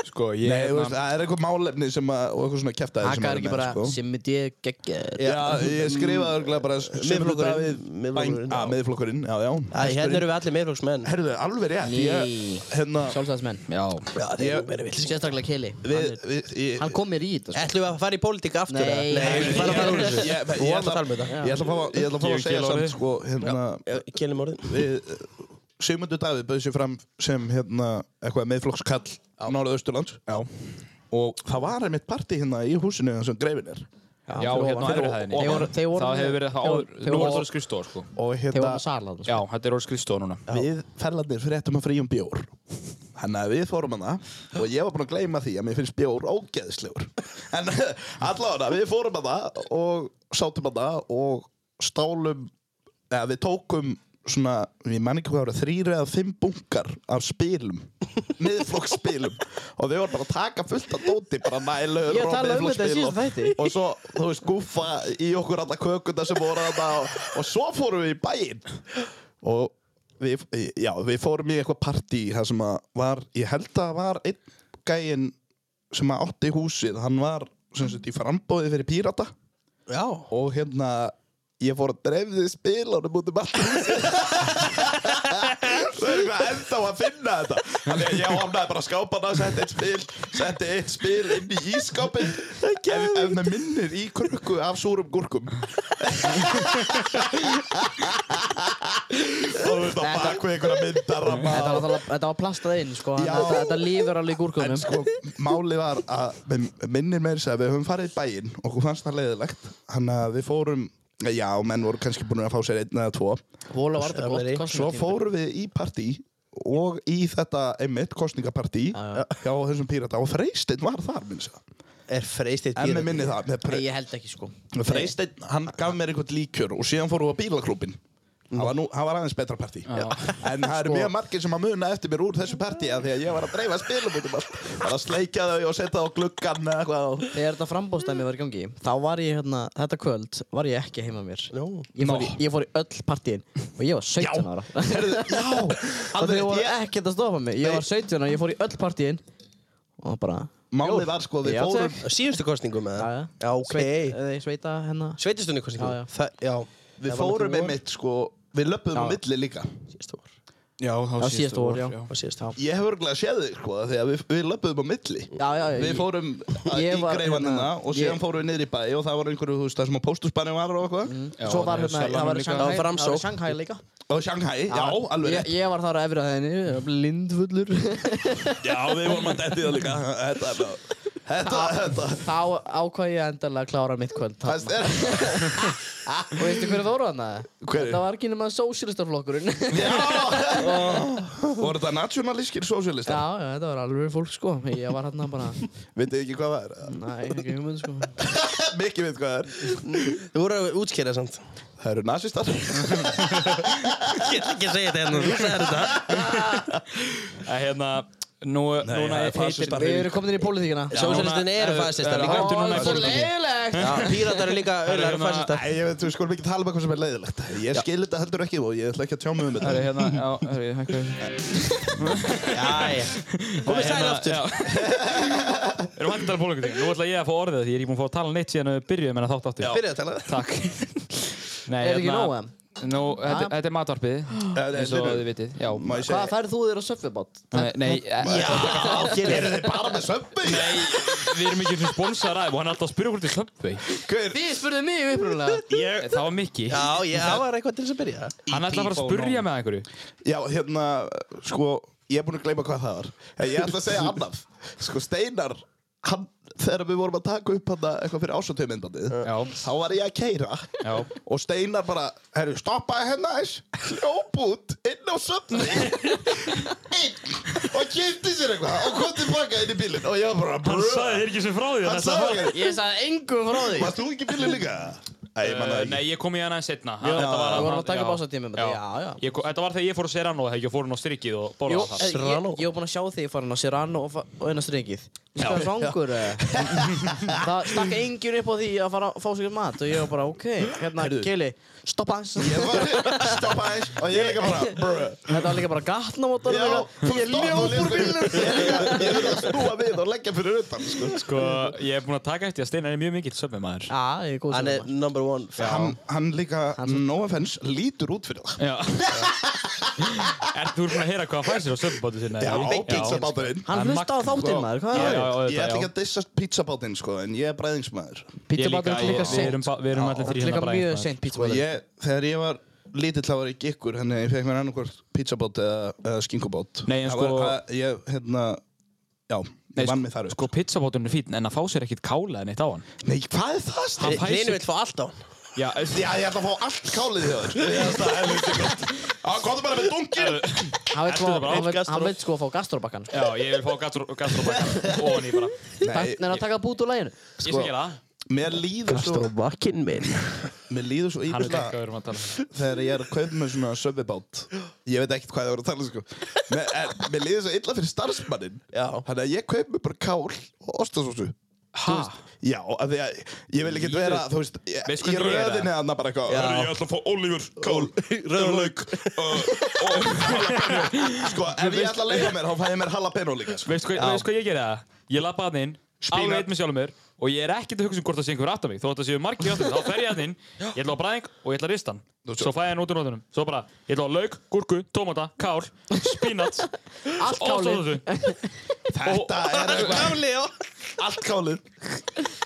S1: Sko, ég...
S8: Nei, þú
S1: hérna-
S8: veist, það er eitthvað málefni sem að, og eitthvað svona kæftæði sem
S3: Akka er
S8: eru
S3: ekki
S8: með,
S3: bara,
S8: sko.
S3: sem myndi ég geggjör.
S8: Já, ég skrifaði örgulega bara Ah,
S2: Miðflokkurinn. Miðflokkurinn, já.
S8: Miðflokkurinn, já, já
S2: Æ, hérna eru við allir meðflóksmenn.
S8: Herðu, alveg rétt,
S3: Ný.
S8: ég, hérna
S3: Sjálfstæðismenn.
S1: Já,
S2: Já, þeir eru meira vill.
S3: Sérstaklega Kelly.
S8: Við, við, ég,
S3: Hann kom mér í þetta. sko.
S2: Ætlum við að fara í pólitík aftur?
S3: Nei.
S2: eða?
S3: Nei,
S2: Nei,
S8: ég-
S2: við fara að fara úr
S8: ég-
S2: þessu.
S8: ég- ég-
S2: Þú ætla
S8: ég
S2: að tala um þetta.
S8: Ég ætla að fá ég ætla að fá að segja samt, sko, hérna
S2: Kjellum orðin.
S8: við, Sigmundur Davíð bauði sér fram sem hérna, eitthvað meðflokkskall Nárað Östurlands Já. og það var einmitt parti hérna í húsinu þar sem greifin er
S1: já, hérna á efri hæðinni.
S3: Þeir voru- þeir voru-
S1: Það hefur verið það
S3: þeir
S1: áður.
S3: voru-
S1: Nú er það orðið skrifstofa, sko.
S8: og
S3: Þeir voru
S8: hérna
S3: að sala það.
S1: Já, þetta er orðið skrifstofa núna.
S8: við ferlandir fréttum að fríum bjór Þannig að við fórum hana og ég var búinn að gleyma því að mér finnst bjór ógeðslegur en allavega við fórum hana og sátum hana og stálum eða við tókum svona, ég man ekki hvað ára, þrýra eða fimm bunkar af spilum miðflokksspilum og við vorum bara að taka fullt af dóti, bara nælu
S3: Ég talaði um þetta í síðasta þætti.
S8: og svo, þú veist, gúfa í okkur alltaf kökuna sem voru alltaf og, og svo fórum við í bæinn og við, já, við fórum í eitthvað partí það sem að var, ég held að það var einn gæinn sem að átti húsið, hann var sem sagt í frambóði fyrir pírata
S2: Já.
S8: og hérna ég fór að dreifði spilunum út um allt húsið. Það er eitthvað ennþá að finna þetta Þannig að ég áfnaði bara skápana Setti eitt spil Setti eitt spil inn í ískápin Ef, ef með minnir í krukku af súrum gúrkum Og þú veist að bakvið einhverja myndarama
S3: Þetta var, náttúrulega- þetta var plastað inn, sko. þannig að
S8: Já.
S3: Þetta, þetta lífur alveg í
S8: En
S3: gúrkunum.
S8: sko, málið var að mig minnir meir þess að við höfum farið í bæinn og okkur fannst það leiðilegt hann að við fórum, já, menn voru kannski búin að fá sér einn eða tvo
S3: Vola var þetta gott
S2: Svo
S8: Svo
S3: kostningatímabil.
S8: fórum við í partí og í þetta einmitt kostningapartí hjá þessum pírata og Freysteinn var þar minnst
S2: Er freystið
S8: en með minni það með
S3: Nei,
S8: pre-
S3: ég held ekki sko
S8: Freysteinn, hann gaf mér einhvern líkjör og síðan fórum við á bílaklúbin Það var, nú, það var aðeins betra partí En það eru mjög margir sem að muna eftir mér úr þessu partí af Því að ég var að dreifa spilum út um allt Bara að sleikja þau og setja á gluggan eða eitthvað og...
S3: Þegar þetta frambóðstæmi var í gangi Þá var ég hérna, þetta kvöld var ég ekki heima mér ég fór, í, ég fór í öll partíin Og ég var 17 ára
S8: Heyrðu, Já,
S3: Og
S8: alveg
S3: þeir voru
S8: rétt, ég-
S3: ekkert að stoppa mig Ég var 17 ára, ég fór í öll partíin Og bara
S8: Málið var sko, við
S3: Já,
S8: fórum
S2: Síðustu kostningum eða?
S3: Já, já.
S2: Já, ok.
S3: sveit, eða í sveita hérna
S2: Sveitistunni kostningum?
S3: Já, já.
S2: Það- já. Það
S8: Við
S2: var
S8: fórum
S2: náttúrulega
S8: einmitt sko Við löpum um
S3: Já.
S8: milli líka
S2: vor. Síðustu vor.
S1: Já, þá
S3: Já, síðasta vor, já
S2: Hvað síðustu vor?
S8: Ég hef örgulega séð þig sko af Því að við, við löpum um milli
S3: Já, já,
S8: Við
S3: ég,
S8: fórum að- í
S3: ég var,
S8: greifanina
S3: hérna,
S8: og síðan
S3: ég-
S8: fórum við niður í bæ og það var einhverju, þú veist, það sem á póstusbæni var og eitthvað
S3: Svo var hérna, það var í
S2: Það var
S3: Shanghai
S2: Framsókn.
S3: Það var í Shanghai líka
S8: og Shanghai, já, alveg
S3: ég,
S8: rétt
S3: ég var þar á efri að henni Blindfullur
S8: Já, við vorum að detti það líka Þetta er bara- Þetta, þetta
S3: Þá ákvað ég endanlega að klára mitt kvöld
S8: Þetta er
S3: Og veistu hverju þóru hann það?
S8: Hverjir?
S3: Þetta var ekki nema sósílistaflokkurinn Já,
S8: Voru þetta nationalískir sósíalistar?
S3: Oh. já, þetta var alveg fólk sko Ég var hérna bara,
S8: Vitið ekki hvað það er?
S3: næ, ekki hugmynd sko
S8: Mikið veit hvað það er
S2: Þú voru að útskýra samt.
S8: Það eru nazistar
S2: Ég ætla ekki að segja þetta hérna, þú sagði þetta.
S1: Að hérna, nú, núna
S9: það er
S1: heitir...
S9: fasistar.
S3: Við erum komin inn í pólitíkina
S1: Já,
S2: Sósíalistin
S1: núna
S2: eru
S1: er-
S2: fasistar
S1: er-
S2: líka.
S1: hættu núna í
S3: Ó, svo
S1: pólitíkinni.
S3: leiðilegt
S2: Píratar eru líka
S1: eru
S2: öðrulega
S1: hérna-
S2: fasistar.
S8: Æ, ég veit, við skulum ekki tala um eitthvað sem er leiðilegt Ég skil þetta heldur ekki og ég ætla ekki að tjá mig um
S1: Það
S8: þetta
S1: er hérna, já, það er eitthvað...
S2: Jæja. Komið sæl aftur.
S1: Hérna, Erum hægt að tala um pólitík? Nú ætla ég að fá orðið því ég er ekki búinn að fá að tala neitt síðan við byrjuðum en að þátt aftur.
S2: Byrjaðu að tala.
S1: Takk. Nei, hérna,
S3: Er ekki nóg það?
S1: Nú, þetta, þetta er matvarpið,
S8: Eh,
S1: eins og
S8: byrju.
S1: þið vitið. Já,
S8: Má ég
S3: Hvað
S8: segja
S3: færðu þú þér á söffibátt?
S1: Nei, nei, eh,
S8: Eru þið bara með sömbi?
S1: við erum ekki svona sponsor af og hann er alltaf að spyrja hvort í Subway.
S8: Hver?
S3: Þið spurðu mig upprunalega
S1: Ég... Það var Mikki.
S2: Já, ég, það var eitthvað til þess að byrja.
S1: Hann ætlaði bara að spurja með einhverju.
S8: Já, hérna, sko Ég er búinn að gleyma hvað það var En Ég ætla að segja annað Sko, Steinar, hann, þegar við vorum að taka upp hann eitthvað fyrir ásatumyndandið
S1: Já,
S8: Þá var ég að keira
S1: já.
S8: og Steinar bara, herru, stoppaði hérna aðeins, hljóp út inn á söfni einn og kipti sér eitthvað og kom tilbaka inn í bílinn og ég var bara,
S9: Hann
S8: brö
S9: sagði þér ekki sem frá því
S8: hann sagði ekki,
S3: Ég sagði engum frá því
S8: varst þú ekki í bílinn líka? Æ, ég manna
S1: Uh,
S8: ekki
S1: nei, ég kom í hann aðeins setna. Þetta var
S3: Við vorum
S1: hann-
S3: að taka
S1: já.
S3: básatími með þetta, já, já
S1: Ég kom- Þetta var þegar ég fór að Serrano og ég fór hún á strikkið og
S3: Jú,
S1: borðaði
S3: eh,
S1: það.
S3: ég, ég var búinn að sjá þig í farin á Serrano og, fa- og eina strengið. Þú var svangur. eh. Það stakk enginn upp á því að fara að fá sér mat og ég var bara, ok, hérna, Keli, stoppa hans.
S8: ég var, stoppaði aðeins og ég líka bara, brö
S3: Þetta var líka bara gatna mót
S8: Já,
S3: honum.
S8: þú
S3: eitthvað. Ég
S8: stoppaði og
S3: ljóf úr
S8: lét-
S3: bílnum.
S8: Ég líka- ég þurfti að snúa við og leggja fyrir utan sko.
S1: Sko, ég er búinn að taka eftir að Steinar er mjög mikill söfnum maður.
S3: Já, ég er góð
S2: Hann er
S3: sem
S2: number one.
S8: hann, hann líka, no offense, lítur út fyrir það
S1: Já. Ert þú búinn að heyra hvað hann fær sér á söfnubátu sinna?
S8: já, pizzabáturinn
S3: Hann
S1: Hann
S3: hlusta á
S1: magn-
S3: þáttinn maður, hvað er
S1: Já, já,
S3: það?
S1: auðvitað,
S8: ég ætla ekki
S1: já.
S8: að dissa pizzabátinn sko, en ég er bræðingsmaður
S1: Ég líka,
S3: Pítsabátur er
S1: ég-
S3: líka
S1: við erum
S3: seint.
S1: ba- við erum allir
S3: Það
S1: þrír
S3: er
S1: hérna
S3: líka
S1: bræðir,
S3: mjög
S1: maður.
S3: seint
S8: Sko
S3: pítsabátur.
S8: ég, þegur ég var lítill þá var ég gikkur Þannig að ég fekk mér annarkvort pizzabót eða, eða skinkubót
S1: Nei, en
S8: Það
S1: sko-
S8: var, að, Ég, hérna, já,
S1: Nei,
S8: ég vann
S1: sk-
S8: mig þar upp
S1: Sko, pizzabátunum er fín, en að fá sér ekkit kála en eitt á hann.
S8: Nei, hvað er það? Stefán?
S1: Hann fær
S2: Hlynur
S1: sér...
S2: vill fá allt á hann.
S1: Já,
S8: Já, ég ætla að fá allt kálið hjá þér Ég ætla að helviti gott Já, komðu bara með dunkin
S3: Hann vill
S1: Ertu þetta
S3: fá-
S1: bara
S3: hann vill-
S1: áfgastróf?
S3: hann vill sko fá gastróbakkan.
S1: já, ég vil fá gastróbakkan ofan í bara.
S8: Nei,
S3: Þannig að taka bút úr læginu.
S1: Ég
S8: Sko,
S1: skal gera það.
S8: mér líður svo
S2: Stróbakkinn minn.
S8: Mér líður svo
S1: Hann veit ekki hvað við
S8: íbyrla
S1: erum að tala um.
S8: Þegar ég er að kaupa með svona söfibát Ég veit ekkert hvað það voru að tala sko Mér, en, mér líður svo illa fyrir starfsmannin
S2: Já.
S8: Þannig að ég kaup mér bara kál og ostasósu
S1: Ha?
S8: Já, af því að ég vil ekki vera, þú veist, ég,
S1: Veist
S8: í
S1: hvernig ég er
S8: röðinni annað bara eitthvað.
S2: Já.
S8: Ég ætla að fá Ólífur, Kól, Röðlaug og Jalapeno. Sko, ef ég ætla að leiða mér, þá fæ ég mér Jalapeno líka. Sko.
S1: Veistu hvað, veistu hvað ég gera það? Ég lappa hann inn,
S8: Spínat.
S1: alveg einn með sjálfum mér og ég er ekkert að hugsa um hvort það sé einhver aftan mig þó að það séu margir aftan mig, þá fer ég hann inn ég ætla að bræðing og ég ætla að rista hann svo fæ ég hann út úr nótunum, svo bara ég ætla að lauk, gúrku, tómata, kál, spínat
S3: Allt
S1: og svo
S3: kálið.
S1: þessu
S8: Þetta er eitthvað
S2: Gamli, já.
S8: allt kálið.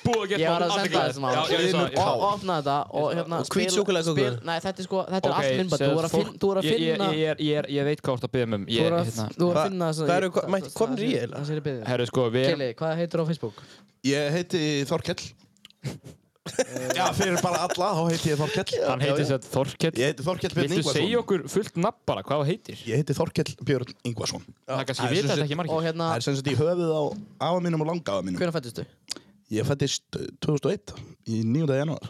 S1: búið að
S3: Ég
S1: geta
S3: var að senda þessu maður.
S1: já, já, ég sá það, ég sá það.
S3: og opna þetta og hérna
S2: Og hvít
S3: spil-
S2: súkkulaðiköku.
S3: spil- Nei, þetta er sko, þetta er
S1: Ok,
S3: allt minnbætt
S1: sem
S3: Þú er að
S1: fólk-
S3: finna Þú er að
S1: Ég- ég-
S3: finna
S1: ég- ég er- ég er- Ég veit hvað þú ert að byrja um
S3: Þú
S1: Ég,
S3: er að
S1: hérna
S3: þú er
S2: Hva-
S3: að finna þessa-
S2: hvað eru-
S3: ég-
S2: mætti-
S3: þessa-
S2: komnir í eiginlega?
S3: Þessari byrði
S1: Herru, sko, við erum
S3: Kelly, hvað heitir á Facebook?
S8: Ég heiti Þorkell. Já, fyrir bara alla, þá heiti ég Þorkell.
S1: Hann heitir sér Þorkett
S8: Ég heiti Þorkell Björn
S1: Viltu segja
S8: Ingvarsson.
S1: okkur fullt nafn bara, hvað þú heitir?
S8: Ég heiti Þorkell Björn Ingvarsson.
S1: Það kannski vita þetta ekki
S3: Og
S1: margir
S3: hérna,
S8: Það er sem sagt í höfuð á afa mínum og langa afa mínum.
S3: hvernig fættist þú?
S8: Ég eh, fættist 2001 í 9. janúar.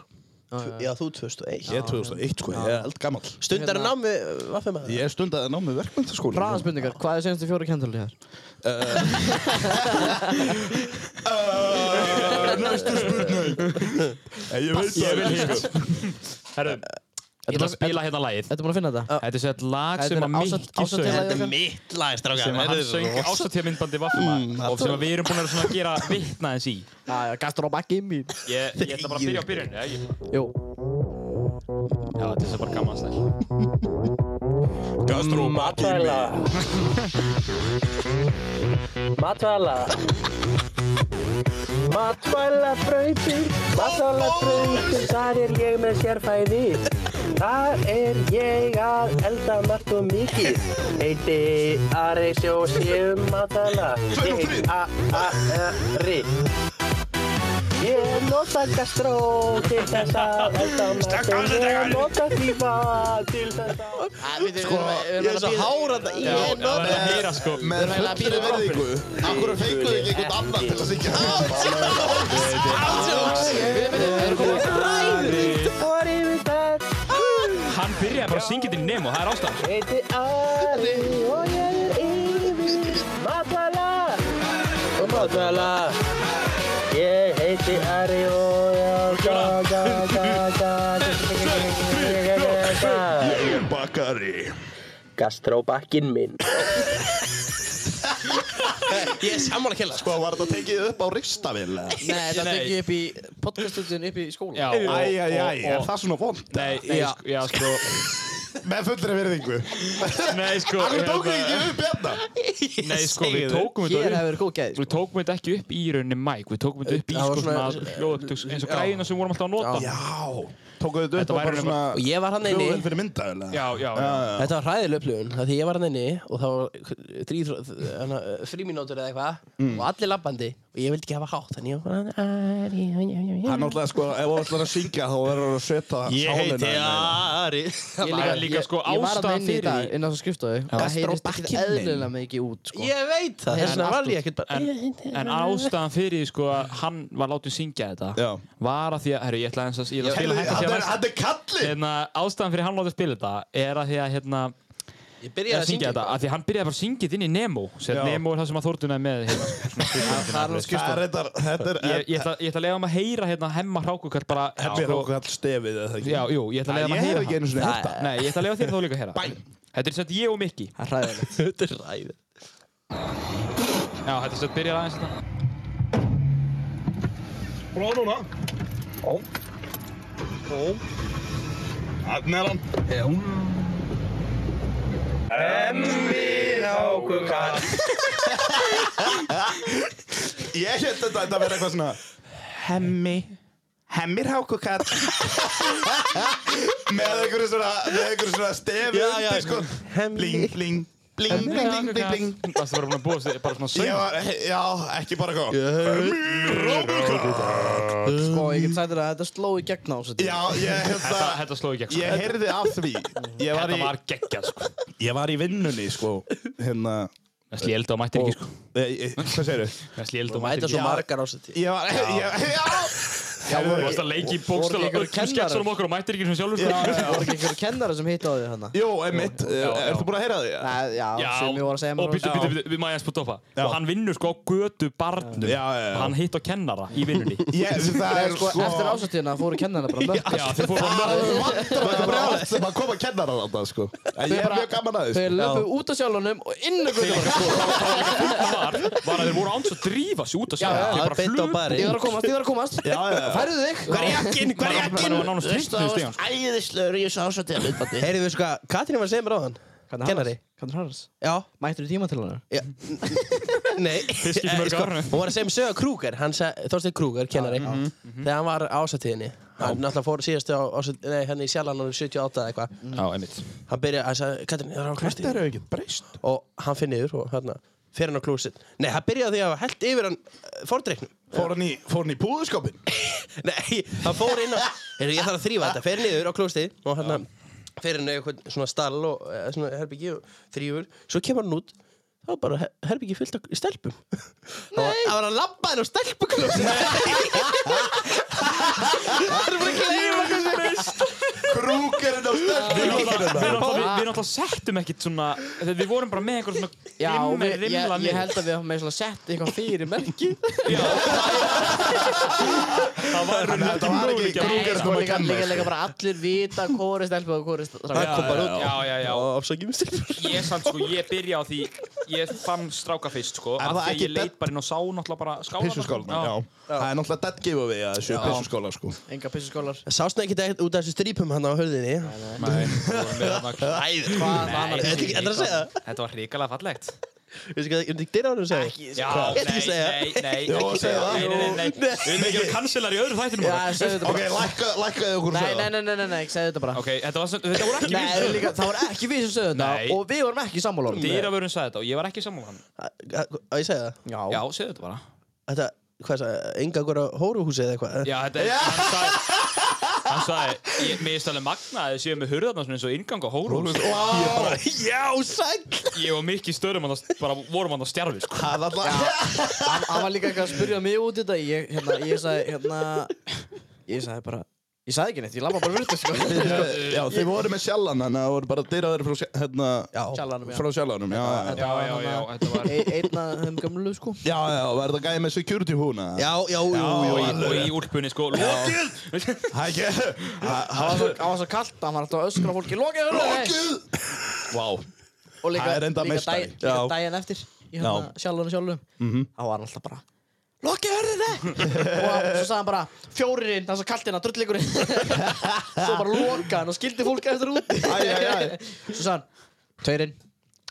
S2: Já, þú 2001.
S8: Ég er 2001 sko, ég er eldgamall.
S2: Stundar að námi, hvað fyrir maður?
S8: Ég stundaði nám með verkmyndaskóla.
S3: Bræðarspurningar, hvað er senstu fjóru kendalir hér?
S8: Næstu spurning Ég veit
S1: Ég
S8: það
S1: vil hitt Herru, ég ætla að spila hérna lagið
S3: Þetta er búin að finna þetta?
S1: Þetta er sett lag sem að
S3: Þetta er ásatt-
S1: Mikki
S3: ásatt-
S1: söng
S3: Þetta er
S2: mitt lag, strákar.
S1: sem að hann söng ásatíða myndbandi Vaffema og sem að við erum búin að svona gera vitna eins í
S3: Já, já, gastur á bakki mín
S1: Ég ég ætla bara að byrja á byrjun Já, ég-
S3: Jú,
S1: Já, þetta er bara gaman stæl
S8: Gastró matvæla
S2: Matvæla Matvæla brautir Matvæla brautir Þar er ég með sérfæði
S10: Þar er ég að elda margt og mikið. Heiti Ari Sjó Sjöum Matala. Ég heiti A-A-R-I. Ég nota gastró til þess að elda margt og ég nota tíma til þess að...
S3: Sko, ég er svo hár að það í enn og
S9: að heyra sko
S8: Með fullri verðingu Akkur fenguðu ekki einhvern annan til að syngja
S9: Hann byrjaði bara að syngja þetta í nemo, það er ástæðan
S10: Heiti Ari og ég er yfir Matala og Matala Ég heiti Ari og ég ga ga ga ga
S8: Ég er bakari
S10: Gastróbakkin minn
S2: Ég er sammála kella
S8: Sko, var þetta tekið upp á ristavél?
S3: Nei, þetta tekið upp í podcastutun upp í skóla.
S1: Já, og-
S8: Æj, æj, æj,
S1: og-
S8: er það svona vond?
S1: Nei, nei,
S3: Já.
S1: sk- já, sko
S8: Með fullri verðingu
S9: Nei, sko
S8: Akkur tókuðu
S9: hérna-
S8: ekki upp hérna?
S9: Nei, sko, við
S3: Segðu.
S9: tókum þetta
S3: Hér
S9: upp-
S3: hefur verið góð gæði,
S1: Við tókum þetta ekki upp í rauninni mæk, við tókum þetta upp í
S2: Það var
S1: sko
S2: svona-
S1: svona hljóðutöks eins og græðina sem við vorum alltaf að nota.
S8: Já Tókuðu þetta
S1: Þetta
S8: upp
S1: væri
S8: á bara
S1: nema-
S8: svona
S2: Og ég var hann inni
S8: Hljóðin fyrir myndavél? eða? Ah,
S1: Já, já, já.
S8: já
S2: Þetta var hræðileg upplifun Það því ég var hann inni Og það var þrír- hana, frímínútur eða eitthvað
S1: Mm.
S2: Og allir labbandi Og ég vildi ekki hafa hátt Þannig ég var
S8: Það er náttúrulega sko, ef þú ætlar að syngja þá verður það að setja sálina
S2: Ari
S9: Ég
S3: Ég-
S9: líka, líka
S3: ég-
S9: sko
S3: Ég
S9: ástæðan
S3: var að
S9: fyrir
S3: minna
S9: því
S3: í dag, inn á þessu skrifstofu. Það heyrist ekkert eðlilega mikið út, sko.
S2: Ég veit það Þess vegna var ég ekkert bara
S1: En, en ástæðan fyrir því sko að hann var látið syngja þetta
S8: Já.
S1: var að því að, herru, ég ætla eins að ég ætla að spila
S8: Heyrðu,
S1: hægt að segja
S8: Þetta er-
S1: næst.
S8: þetta er kalli
S1: Hérna, ástæðan fyrir hann látið spila þetta er að því að hérna
S2: Ég
S1: er
S2: byrjaði
S1: að syngja þetta, að því að hann byrjaði bara að syngja þetta inn í Nemo sem
S8: Já.
S1: Nemo er það sem að Þórtun er með hérna, svona skrifstofuna.
S8: Það er þetta, þetta er
S1: ég, ég ætla- ég ætla að lega um að heyra hérna hemma hrákukall bara
S8: Hemmi
S1: sko-
S8: Rákall stefið eða ekki?
S1: Já, jú, ég ætla að leiða maður að
S8: Æ, ég
S1: heyra
S8: hef ekki einu sinni heyrt
S1: Nei, ég ætla að leiða þér þá líka að heyra Bæn Þetta er sett ég og Mikki Já,
S3: Það er hræðilegt.
S2: Þetta er ræðið
S1: þetta er sett byrjar aðeins hérna. þetta
S5: Prófa núna. Ó. Ó. Þannig er hann. Já.
S8: Ég held þetta að vera eitthvað svona Hemmi Hemmir hákukall Með einhverju svona Með einhverju svona stefi
S2: Já, já,
S8: undir, sko.
S2: Hemmi.
S8: Bling, bling Bling, bling, bling, bling, bling
S1: Það var búin að búa sig bara svona
S8: Ég
S1: söng
S8: var, já, ekki bara sko. eitthvað Hemmi hákukall
S3: Sko, ég get sagt þér að þetta sló í gegn á sko. þessu tíma.
S8: Já, ég
S1: Þetta,
S8: held að
S1: þetta sló í gegn sko.
S8: Ég heyrði af því Ég var
S1: Þetta
S8: í,
S1: var geggjað sko
S8: ég var í vinnunni, sko Hérna
S1: Það slíld á mættir ekki sko
S8: Eh, eh, Hvað segirðu?
S1: Það slíld á
S2: Þú mæta
S1: mættir
S2: svo
S1: ekki
S2: margar ástætti
S8: Ég var, ég, já
S1: Þú varst að leiki í bókstala
S3: ekki einhverjir
S1: öllum sketsunum okkar og mættir ekki sem sjálfur
S8: Já, já,
S1: sko
S8: já.
S3: Það voru ekki einhverju kennara sem hitt á því hérna.
S8: Jú, einmitt,
S1: já, já.
S8: ertu búin að heyra því?
S3: Nei, já,
S1: Já,
S3: sem ég voru að segja
S1: og býttu,
S3: mér.
S1: býttu, býttu, við maður eins på topa
S8: Já.
S1: Og hann vinnur sko á götu barnum
S8: Já, já, já.
S1: Og Hann hitt á kennara í vinnunni
S8: Ég, það er
S3: Sko, eftir ásattíðina fóru kennarna bara mörg.
S1: Já, þeir fóru bara
S8: Það er bara allt sem að koma að kenna það þarna, sko. En ég er mjög gaman að því,
S3: Þau löpuðu út af sjálfunum og inn á göttunum.
S1: var, var að þeir voru áns að drífa sig út að segja
S2: Það
S1: Þeir
S2: er
S1: bara
S2: beint á
S1: flugu
S2: bari
S3: Ég þarf að komast, ég þarf að komast.
S8: Já, já, já.
S3: Færðu þig.
S2: Hver er jakkinn? Hver er
S1: Það var
S2: jakkinn?
S1: nánast hreintnuð stegan
S10: Æðislegur í þessu ásvættið að hlutbandi.
S2: Heyrðu við sko að Katrín var að segja mér á hann
S3: Hvernig
S2: Kennari?
S3: Haralds? Hvernig Haralds?
S2: Já
S3: Mættur þú tíma til hann?
S2: Já. Nei
S1: Fisk í
S2: Eh,
S1: mörg
S2: sko,
S1: ár.
S2: Hún var að segja mér sögja Krúger Þorstein Krúger, kennari
S1: Mhm.
S2: Þegar hann var á ásatíðinni Hann náttúrulega fór síðast á ásatíðinni Nei, henni í Sjallan árið 78 eða eitthvað
S1: Já, einmitt
S2: Hann byrjaði að segja Mhm. Katrín, það er á klústi
S8: Þetta eru ekkert breyst.
S2: Og hann finn yfir og hérna Fer hann á klústin Nei, hann byrjaði á því að hafa held yfir hann eh, Fordreiknum
S8: Fór hann í, fór hann í púðuskopin?
S2: Nei, hann fór inn á Heyrðu, ég þarf að þrýfa þetta, fer niður á klósti og hérna fer inn á eitthvað svona stall og eh, svona herbyggi og þrýfur svo kemur hann út þá er bara her- herbyggi fullt af stelpum Nei! Það var að labba hann á stelpuklósti
S8: Krúkerinn á stelpunum.
S1: Við náttúrulega við náttúrulega settum ekkert svona þegar Við vorum bara með einhver svona
S3: Já,
S1: glimmer
S3: við, ég,
S1: rimla
S3: ég
S1: niður.
S3: held að við hafum með svona sett eitthvað fyrir merki.
S1: Það var rauninni
S8: Þetta
S1: ekki
S8: var ekki
S1: möguleika
S8: krúkerinn
S3: Og líka,
S8: um að
S3: líka,
S8: kenna.
S3: líka bara allir vita hvori stelpa og hvori
S1: Já,
S3: stráka.
S1: já, já, já, já.
S2: og afsakið mér stelpur
S1: Ég samt sko, ég byrja á því Ég fann stráka fyrst sko
S8: Er
S1: af
S8: það
S1: því að
S8: ekki
S1: Ég leit
S8: bet-
S1: bara inn og sá náttúrulega bara skála
S8: Pissuskólan, já. Það er náttúrulega dead giveaway að þessu pissuskóla, sko.
S3: Enga pissuskólar.
S2: Sást ekki þetta út af þessu strípum hann á hörðinni
S1: Nei, við vorum með þarna-
S2: Æður
S1: Nei, þetta-
S2: Þetta er að
S3: annars?
S2: segja
S1: Þetta var hrikalega fallegt
S2: Veistu hvað, ég myndi ekki dyrir á hann og segja? Ekki,
S9: Já,
S2: Þetta ekki segja.
S9: nei, nei,
S8: Jó, segðu það.
S9: nei, nei, nei, nei. Við erum ekki að vera kanselar í öðru þættinu
S3: Já, segðu þetta bara.
S8: lækka- lækkaðu okkur
S3: Nei,
S8: segðu
S3: nei, nei, nei, nei, nei, segðu þetta bara.
S1: Ok, þetta var, þetta voru ekki
S3: Nei,
S1: við.
S3: líka, það voru ekki við sem sögðu
S1: Nei.
S3: þetta og við vorum ekki sammála um það.
S1: Dýravörun sagði þetta og ég var ekki sammála hann.
S2: Á ég segja það?
S3: Já.
S1: Já, segðu þetta bara.
S2: Þetta, hvað sagði, enga okkur á hóruhúsi eða eitthvað?
S1: Já, þetta er, hann sagði, hann sagði, ég, mér er stæðilega magna að þið séu með hurðarna svona eins og inngang á hórús.
S8: Vá,
S2: Já, sæll!
S1: Ég og Mikki störum hann bara vorum hann á stjarfi, sko.
S8: Það er alltaf
S3: Hann hann var líka eitthvað að spyrja mig út í þetta. Ég, hérna, ég sagði, hérna, ég sagði bara, ég sagði ekki neitt, ég labba bara fyrir þetta, sko.
S8: Já, þið voru með sjallan þannig að það voru bara dyraður frá, sj- hérna,
S3: Sjallanum, já.
S8: frá sjallanum já, já, já.
S1: Já, já, já, þetta var...
S3: E- Einn af þeim gömlu, sko.
S8: já, já, var það gæði með security húna?
S2: Já, já, já,
S1: Og
S2: já.
S1: í, og í úlpunni, sko, lokið!
S8: Það er ekki, það var svo
S3: Það var svo kallt, hann var alltaf að öskra á fólki, lokið hurðinni!
S8: Lokuð! Vá,
S3: Og líka,
S8: Það er enda
S3: líka,
S8: meistari.
S3: dag, líka
S8: Já. Mhm.
S3: daginn eftir, í hérna sjálfurinn sjálfum, þá var hann alltaf bara, lokið hurðinni! og hann- svo sagði hann bara, fjóririnn, það er svo kallt hérna, drullleikurinn. svo bara lokaði hann og skildi fólki eftir úti.
S8: Æ, æ, æ.
S3: Svo sagði hann, tveirinn,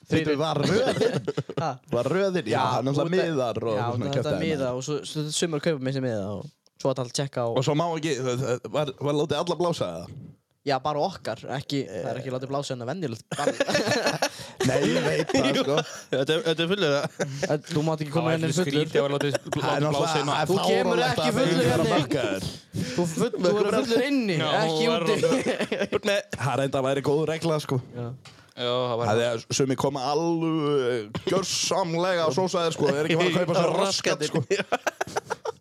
S8: þetta
S3: þrýrinn,
S8: var röðin
S3: ha,
S8: Var röðin, já,
S3: út-
S8: náttúrulega miðar og
S3: já,
S8: svona
S3: þetta er
S8: kjaftæði.
S3: miðar og svo, svo sumur kaupa mér sem miða og svo að allt tjekka og,
S8: Og svo má ekki, það- það- var, var látið alla blása það?
S3: já, bara okkar, ekki, það er ekki látið blása hennar venjulegt ball.
S8: Nei, ég veit það, sko
S2: Þetta er- þetta er fullið það.
S3: En Þú mátt
S1: Það
S3: ekki koma
S1: var
S3: henni
S1: eitthvað
S3: fullur,
S1: skrítið að vera látið
S8: Það er
S1: látið blása inn á.
S8: náttúrulega
S3: Þú kemur
S8: fáránlegt
S3: ekki
S8: að þau
S3: fullur
S8: eru
S3: hérna.
S8: markaðir.
S3: þú full, þú verður fullur inni,
S1: Já,
S3: ekki
S1: þú verður
S3: úti.
S8: Það er enda að væri góð regla, sko
S1: Já, það var...
S8: Það er sumi koma alveg gjörsamlega á sósaðir sko, er ekki bara að kaupa svo raskat sko.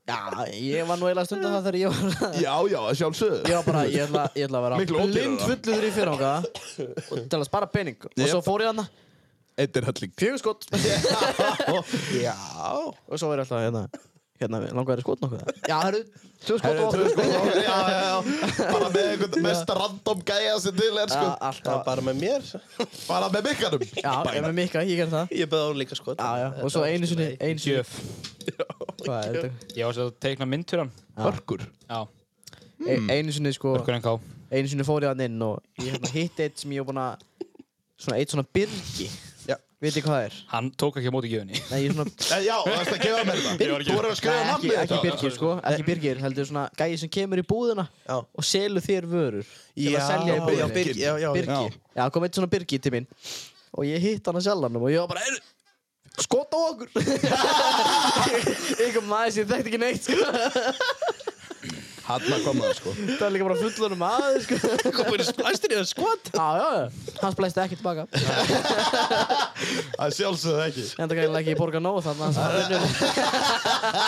S3: Já, ég var nú eiginlega stund að það þegar ég var,
S8: Já, já, að sjálfsögðu.
S3: ég var bara, ég ætla, ég ætla að vera
S8: Miklu ódýrara.
S3: blind fullur í fyrranga og til að spara pening og
S8: Jep.
S3: svo fór ég hana,
S8: Eitt er helling.
S3: fjögur skott
S8: Já.
S3: og svo er ég alltaf hérna, hérna, langar þér skot nokkuð? Já, herru, tvö skot
S8: Herri,
S3: og
S8: tvö sko, já, já, já. Bara með einhvern mest random gæja sem til er
S3: Já,
S8: sko.
S3: alltaf,
S2: Bara með mér.
S8: Bara með mikkanum.
S3: já, ég er með Mikka, ég ger það.
S2: Ég beði á hún líka sko.
S3: Já, já, og svo einu sinni, einu sinni,
S1: Gjöf.
S3: hvað er þetta?
S1: Ég var svo að teikna mynd fyrir hann.
S8: Hörkur.
S1: Já,
S3: E- Einu sinni, sko,
S1: Börkur NK.
S3: einu sinni fór ég hann inn og ég hérna hitti eitt sem ég var búinn að svona eitt svona byrgi
S2: Já.
S3: veit þið hvað það er?
S1: Hann tók ekki á móti gjöfinni.
S3: Nei, ég er svona
S8: Eh, Já, það er að gefa mér
S1: Ég var
S8: þetta.
S1: ekki-
S8: Þú voru að skrifa
S3: Nei, ekki,
S8: namnið
S3: ekki
S8: þetta.
S3: byrgir sko, ekki byrgir heldur svona gæi sem kemur í búðina
S2: Já.
S3: og selur þér vörur til
S2: Já,
S3: að selja í
S2: já,
S3: búðinni
S2: Birgir, já, já,
S3: Birgi,
S8: já.
S3: já, kom eitt svona byrgi til mín og ég hitt hann að sjálfanum og ég var bara "Heyrðu, skot á okkur einhver maður sem ég þekkti ekki neitt sko.
S8: Hanna kom það sko.
S1: Hérna,
S3: það er líka bara fullunum maður sko.
S2: Komur í splæstir í það skot.
S3: já, já, já, hann splæst ekki tilbaka en
S8: Það sjálfsögðu ekki.
S3: það gæði ekki í borga nóg þannig að hann vinnur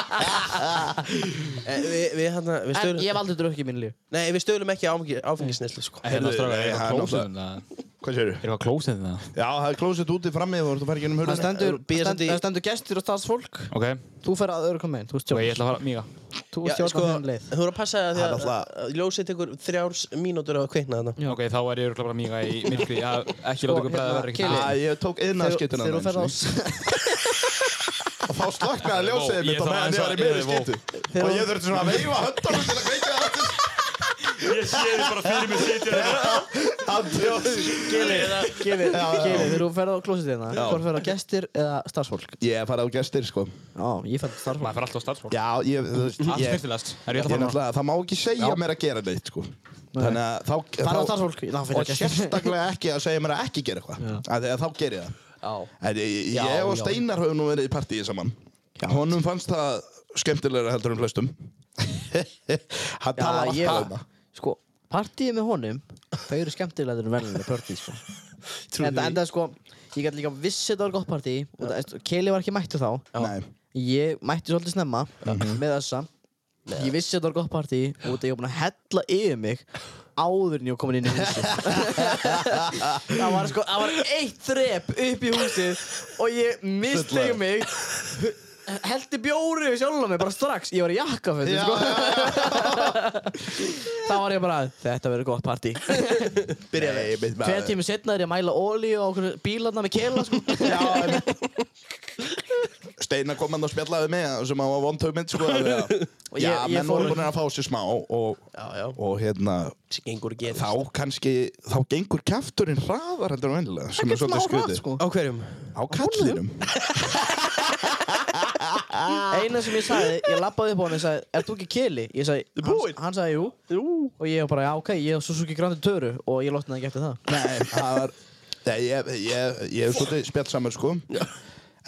S2: Eh, Við, við hérna, við
S3: En
S2: stöðum.
S3: ég hef aldrei drukkið í mínu líf
S2: Nei, við stöðum ekki áfengisneslu sko.
S1: Hérna
S8: Heyrðu,
S1: strákar,
S8: nei,
S1: er
S8: það
S1: eitthvað
S8: er
S1: klósið það?
S8: Hvað séru?
S1: Er eitthvað klósið það?
S8: Já, það er klósett úti frammi, þú voru að fara ekki um
S3: Það
S8: hurðina.
S3: stendur,
S2: Bíða
S3: stendur,
S2: samt í-
S3: það stendur gestir og starfsfólk
S1: Ok,
S3: Þú fer að öðru komið inn, þú
S1: ok, Sko, ég
S3: stjórnar
S1: ætla að fara, Míga.
S3: Þú
S2: Já,
S3: stjórnar
S2: sko,
S3: þenn leið
S2: þú voru að passa það því
S8: Það er
S2: að,
S8: alltaf-
S2: að ljósið tekur þrjárs mínútur að kveikna þarna.
S1: Ok, þá er ég örugglega bara Míga í myrkri. Já, Ekki láta ykkur bræða
S3: hérna,
S1: verið
S3: Kili.
S1: ekkert.
S8: Æ, ég tók
S3: Þegar
S8: iðnaðarskiptuna
S3: þegar þú fer á
S8: og þá slöknaði
S1: Vó,
S8: ljósið mitt
S1: ég
S8: á
S1: þarf
S8: meðan
S1: aðeins
S8: ég var
S1: að-
S8: í
S1: ég-
S8: miðri
S1: vó.
S8: skýtu og ég þurfti svona að veifa höndunum til að kveika það aftur.
S9: Ég sé þið bara fyrir mig sitja þarna.
S8: hann drjóð
S3: Gili, Gili, þegar þú fer á klósið þérna Hvor fer á gestir eða starfsfólk?
S8: ég er farið á gestir sko
S3: Já, ég fer á starfsfólk
S1: Maður fer alltaf á starfsfólk.
S8: já, ég, þú veist
S1: Allt
S8: ég,
S1: snirtilegast. Er ég ætla að fara
S8: ég
S1: núna?
S8: náttúrulega, það má ekki segja mér að gera neitt sko þannig að þá,
S3: Fara á
S8: þá
S3: starfsfólk, þá fer á
S8: og
S3: gestir
S8: sérstaklega ekki að segja mér að ekki gera eitthvað af því að þá ger ég það
S3: Já,
S8: En ég,
S3: Já,
S8: ég og
S3: já.
S8: Steinar höfum nú verið í partíi saman honum fannst það skemmtilegra heldur um flestum hann
S3: já
S8: talaði alltaf um
S3: ég
S8: það
S3: Sko, partíið með honum Þau eru skemmtilegður en verðinlega partí sko. Enda, enda sko, ég gæti líka vissi þetta var gott partí og það- Kili var ekki mættu þá
S8: Nei. Mhm.
S3: Ég mætti svolítið snemma með þessa Ég vissi að þetta var gott partí og þetta ég var búinn að hella yfir mig áður en ég var komin inn í húsið Það var sko, það var eitt þrep upp í húsið og ég mistegi
S8: Fullaður.
S3: mig Heldi bjóri við sjálf mig bara strax Ég var í jakkafötum
S8: Já,
S3: sko
S8: já, já.
S3: Þá var ég bara, þetta verður gott partí
S8: Byrja Nei, mitt maður.
S3: Hver tími setna er ég að mæla olíu á okkur bílarna með kela sko
S8: Já, einmitt. Steina kom hann og spjallaði við mig sem hann var vondtömynd sko að,
S2: Og ég-
S8: Já,
S2: ég
S8: menn
S2: fór-
S8: voru búin að fá sér smá og,
S2: já, já.
S8: og hérna
S2: gengur
S8: þá kannski, þá gengur kjafturinn hraðar heldur en vennilega sem er svolítið
S3: hratt,
S8: skrítið
S3: sko.
S2: Á hverjum?
S8: Á kallinum
S3: Eina sem ég sagði, ég lappaði upp á hann og sagði Er þú ekki keli? Ég sagði, hann, hann sagði jú. jú Og ég var bara, já ok, ég hef Suzuki Grandi Töru Og ég lotnaði ekki eftir það
S8: Nei, það var Nei, ég, ég, ég er svolítið spjallsamur sko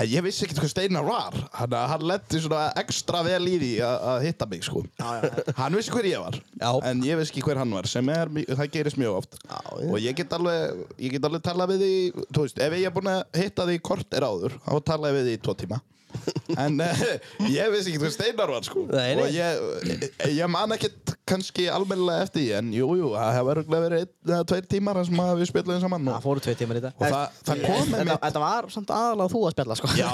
S8: En ég vissi ekkert hvað Steinar var Hann, hann letti svona ekstra vel í því að að hitta mig sko Hann vissi hver ég var já. En ég vissi ekki hver hann var Sem er, mi- það gerist mjög oft já, Og ég get alveg, ég get alveg talað við því Þú veist, ef ég er búinn að hitta því kort er áður Þá tala ég við því í tvo tíma En uh, ég vissi ekkert hvað Steinar var sko
S2: Nei, nei.
S8: Og ég, ég man ekkert kannski almennilega eftir því En jú, jú, það hefur örugglega verið einn eða tveir tímar þar sem að við spjöldum saman og-
S3: Það fóru tvei tímar í dag
S8: Og það, það kom með
S3: Þetta- Þetta var samt aðalega þú að spjalla sko
S8: Já,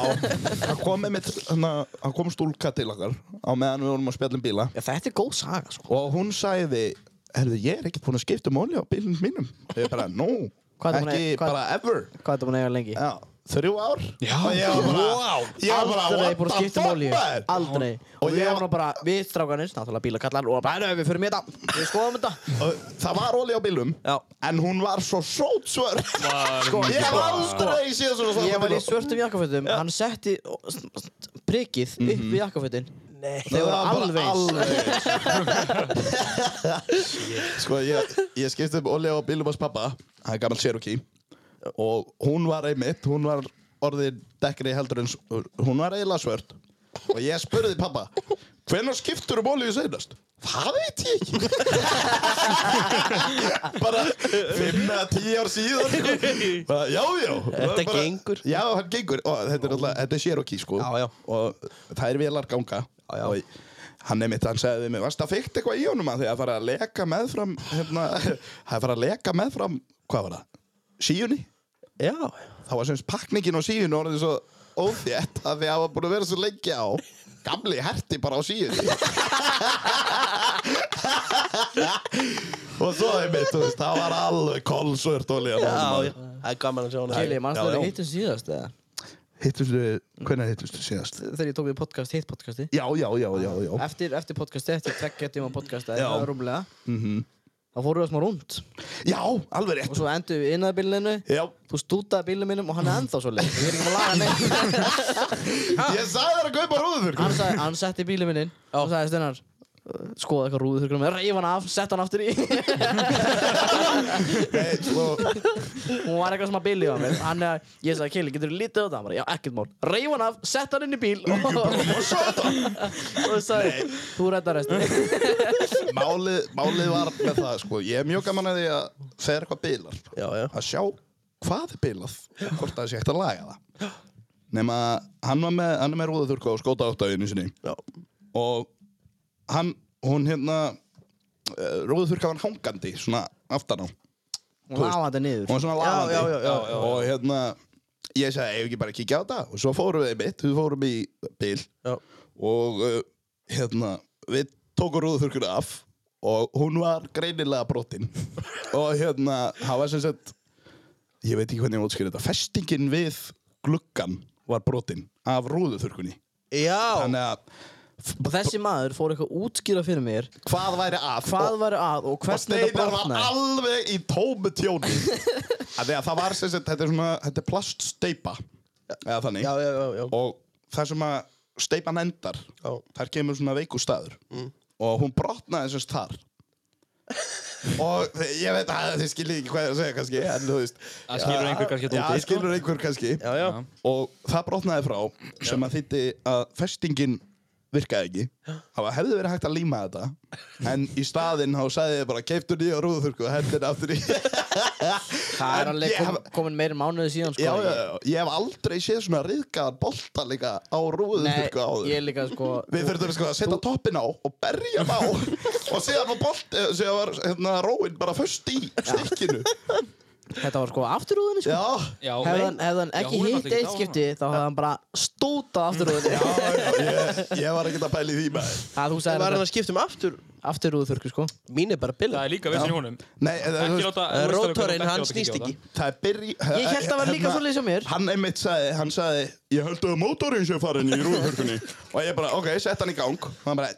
S8: það kom með mitt, það kom stúlka til okkar á meðan við vorum að spjalla um bíla
S3: Já, þetta er góð saga sko
S8: og hún sagði, herðu, ég er ekki búin að skipta um olja á bílunum mínum. Ég bara, no,
S3: Hvað er búin að-
S8: ekki
S3: hvað-
S8: bara ever.
S3: Hvað er þetta búin að eiga lengi?
S8: Já, þrjú ár.
S1: Já,
S8: og ég var bara,
S2: wow.
S8: ég var bara,
S3: Aldrei búin
S8: what
S3: að
S8: the
S3: skipta um
S8: fuck,
S3: olíu
S8: maður?
S3: Aldrei Og við varum bara, við strákanir, náttúrulega bílakallar Og bara, "Heyrðu, við förum í þetta Við skoðum þetta
S8: Og Það var olja á bílum,
S2: Já.
S8: en hún var svo sótsvör.
S9: Sko,
S8: Ég hef aldrei séð svona svona.
S3: Ég var í svörtum jakkafötum, hann setti prikið
S8: Mhm.
S3: upp í jakkafötin
S2: Nei.
S3: Þau voru alveg eins.
S8: Sko, ég, ég skipti um olja á bílum hans pappa, hann er gammal Cherokee og hún var einmitt, hún var orðið dekkri heldur en s- hún var eiginlega svört og ég spurði pappa hvenær skiptur um olíu seinast? Það veit ég ekki Bara 5 að 10 ár síðan sko. Bara, Já, já
S2: Þetta
S8: Bara-
S2: gengur.
S8: Já, hann gengur og þetta er alltaf, þetta er Cherokee sko
S2: Já, já.
S8: og það er velar ganga já, já. og hann er mitt, hann sagði við mig varst það fyrkt eitthvað í honum að því að fara að leka meðfram hérna, að fara að leka meðfram hvað var það? Síjunni?
S2: Já,
S8: þá var semst pakningin á síðun orðin svo óþétt að því að hafa búin að vera svo lengi á gamli herti bara á síðun og svo einmitt, þú veist, það var alveg kolsvört olíðan
S2: já, já. Það er gaman að sjá hana.
S3: Kili, mannstu
S8: Já,
S3: þegar
S8: já.
S3: við hittum síðast eða?
S8: Hittust við, hvernig hittust við síðast?
S3: Þegar ég tók við podcast, hitt podcasti
S8: Já, já, já, já, já
S3: Eftir, eftir podcasti, eftir tveggja tíma podcasti
S8: Já. Mhm.
S3: Það var rúmlega Þá fórum við smá rúnd
S8: Já, alveg
S3: Og
S8: rétt
S3: svo endum við innan bílinu
S8: Já,
S3: Þú stútaði bílinu mínum og hann er ennþá svo leið Ég er ekki maður að laga neitt
S8: ég sagði þér að kaupa rúður fyrir
S3: hann, sagði, hann setti bílið minn inn og sagði Steinar uh, skoða eitthvað rúðu þurrkunum reif hann af, sett hann aftur í hún
S8: Nei, sko, og
S3: var eitthvað sem að bílið á mig hann, eh, ég sagði Kelly, getur þú lítið á það? hann bara, já, ekkert mál reif hann af, sett hann inn í bíl og, og sagði, þú reddar resti
S8: málið, málið var með það sko. Ég er mjög gaman að því að þegar eitthvað bilar
S2: Já, já.
S8: að sjá hvað er bilað og hvort það sé hægt að laga það nema hann var með hann er með rúðaþurka og skóta áttaðinu sinni já. og hann hún hérna rúðaþurka var hangandi svona aftan á hún
S3: hún lafa þetta niður
S8: var svona lagandi já, já, já, já, já. og hérna ég sagði eigum ekki bara að kíkja á þetta og svo fórum við einmitt við fórum í bil
S2: Já.
S8: og uh, hérna við tókum rúðuþurkuna af og hún var greinilega brotinn og hérna það var sem sagt ég veit ekki hvernig ég útskýr þetta festingin við gluggan var brotinn af rúðuþurkunni
S2: Já,
S8: þannig að
S3: og þessi maður fór eitthvað að útskýra fyrir mér
S8: hvað væri að
S3: hvað
S8: og,
S3: var að og
S8: og
S3: hvernig þetta
S8: steinar var
S3: brotnaði
S8: alveg í tómu tjóni að því að það var sem sagt þetta er svona þetta er plaststeipa eða þannig
S2: já, já, já, já.
S8: og það sem að steipan endar
S2: Já.
S8: þar kemur svona veikustæður mm. og hún brotnaði þessast þar og ég veit að þið skiljið ekki hvað ég er að segja kannski en þú veist
S1: Það skilur einhver kannski
S8: já,
S1: þetta
S8: það
S1: úti, sko.
S8: skilur einhver kannski
S2: Já, já.
S8: og það brotnaði frá sem að þýtti að festingin virkaði ekki það var- hefði verið hægt að líma þetta en í staðinn þá sagði ég bara keiptu nýja rúðurku og hendin aftur í
S3: það er
S8: En
S3: alveg
S8: ég
S3: kom, komin meira mánuði síðan sko
S8: já, já, já, ég hef aldrei séð svona riðgaðan bolta líka á
S3: Nei,
S8: rúðurku áður
S3: ég líka sko
S8: Við þurftum sko að setja toppin á og berja hann á og síðan var bolt, eh, síðan var hérna, róin bara föst í stikkinu
S3: Þetta var sko afturrúðinni sko
S1: Já,
S3: Hefði
S1: nei.
S3: hann- hefði hann
S1: Já,
S3: ekki
S1: hún er
S3: hitt
S1: náttúrulega
S3: eitt
S1: ekki
S3: skipti Þá hefði hann bara stótað afturrúðinni
S8: Ég, ég var ekkert að pæla í því með
S3: Það þú sagði
S2: Var hann að skipta um aftur?
S3: Afturrúðþurku sko
S2: Mín er bara billa.
S9: Það er líka vissið í honum.
S8: Nei, en það-
S9: Ekki láta...
S2: Eh,
S9: þú veist alveg hvað þú
S2: Rótorinn,
S9: ert ekki að
S2: hann
S9: láta kíkja á
S2: snýst
S9: það.
S2: ekki.
S8: Það er byrji
S3: Ég held að það var líka svolítið sem mér
S8: hérna- Hann einmitt sagði, hann sagði Ég held að mótorinn sé farin í rúðhörkunni Og ég bara, ok, sett hann í gang Og hann bara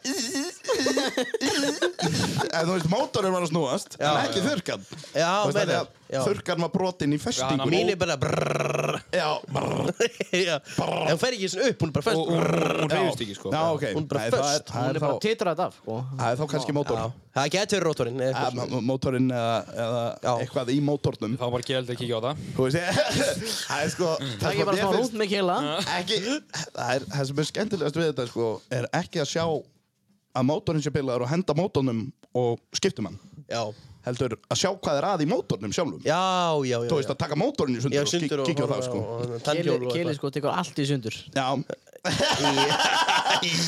S8: En þú veist, mótorinn var að snúast En ekki þurrkan
S2: Já,
S8: Þú veist,
S2: meina.
S8: af því að Þurrkan var brotinn í festingu
S2: Mín er bara brrrr.
S8: Já, brrr,
S2: Já. En hún fer ekki svona upp, hún er bara fest.
S1: Og og- og hún reyðist ekki, sko.
S8: Já, ok
S2: Hún bara
S8: Nei, það er-
S2: föst.
S8: Það
S3: Hún
S8: er
S3: er bara
S8: þá-
S3: titrað af sko
S8: það er þá kannski mótor
S2: Það getur verið rótorinn. eða eitthvað svona.
S8: Mótorinn eða, eða
S2: Já.
S8: eitthvað í mótornum
S1: Það var bara gæld að kíkja á það.
S8: Þú veist, ég- það er sko
S3: Það er
S8: sko,
S3: bara
S8: mér
S3: smá
S8: finnst-
S3: rúnt með kila
S8: ekki, það er það sem er skemmtilegast við þetta sko, er ekki að sjá að mótorinn sé bilaður og henda mótornum og skiptum hann
S2: Já,
S8: heldur að sjá hvað er að í mótornum sjálfum
S2: já, já. já,
S8: þú veist að taka mótorinn í sundur
S2: Já,
S8: og
S2: sundur
S8: kik-
S2: og
S8: kíkja á það
S2: horfa
S8: sko
S2: og- og- tannhjól og
S3: Kili
S2: eitthvað.
S3: sko tekur allt í sundur
S8: já,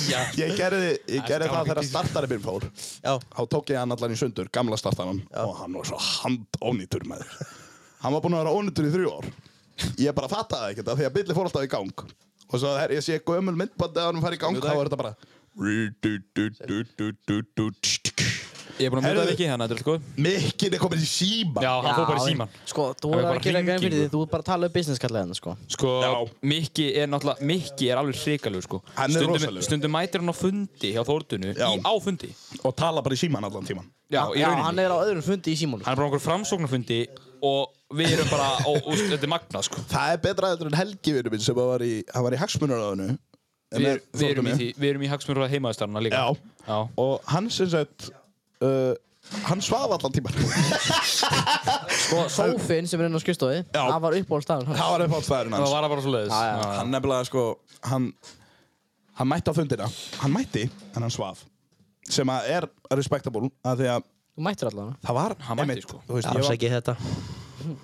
S2: Já,
S8: ég gerði, ég gerði það þegar startarinn minn fór
S2: já,
S8: þá tók ég hann allan í sundur, gamla startarann og hann var svo handónýtur með hann var búinn að vera ónýtur í þrjú ár ég bara fattaði ekkert af því að billi fór alltaf í gang og svo þegar ég sé gömul myndbandi að hann fær í gang þá er þetta bara
S1: Ég er búin að mynda
S8: Herðu.
S1: það ekki, þannig að þetta er allt góð.
S8: Mikkin er komin í síma
S1: sko. Já, hann fór bara í síman.
S3: Sko,
S1: Það
S3: þú
S1: er
S3: voru að
S1: bara
S3: gera grein fyrir
S1: hringing.
S3: því Þú voru bara að tala um business kallega hennar sko
S1: Sko, Mikki er náttúrulega, Mikki er alveg hrikalegu, sko.
S8: Hann er
S1: Stundum-
S8: rosalegur.
S1: Stundum mætir hann á fundi hjá Þórtunu,
S8: Já.
S1: í- á fundi.
S8: og tala bara í síman allan tíman
S1: Já, í
S3: Já,
S1: rauninni.
S3: hann er á öðrum fundi í sko. símónu
S1: Hann er bara á einhverjum framsóknarfundi og við erum bara, og, og, þetta er magnað, sko.
S8: það er betra heldur en Helgi vinnu minn sem var í, hann var í hagsmunaröðinu
S1: Við, við, erum, í því, við erum í hagsmurra heimaðistarna líka.
S8: Já.
S1: Já.
S8: og hann sem sagt uh, hann svaf allan tíman
S3: Sko, sófinn sem er inn á skrifstofi Það var uppáhaldstafan hans
S8: það var upp á stæðurinn
S1: Það
S8: hans
S1: var bara svo leiðis.
S3: Já, já.
S8: hann nefnilega sko hann, hann mætti á fundina hann mætti en hann svaf sem að er respectable að því að
S3: Þú mættir allavega
S8: það var
S1: Hann mætti,
S8: einmitt,
S1: sko.
S8: þú veist, ég var,
S2: afsækið þetta.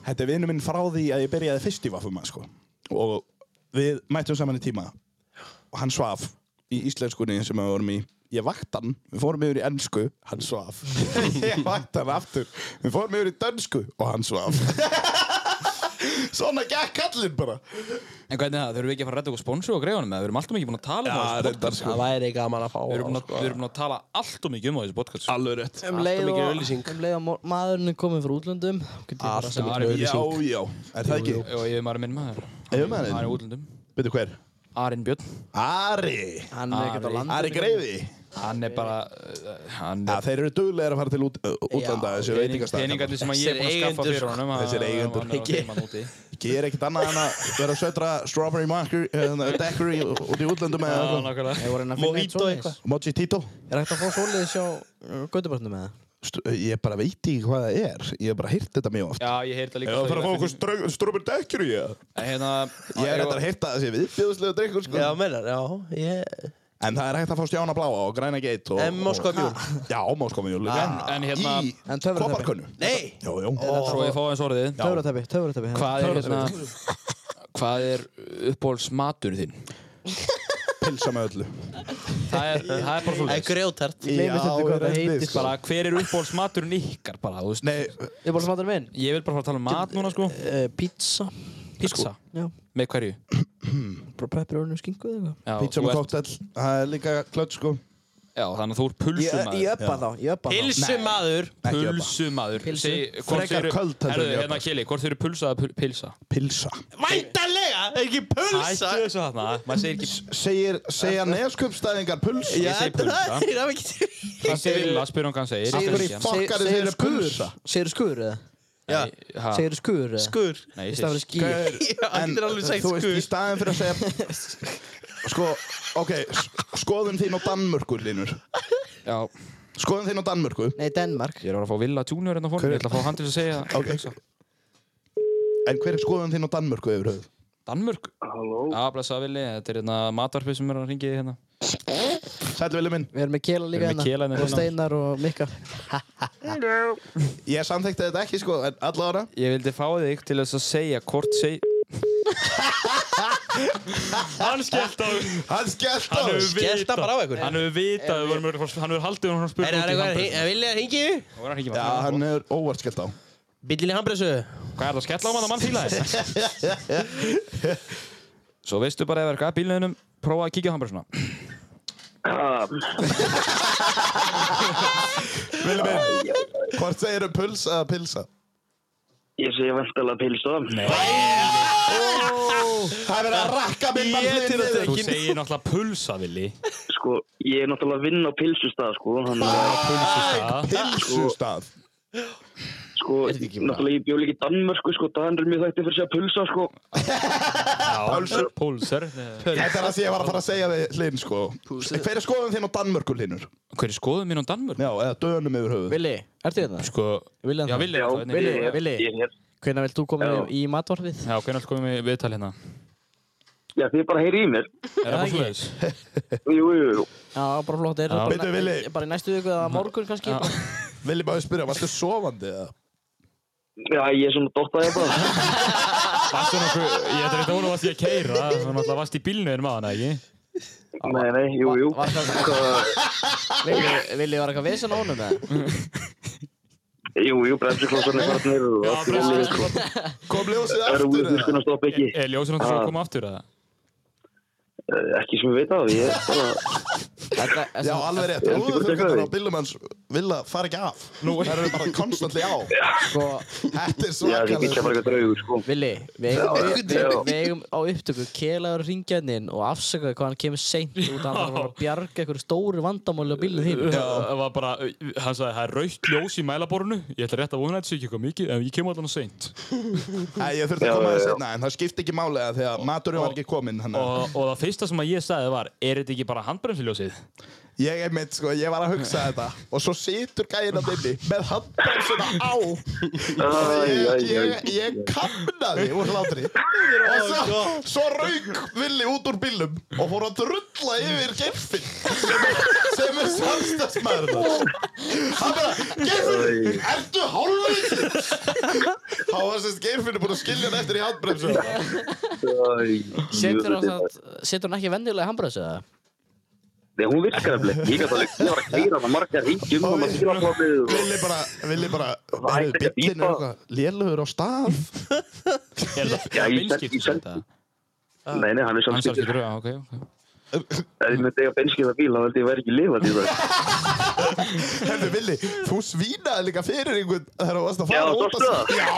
S8: þetta er vinnu minn frá því að ég byrjaði fyrst í vaffum sko. og við mættum saman í tíma og hann svaf í íslenskunni sem við vorum í ég vakt hann, við fórum yfir í ennsku hann svaf, ég vakt hann aftur við fórum yfir í dönsku og hann svaf svona gekk kallinn bara
S1: En hvernig er það, þurfum við ekki að fara að redda okkur sponsor og greiðanum eða við erum alltaf mikið búin að tala um það í þessu
S8: reyndar sko.
S2: Það væri gaman að fá.
S1: Við erum búin að, við erum búin að tala allt og mikið um það í þessu podcast sko.
S8: alveg rétt
S3: Um
S2: Alltaf
S3: leið
S2: mikil
S3: og,
S2: auglýsing.
S3: um leið og mo- maðurinn er komið frá útlöndum getur bara sagt-
S1: mikil
S8: Já, já, er það ekki?
S1: Og ég er maður minn maður
S8: Yfirmaðurinn?
S1: Hann er útlundum
S8: Veitu hver?
S1: Arinn Björn
S8: Ari
S3: Hann er ekkert á
S1: Ari.
S3: landinu
S8: Ari Greiði
S1: Hann er bara uh, hann
S8: ja,
S1: er
S8: Þeir eru duglegir að fara til út, uh, útlanda Þessi veitingastæð
S1: Peningarnir sem ég er búin að skaffa
S2: Þessir
S1: fyrir honum að-
S8: Þessir sko. eigendur.
S1: hann er að geyma hann úti.
S8: Ég er ekkert annað en að vera að södra Strawberry Marker, uh, Daiquiri út í útlandum
S1: Já,
S8: með uh,
S1: nákvæmlega.
S3: Ég voru henni að finna eitt
S2: Mojito
S3: svoleiðis
S2: eitthvað.
S8: Moji Tito
S3: Er hægt að fá svoleiðis hjá uh, göttubarnum með það?
S8: Stu- Ég bara veit ekki hvað það er Ég hef bara heyrt þetta mjög oft
S1: Já, ég heyrði það líka
S8: Eða þarf að fá okkur stra- Strawberry Daiquiri ja.
S1: Hérna
S8: Ég er
S1: ef-
S8: reyndar að heyrta þessi viðbjóðslega drikkur sko.
S2: Já, meinar, já, ég...
S8: En það er hægt að fá stjána bláa og græna geit og,
S2: En Moskva mjúl.
S8: Já, Moskva mjúl líka.
S1: En- en hérna-
S8: Í
S3: En töfrateppi.
S8: koparkönnu
S2: Nei!
S8: Jú, jú
S1: Svo ég fá eins orðið
S3: Töfratæpi, töfratæpi
S1: Hvað er hérna Hvað er uppáhalds matur þinn?
S8: Pilsa með öllu
S1: Það er, það er bara
S2: Það er
S1: svolítið
S2: grjótart.
S3: Gleymist þetta hvað það
S8: reyndist.
S3: heitir
S1: Bara hver er uppáhalds maturinn ykkar bara, þú veist
S8: sko. Nei,
S3: Ég er bara smátur minn
S1: Ég vil bara fara að tala um mat núna sko
S3: uh, Pizza
S8: sko.
S1: Pizza
S3: Já
S1: Með hverju?
S3: Bara pepperoni og skingu eða eitthvað
S1: Já,
S8: pizza
S1: þú
S8: með
S1: ert-
S8: koktel Það er líka klöts sko
S1: Já, þannig að þú er pulsumæður.
S3: Ég öppa þá, ég öppa þá
S2: Pilsumadur.
S8: Ekki öppa.
S1: Pulsumæður.
S3: Pilsu.
S8: Frekar köld heldur en
S1: Herðu,
S8: ég
S1: hérna
S8: öppa.
S1: Kili, hvort þau eru pulsa eða pul- pilsa?
S8: Pilsa
S2: Væntalega, ekki pulsa.
S1: Hættu þessu þarna. Maður segir ekki
S8: Segir, segja neskjöpstæðingar puls
S2: Já,
S1: Ég segi
S2: þetta-
S1: pulsa.
S2: það er ekki...
S1: hvað þið vilja, spyrum hvað hann segir.
S3: Segirðu-
S1: Segir hann.
S8: fuck fokkar
S3: segirðu
S8: þeir eru
S3: skur?
S8: pulsa?
S3: Segirðu skur eða?
S2: Já,
S1: Ha,
S3: Segirðu skur eða?
S2: skur.
S1: Nei,
S3: Í
S1: ég
S3: staðan fyrir
S1: segir
S3: skýr
S2: Já, þetta er alveg sagt
S8: Þú veist, í
S2: skur.
S8: staðin fyrir að segja Sko, ok s- Skoðum þín á Danmörku, Linur
S1: Já,
S8: Skoðum þín á Danmörku
S3: Nei, Danmark
S1: ég er að fara að fá Villa Junior hérna fórum.
S8: Hver-
S1: Ég ætla að fá hann til að segja
S8: Ok. En hver er skoðum þín á Danmörku yfir höfuð?
S1: Danmörk.
S5: Halló?
S1: Já, blessa Vili. Þetta er hérna matvarpið sem er að ringi hérna.
S8: Sæll vilja minn
S3: Við erum með Kela
S1: Við
S3: líka
S1: erum með Kela hérna.
S3: Og Steinar og Mikka
S8: Ég samþekti þetta ekki sko En allavega
S1: Ég vildi fá þig til þess að segja hvort seg...
S9: Hann skellt á...
S8: Hann skellt á
S9: Hann hefur
S8: þess
S2: Skellta
S9: vitað-
S2: bara á ykkur.
S9: Hann hefur vitað, að við vorum örugglega að fara- hann hefur haldið og hann
S2: Er
S1: út í
S2: það eitthvað,
S1: handbremsu.
S2: vilja það hingið?
S1: Og hann hringir
S8: Já,
S1: bara.
S8: hann er óvart skellt á
S2: Bíllinn í handbremsu.
S1: Hvað er það að skella á mann að mann fíla þess? Svo veistu bara ef er eitthvað að bílniðinum prófa að kíkja á hann bara svona.
S8: Vili minn, hvort segir þau pulsa eða pilsa?
S5: Ég segi vantalega pilsa. Nei.
S8: Það er verið að rakka minn mann hlutið
S11: Þú segir náttúrulega pulsa, Vili.
S5: Sko, ég er náttúrulega að vinna á pilsustað, sko. Hann
S11: Pulsustað.
S8: Pilsustað.
S5: Sko, náttúrulega ég bjóð líka í Danmörku, sko. Danir er mjög þætti fyrir að segja pulsa, sko.
S11: Pulsur. Pulsur.
S8: Þetta er það sem ég var að fara að segja við Hlinn, sko. Hver er skoðun þín á Danmörku, Hlinnur?
S1: Hver er skoðun mín á Danmörku?
S8: Já, eða dönum yfir höfuð.
S3: Vili, ertu hérna?
S1: Sko,
S3: Vili,
S1: Já, Willi er Já, hérna.
S3: Vili,
S1: Willi er-
S3: Vili.
S1: ég er hér.
S3: Hvenær vilt þú koma
S1: Já.
S3: í matvarfið?
S1: Já, hvernig komum við í viðtal hérna?
S5: Já, þið bara heyri í mér.
S1: Er það bara svoleiðis?
S5: Jú, jú, jú.
S3: Já, bara flott, er
S1: Já.
S3: það
S1: Bíddu,
S3: bara,
S1: Willi.
S3: næ- bara í næstu viku eða morgun kannski?
S8: Vili, maður spyrja, varstu sofandi eða?
S5: Já, ég er svona hérna. dottaði bara.
S11: Varstu nokkuð, ég ætla þetta honum að því að keira, þú náttúrulega varst í bílnu en maður, ekki?
S5: Nei, nei, jú, jú. Sko,
S3: Vili, Vili var eitthvað vesen á honum eða?
S5: Jú, jú, bremsiklossan er farnir og allt í lagi, sko.
S8: Kom ljósið
S5: Það eru úr þurrskun að stoppa ekki.
S1: Er ljósir hann til að
S5: Ah,
S1: koma aftur eða?
S5: eh, Ekki sem við veit af, ég er bara...
S8: Já, alveg rétt.
S5: Ég er ekki búin að tekka
S8: Rúðuþurrkurnar
S5: því.
S8: á bílum hans vilja fara ekki af.
S1: Nú.
S8: Það eru bara konstantli á.
S3: Sko,
S8: Þetta er
S5: Já, þið
S8: svakalega.
S5: geta bara eitthvað draugur, sko.
S3: Vili, við eigum,
S5: Já,
S3: við, við,
S5: já.
S3: við eigum á upptöku kelaður ringjarninn og afsakaði hvað hann kemur seint út að hann var að bjarga einhverju stóru vandamáli á bílinn þín.
S11: Það var bara, hann sagði, það er raukt ljós í mælaborinu, ég ætla rétt að vona þetta sé ekki eitthvað mikið, en ég kem allan að seint.
S8: Nei, ég þurfti
S5: Já,
S8: að koma
S5: já,
S8: aðeins
S5: já.
S8: seinna, en það skipti ekki máli að því að maturinn var ekki kominn. þannig að-
S11: Og, og það fyrsta sem að ég sagði var, er þetta ekki bara handbremsiljósið?
S8: Ég er mitt, sko, ég var að hugsa þetta og svo situr gæinn að inni með handar svona á
S5: Æ,
S8: ég,
S5: æ, æ.
S8: ég, ég kamnaði úr hlátri og svo, svo rauk Villi út úr bílum og fór að drulla yfir Geffin sem er, sem er samstagsmaðurinn hann bara, Geffin, ertu hálfviti? þá var sérst Geffin búin að skilja hann eftir í handbremsu
S3: Setur hann, samt- setur hann ekki vendilega í handbremsu eða?
S5: Nei, hún virkar eftir. Ég gæti alveg, ég var að keira hana margar ríkjum og maður fyrir að koma með og...
S8: Villi bara, Villi bara,
S5: Það
S8: heyrðu,
S5: hætti ekki að
S8: bíllinn er
S5: bípa.
S8: eitthvað lélugur á stað
S11: Er það
S5: Já, ég sel- ég
S11: beinskipt?
S5: sel- Nei, nei, hann er
S1: Hann sagði
S5: samskiptur.
S1: skilur, já, ok, ok.
S5: Ef ég myndi eiga benskiða bíl, þá held ég verið ekki lifað í það.
S8: Hefðu Vili, þú svínaði líka fyrir einhvern þegar þú varst að
S5: Já,
S8: fara út
S5: sástu það?
S8: Já,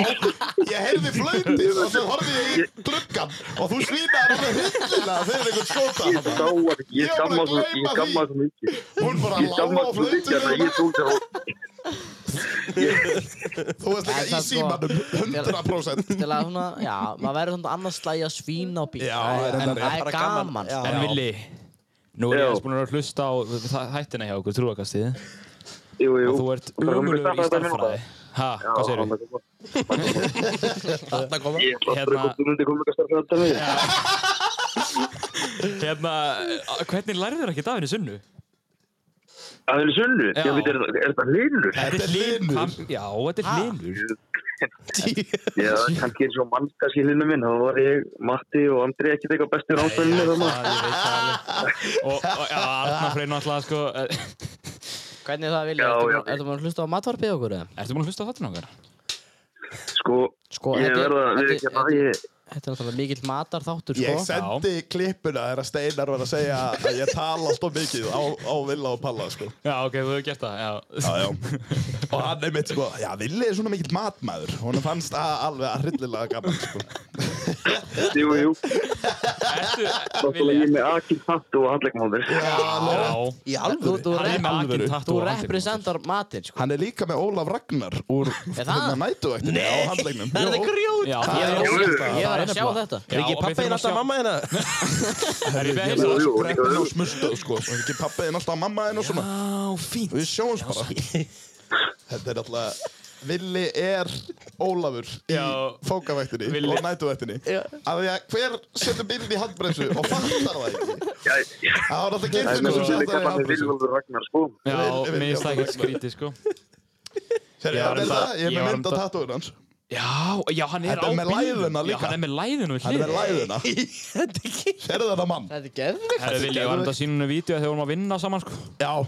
S8: ég heyrði flöytið og svo horfði ég í druggan og þú svínaði alveg hillilega fyrir einhvern skóta
S5: Ég sá að ég
S8: Ég var búin
S5: skamma
S8: að
S5: svo, ég
S8: gleyma
S5: skamma svo mikið.
S8: Hún bara
S5: Ég skamma
S8: lág á hérna.
S5: svo mikið,
S8: flöytinu
S5: þannig að ég tók það á...
S8: Þú varst
S3: En
S8: líka í
S3: samt sko-
S8: símanum, 100%
S2: Sko?
S3: Til að svona, já, maður verður svona annars slægja svín á bíl.
S8: Já,
S3: það er,
S8: reyndar,
S3: en,
S8: já,
S3: það
S8: bara
S3: er
S8: gaman.
S3: gaman.
S8: Já.
S1: En Vili, nú er
S5: Já.
S1: ég aðeins búin að vera að hlusta á þa- þættina hjá okkur trúakastið.
S5: Jú, jú.
S1: Og þú ert
S5: Það kom
S1: umurur
S5: eitthvað
S1: í
S5: staffaði
S1: starffræði. Hæ,
S5: hérna. Já,
S1: hvað segir þú?
S5: hann er góð.
S2: Þarna koma.
S5: Ég ætla að
S1: Hérna-
S5: drökkum þú myndi koma eitthvað starfrið að mig.
S1: Hérna, eh, hvernig lærið þér ekki dafinni sunnu?
S5: Það er sunnu.
S1: Já.
S5: Ég veit, er er þetta hlinur?
S1: Þetta
S8: er Hlynur.
S1: hann- Já, þetta er hlinur.
S5: Já, kannski eins og mann, kannski hlinur minn. Þá var ég, Matti og Andri ekki eitthvað bestir ástæðinu
S1: Það, ég
S5: þarna.
S1: veit það alveg. Og, og já, Arnar Freyr náttúrulega, sko. eh,
S3: Hvernig er það vilja?
S5: Já, já.
S3: Ertu- Ertu maður að hlusta á matvarpið okkur eða?
S1: Ertu búin að hlusta á þáttina okkar?
S5: Sko,
S3: Sko,
S5: ég
S3: þetta er-
S5: verða, við
S3: þetta
S5: ekki
S3: er-
S5: að ég...
S3: Þetta er náttúrulega mikill matar þáttur, sko.
S8: Ég sendi klippuna þegar Steinar var að segja að ég tala alltaf mikið á, á Villa og Palla sko.
S1: Já, ok, þú hefur gert það, já.
S8: já, já. og hann er mitt sko já, Villi er svona mikill matmaður hún fannst það alveg hryllilega gaman sko.
S5: Jú, jú.
S1: Ertu,
S5: Náttúrulega
S1: Vili,
S5: ég er með Akin Tattu og handleikmóður.
S1: já.
S2: Í
S3: Þú,
S2: alvöru?
S3: þú,
S1: Hann er
S3: rep,
S1: með akin tattu
S3: þú
S1: og handlegg.
S3: representar matinn, sko.
S8: Hann er líka með Ólaf Ragnar úr hérna nætuvættinni á handlegnum.
S2: Ah. Það er eitthvað rjóð.
S1: Já,
S8: Það
S1: það
S8: er
S1: er
S8: ógeðslegt.
S1: ógeðslegt.
S3: Ég var
S1: Það
S3: að
S1: er
S3: sjá
S1: nefnilega-
S3: þetta.
S1: Já,
S2: Er ekki
S1: og við
S2: pappa
S1: þurfum að
S2: þinn alltaf
S1: sjá-
S2: mamma hérna?
S1: Er ég
S8: Ég
S1: beðið
S8: er
S1: um
S8: alveg
S1: það?
S5: jú,
S8: skreppin
S5: jú.
S8: á smustöð, sko. Og ekki pappiðin alltaf mamma þinn og svona.
S1: Já, fínt.
S8: Við sjáumst bara. Þetta er alltaf... Villi er Ólafur í
S1: Já.
S8: fókavættinni
S1: Villi.
S8: og nætuvættinni af því að hver setur bílinn í handbremsu og fattar það ekki
S5: Já, já.
S8: Það var alltaf
S5: Það er
S8: glimt
S5: með svo
S8: sko
S5: sem
S8: sem settar það í
S5: eitthvað með
S8: handbremsu
S5: Vilvaldur Ragnar, sko.
S1: Já,
S8: Vil- vil-
S1: mér finnst það ekkert skrítið, sko.
S8: Sér
S1: Ég
S8: ég
S1: var
S8: að
S1: um
S8: verða,
S1: það-
S8: ég er
S1: ég
S8: með
S1: var um
S8: mynd á
S1: það-
S8: tattúin hans
S1: Já, já, hann er
S8: Þetta er
S1: á
S8: með
S1: bílnum.
S8: læðuna
S1: Já,
S8: líka.
S1: hann er með læðinu við
S8: Hann er með
S1: hlið.
S8: læðuna Sérðu þetta mann?
S3: Þetta er geðvikt.
S1: Herðu, Vili, ég var um þetta sínum vídeo þegar við vorum að vinna saman, sko.
S8: Já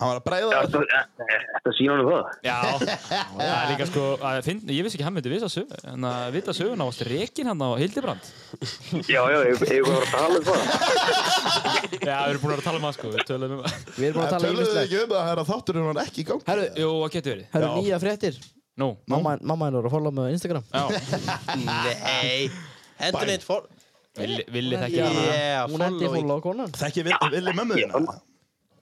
S8: Hann var að bregða
S5: Þetta sína hann um það
S1: Já, það er líka sko að finn, Ég vissi ekki hann myndi vita sög En að vita söguna ást rekin hann á Hildibrand
S5: Já, já, ég hef bara að tala um það
S1: Já, við erum búin að vera að tala um það sko Við tölum um Við
S8: En Töluðu þið ekki um að það er að þátturinn var ekki í gangi?
S1: Herru, jú, það getur verið
S3: Herru, nýja fréttir
S1: Nú
S3: Mamma mamma hennar er að follow mig á Instagram
S2: Nei Hendur neitt fór
S1: Villi, villi
S3: Hún
S1: þekki
S3: er-
S1: hana
S2: Yeah,
S3: Hún endi
S2: follow
S3: follow konan
S8: Þekki vil, villi mömmu þína?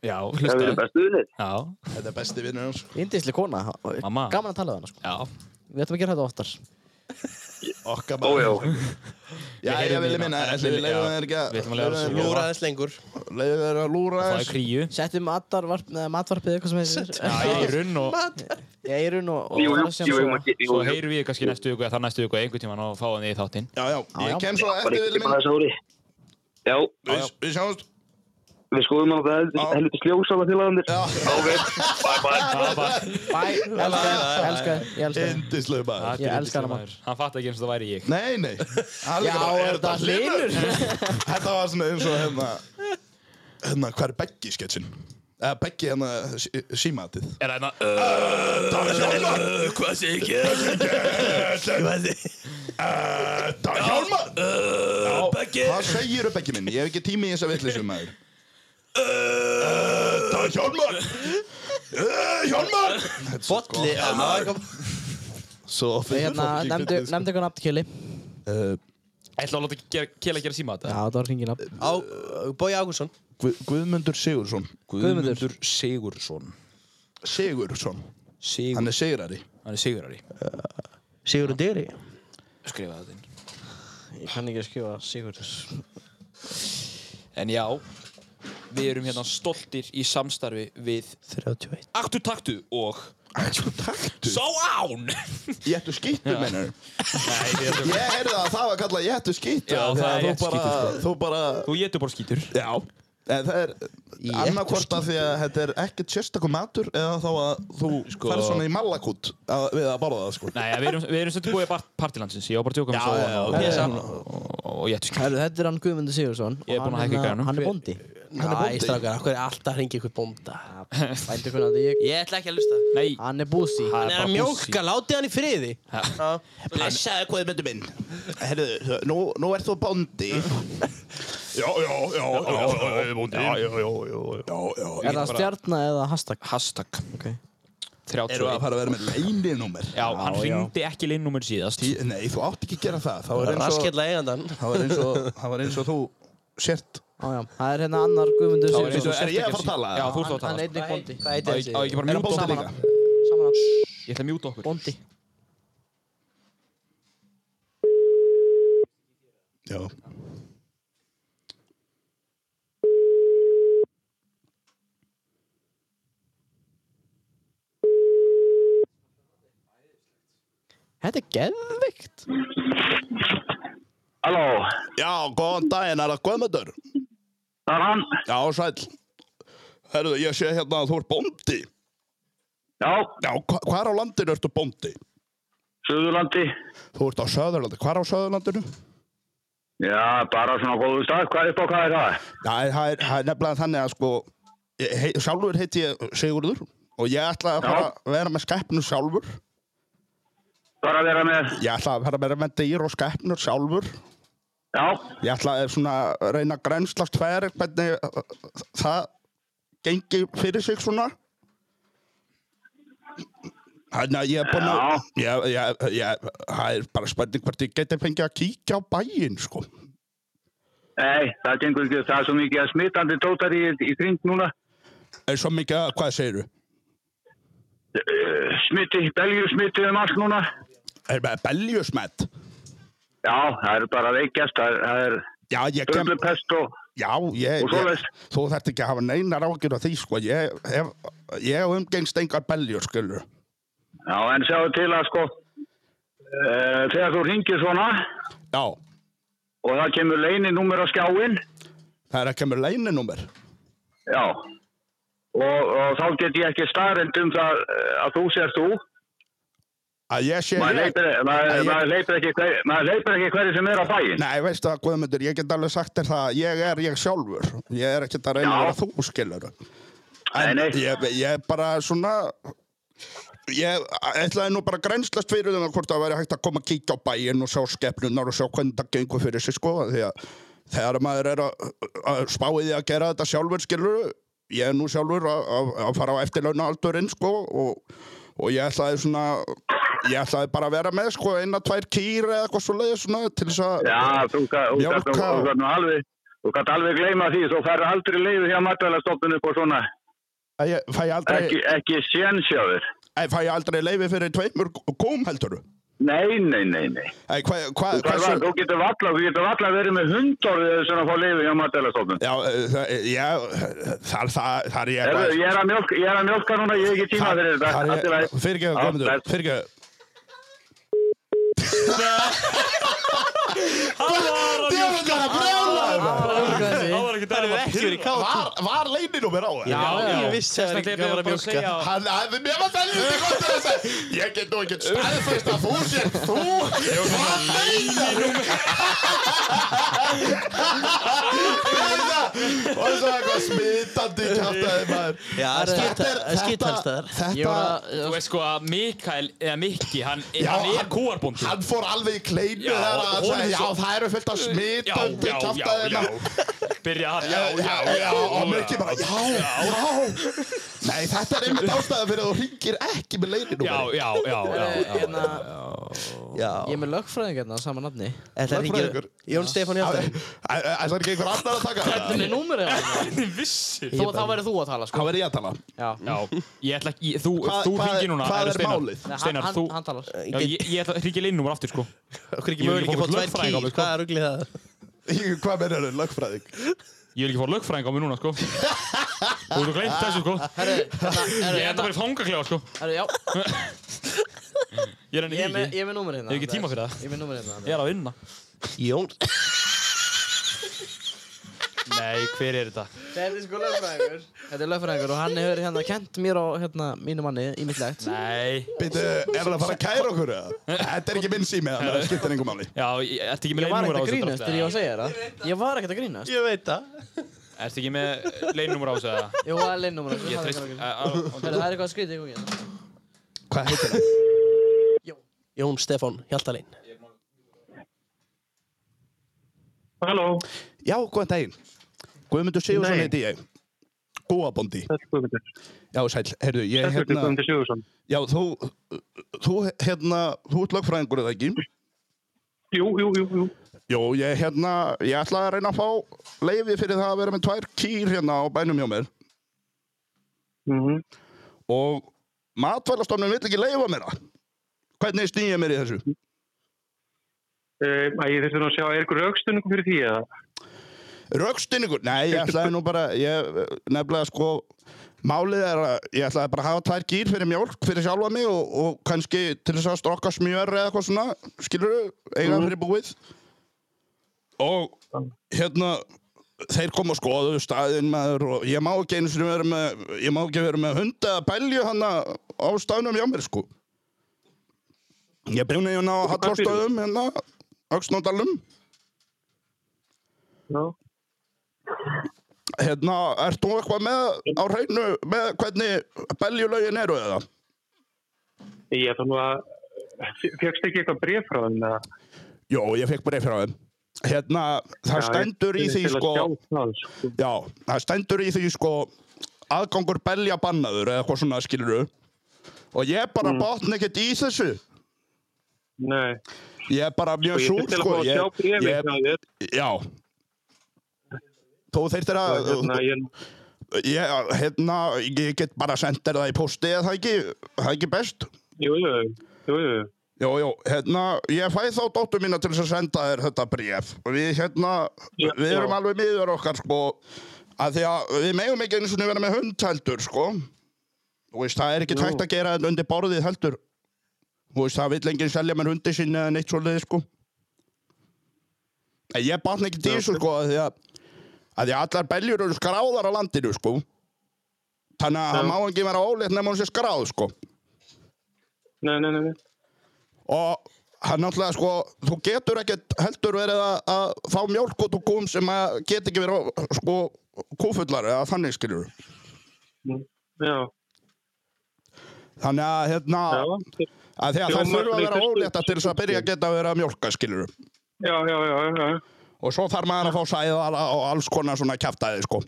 S1: Já,
S5: Það verður
S1: hlusta
S5: bestu vinnir
S1: Já,
S8: Þetta er besti vinnur hans
S3: Indisli kona
S1: Mamma.
S3: Gaman að tala við hana sko
S1: já
S3: Við ætlum að gera þetta oftar
S8: Okka
S5: Ójá
S8: bara Já,
S1: Við
S8: ég
S1: heyrum í
S8: villi
S1: hana.
S8: minna
S1: Við-
S8: Leifu
S1: já,
S8: þeir ekki að
S1: við ætlum að leyfa þessu
S8: þeir
S2: Lúra aðeins lengur
S8: að- Leifu þeir að lúra
S1: Það er
S8: þess
S1: kríu
S3: Settum matarvarp, neða, matvarpið eitthvað sem heitir
S1: Já, eirun og
S3: Í Eirun og, og
S5: Jú, jú,
S3: sem
S5: jú,
S3: svo-
S5: jú, jú, jú,
S1: Svo
S5: jú.
S1: heyrum við kannski næstu viku eða þar næstu viku eða einhvern tíman og fá hann í þáttinn
S8: Já, já,
S3: Já, já.
S8: ég kem svo
S5: Bara
S8: eftir
S5: ekki
S8: villi
S5: tíma
S8: minn
S5: þess ári Já,
S8: Við við sjáumst
S5: við skoðum á það
S8: Já.
S5: helviti sljósala félagandir
S8: Já.
S5: Ok, bye bye
S3: Bæ, elska þið, elska þið, ég elska þið
S8: Indislu bara
S1: Þetta er
S3: elska hana,
S1: yndislegur maður. Hann fatt ekki eins og það væri ég
S8: Nei, nei Hann
S3: Já,
S8: líka bara,
S3: er þetta hlynur?
S8: Þetta var svona eins og hérna Hérna, hvað er Beggi sketsin? Eða Beggi hérna sí- símatið
S1: Er það hérna, uh,
S8: Það er hjálmar Hvað sé ekki? Hvað sé Það er hjálmar Beggi Hvað segir þau Beggi minn? Ég hef ekki tími í þessa vitlisum maður Það er hjálmar Eh, Hjálmar
S2: Bolli
S8: Svo
S3: Ég
S8: finnur
S3: hérna,
S8: fólk í
S3: nefndu,
S8: kvitið, sko.
S3: nefndu eitthvað nafn kjöli Já,
S8: Eh,
S1: Ætla að láta gera- Kela gera síma þetta
S3: það var hringin nafn
S2: Bói Ágúrsson
S8: Guð- Guðmundur Sigursson
S3: Guðmundur.
S1: Sigursson
S8: Sigursson
S1: Sigur
S8: Hann er sigurari
S1: Hann er Sigurari
S2: Sigurður Degri
S1: Skrifa þetta inn
S3: Ég kann ekki að skjóða Sigurður
S1: En já Við erum hérna stoltir í samstarfi við
S2: 31
S1: Aktu taktu og
S8: Ætjú, taktu
S1: Sá án
S8: Ég ættu skýttu, meinar Ég heyrði að það var kallað ég ættu skýttu
S1: Já, það er
S8: Þegar
S1: ég ættu
S8: þú bara, þú bara
S1: Þú getur bara skítur
S8: Já En það er annarkvort að því að þetta er ekkert sérstakum matur eða þá að þú sko... ferð svona í malakút að, við að borða það sko
S1: Nei, ja, við erum, við erum svolítið búið í part- partilandsins Ég á bara að tjóka um
S8: Já,
S1: svo
S8: já, já.
S1: og,
S2: Pesa.
S1: og, og, og ég ættu skítur
S3: Herru, þetta er hann Guðmundur Sigursson og
S1: Ég er búinn að
S3: hann
S1: hækka í
S3: hérna-
S1: græjunum.
S3: Hann er bondi
S8: Hann er
S2: Æ,
S8: bóndi.
S2: strákar, hvað er alltaf að hringa ykkur bónda?
S3: Bændu hvernig að ég
S2: Ég ætla ekki að lusta
S1: Nei,
S3: Hann er búsi
S1: Það
S2: Hann er
S1: bara
S2: að
S1: bússi.
S2: mjólka, látið hann í friði
S8: Blessaðu Guðmundur minn Herðu, nú, nú ert þú bóndi Já, já, já, já, já, bóndi Já, já, já, já, já, já
S3: Er það stjarnar eða hashtag?
S1: Hashtag
S3: Ok
S1: 31
S8: Eru að fara að vera með leininúmer?
S1: Já, hann hringdi ekki linnúmer síðast
S8: Tí, nei, þú átt ekki að gera það Það var eins og,
S2: Raskella eigandan
S8: það var eins og, það var eins og þú sért
S3: Ájá, það er hérna annar Guðmundur
S1: Það var eins
S3: Sigursson
S1: og þú
S8: Er ég að
S1: sért
S8: fara að tala?
S1: Já, þú ert að
S3: Hann
S1: tala
S3: er einnig bondi
S2: Hvað
S1: Á
S2: heitir
S1: ég á
S2: þessi?
S1: ég ekki bara að mjúta
S8: hann bóndi
S1: okkur
S8: líka?
S3: Saman hann
S1: Ég ætla að mjúta okkur
S3: Bondi
S8: Já
S3: Þetta er geðvikt
S5: Halló,
S8: Já, góðan daginn, er það Guðmundur?
S5: það er hann
S8: Já, sæl Herðu, ég sé hérna að þú ert bóndi
S5: Já,
S8: Já, hva, hvar á landinu ertu bóndi?
S5: Suðurlandi
S8: Þú ert á Söðurlandi, hvar á Söðurlandinu?
S5: Já, bara svona góðu stað, hvað upp á hvað er það?
S8: Já, það er, það er nefnilega þannig að sko ég- hei, Sjálfur heiti ég Sigurður Og ég ætla að
S5: Já.
S8: fara að vera með skeppnur sjálfur
S5: Bara vera með,
S8: Ég ætla að fara að vera með dýr og skeppnur sjálfur
S5: já,
S8: Ég ætla að svona reyna að grenslast fyrir hvernig uh, það gengi fyrir sig svona. Þannig að ég er búinn að, ég, ég, ég, það er bara spurning hvort ég geti fengið að kíkja á bæinn, sko.
S5: nei, það gengur ekki, það er svo mikið að smittandi tótar í, í kring núna
S8: Er svo mikið að, hvað segirðu?
S5: Eh, Smitti, belgjur smitti um allt núna
S8: Er með beljusmett?
S5: Já, það er bara veikjast, það er- það er
S8: Já, ég kem,
S5: Öllupest og
S8: já, ég,
S5: Og svoleiðis.
S8: ég þú þarft ekki að hafa neinar ágjur af því, sko. Ég hef, ég hef umgengst engar beljur, skilur.
S5: Já, en sjáðu til að sko uh, Þegar þú ringir svona
S8: Já,
S5: Og það kemur leininúmer á skjáin
S8: það er að kemur leininúmer.
S5: Já Og, og þá get ég ekki starrend um það eh, að þú sér þú.
S8: Að ég sé
S5: Maður
S8: ég-
S5: leipir, maður,
S8: Nei, ég-
S5: maður leipir ekki, hver, maður leipir ekki hverju sem er á bæinn.
S8: Nei, veistu það, Guðmundur, ég get alveg sagt þér það að ég er ég sjálfur. Ég er ekkert að reyna að
S5: Já.
S8: vera þú, skilur. En Ég, ég bara svona Ég ætlaði nú bara að grænslast fyrir þeim hvort það væri hægt að koma að kíkja á bæinn og sjá skepnunar og sjá hvernig það gengur fyrir sig sko því að þegar maður er að, að spáið því að gera þetta sjálfur skilur ég er nú sjálfur að, að, að fara á eftirlauna aldurinn sko og, og ég ætlaði svona ég ætlaði bara að vera með sko eina tvær kýr eða eitthvað svo svona til þess að
S5: Já, þú gæ- þú gætt
S8: Mjólka.
S5: nú- þú gætt nú alveg Þú gætt alveg gleyma því, þú færðu aldrei leiði hjá matvælastofnun upp og svona
S8: að ég fæ aldrei
S5: Ekki, ekki sénsjáður
S8: Ég fæ aldrei leifi fyrir tveimur góm heldur
S5: Nei, nei, nei, nei
S8: Ei, hva, hva,
S5: Þú, hversu... þú getur valla, þú getur valla verið með hundorðið sem að fá leiði hjá matvælastofnun
S8: Já, eh, það, já, þar, þar, þar ég
S5: Herðu, ég er að mjólka, ég er að mjólka núna, ég hef ekki tíma fyrir þetta.
S8: Þar
S5: Allt í lagi.
S8: ég, fyrirgeðu,
S5: Já,
S8: Guðmundur,
S5: bless.
S8: fyrirgeðu
S10: Djöfull var að brjála
S9: Það var ekki
S10: Það er ekki verið kátur.
S8: Var, var leininúmer á þér?
S10: Já, já. Ég vissi það var ekki gaman að mjólka.
S8: Hann hafði mér var veldig gott að segja Ég get nú ekkert staðfest að þú sér þú Hvað leinar? Og svo eitthvað smitandi kjátaði maður
S2: Já,
S8: Þetta er-
S2: það er skýrtalstaðar
S9: Ég var að- Þú veist sko að Mikael, eða Mikki, hann,
S8: Já,
S9: hann er
S8: hann-
S9: kúarbóndi
S8: Hann fór alveg í kleinu
S9: Já,
S8: þegar hann
S9: honum
S8: sagði, já,
S9: svo-
S8: það eru fullt af smitandi
S9: Já, já,
S8: kjátaði
S9: já,
S8: maður
S9: Byrja hann,
S8: Já, já, já, og mörgir bara, já, já Nei, þetta er einmitt ástæða fyrir að þú ringir ekki með leininúmer
S9: Já, já, já, já, já,
S3: Hérna,
S2: Já
S3: ég er með lögfræðing hérna, saman nafni.
S2: Er það ringir Jón Stefán Hjartar
S8: Það er ekki einhver annar að taka þetta
S3: Hvernig númer er það?
S9: Hvernig vissir
S3: Þó að þá verður þú að tala, sko.
S8: Hvað verður ég að tala?
S3: Já.
S9: Já, ég ætla ekki, ég- þú,
S8: Hvað-
S9: þú
S8: hvað-
S9: ringir núna
S8: hvað
S9: eða
S8: er
S9: Steinar.
S8: málið?
S3: Nei, hann-
S9: Steinar,
S3: hann-
S9: þú
S3: hann talar.
S9: Já, ég, ég ætla að ringja leininúmer aftur sko
S2: Okkur
S9: Ég vil
S2: ekki möguleik
S9: ekki
S2: að
S9: fá
S2: fá tvær
S9: lögfræðing á
S2: kýr
S9: mig, sko.
S2: Hvað er ruglið það?
S8: Í- Hvað verður þau, lögfræðing?
S9: Ég vil ekki fá lögfræðing á mig núna sko Þú ert að gleymt þessu sko Ég ætla að vera í
S3: hérna-
S9: fangaklefa sko
S3: Herru, já,
S9: Ég er
S3: ég er
S9: henni
S3: með,
S9: ekki
S3: ég er með númer hérna.
S9: Ég hef ekki tíma fyrir það.
S3: Andrés. Ég er með númer hérna.
S9: Ég er að vinna
S2: Jón
S9: Nei, hver er þetta?
S3: Þetta er sko lögfræðingur. Þetta er lögfræðingur og hann hefur hérna kent mér og hérna mínu manni í mitt legt.
S9: Nei
S8: Býtu, er hann að fara að kæra okkur eða? Þetta er ekki minn sími, þannig að það skiptir engum máli
S9: Já, ég- ertu ekki með
S3: Ég var
S9: leininúmer á
S3: ekkert að
S9: þessu
S3: grínast þegar ég var að segja þér það. Ég var ekkert að grínast.
S2: Ég veit það
S9: Ertu ekki með leininúmer á þessu eða?
S3: Jú, það er leinnúmer.
S9: Ég
S3: Herru,
S9: treyst á-
S3: það
S9: á- á-
S3: er eitthvað að skrýta í gangi. hérna.
S8: Hvað heitir það?
S2: Jón Stefán Hjaltalín
S5: Halló,
S8: Já, góðan daginn Guðmundur Sigursson
S5: Nei.
S8: heiti ég Góabondi
S5: þetta er Guðmundur.
S8: Já, sæl, heyrðu, ég hérna-
S5: Þetta er Guðmundur Sigursson.
S8: Já, þú, þú, hérna, þú ert lögfræðingur eða ekki?
S5: Jú, jú, jú, jú.
S8: Jó, ég, hérna, ég ætla að reyna að fá leiði fyrir það að vera með tvær kýr hérna á bænum hjá mér
S5: Mm
S8: og matvælastofnun vill ekki leiða mér það Hvernig stýn ég mér í þessu?
S5: Æ, ég þurfti nú Eh, að sjá, er ykkur aukstunningu fyrir því eða?
S8: Rökstinningur? Nei, ég ætlaði nú bara, ég nefnilega sko, málið er að ég ætlaði bara að hafa tvær gýr fyrir mjólk, fyrir sjálfa mig og, og kannski til þess að strokka smjör eða eitthvað svona, skilur du, eiga fyrir búið. Og hérna, þeir kom og skoðu staðinn maður og ég má ekki einu sinni vera með, ég má ekki vera með hunda eða bælju hana á staðnum hjá mér sko. Ég brjóna hérna á Hallorstöðum, hérna, Öxnódalum.
S5: Já.
S8: hérna, ert þú eitthvað með á hreinu með hvernig beljulögin eru eða?
S5: Ég þarf nú að, fegst ekki eitthvað bref frá þeim eða?
S8: Jó, ég fekk breyf frá þeim. Hérna, það
S5: Já,
S8: stendur í
S5: ég-
S8: því
S5: til að
S8: sko,
S5: sjá það, sko.
S8: já, það stendur í því sko, aðgangur belja bannaður eða eitthvað svona skiluru. Og ég bara
S5: Mm.
S8: botn ekkert í þessu.
S5: Nei,
S8: Ég er bara
S5: og
S8: mjög
S5: ég
S8: súr
S5: þurfti til að
S8: sko.
S5: fá að sjá
S8: Ég,
S5: brefið
S8: ég,
S5: frá þér.
S8: já. Þú þeirtir
S5: Og
S8: að,
S5: Hérna, ég,
S8: ég, hérna, ég get bara sendt þér það í posti eða það ekki, það ekki best.
S5: jú, jú, jú, jú.
S8: Jó, jó, hérna, ég fæ þá dóttur mína til þess að senda þér þetta bréf. Við, hérna,
S5: Já,
S8: við erum
S5: já.
S8: alveg miður okkar, sko, að því að við megum ekki einu svona vera með hund heldur, sko. Þú veist, það er ekki
S5: Jú.
S8: tægt að gera þetta undir borðið heldur. Þú veist, það vill enginn selja mér hundi sinni eða neitt svoleiði, sko. En ég batn ekki dísu, sko, að því að, að því að allar beljur eru skráðar á landinu, sko. Þannig
S5: Já.
S8: að það má ekki vera ólétt nema hún sé skráð, sko.
S5: Nei, nei, nei, nei.
S8: og hann náttúrulega sko, þú getur ekkert heldur verið að, að fá mjólk út úr kúm sem að get ekki verið sko kúfullar eða þannig skilur
S5: Já.
S8: Þannig að hérna að því að það
S5: Hljómar
S8: þurfa að vera
S5: lítur
S8: ólétta til þess að byrja að geta að vera að mjólka skilur
S5: Já, já, já, já, já.
S8: og svo þarf maður að fá sæðala og alls konar svona kjaftaði sko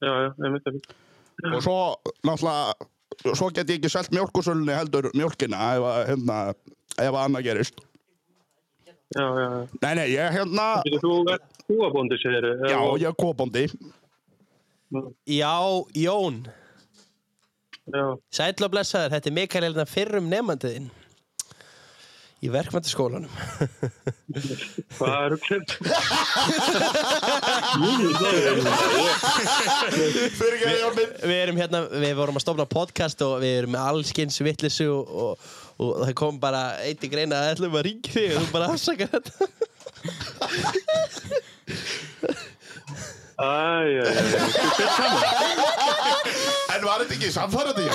S5: Já, já, ég myndi að við.
S8: og svo náttúrulega svo get ég ekki selt mjólkusölunni heldur mjólkina ef að hérna, ef að annað gerist
S5: Já, já, já.
S8: Nei, nei, ég hérna
S5: Þú ert kúabóndi, segir þau.
S8: Já, ég er kúabóndi
S2: Já, Jón
S5: Já.
S2: Sæll og blessaður, þetta er Mikael hérna Elina fyrrum nefnandiðinn Í verkmæntaskólanum
S5: Hvað er hugslið? Fyrir
S8: ekki að Jón minn
S2: Við erum hérna, við vorum að stofna podcast og við erum með allskins vittlisu og, og, og það kom bara eitt í greina að ætlum að ringi þig og þú bara afsakar þetta
S5: Æ, já, já.
S8: En var þetta ekki samfærandi, já?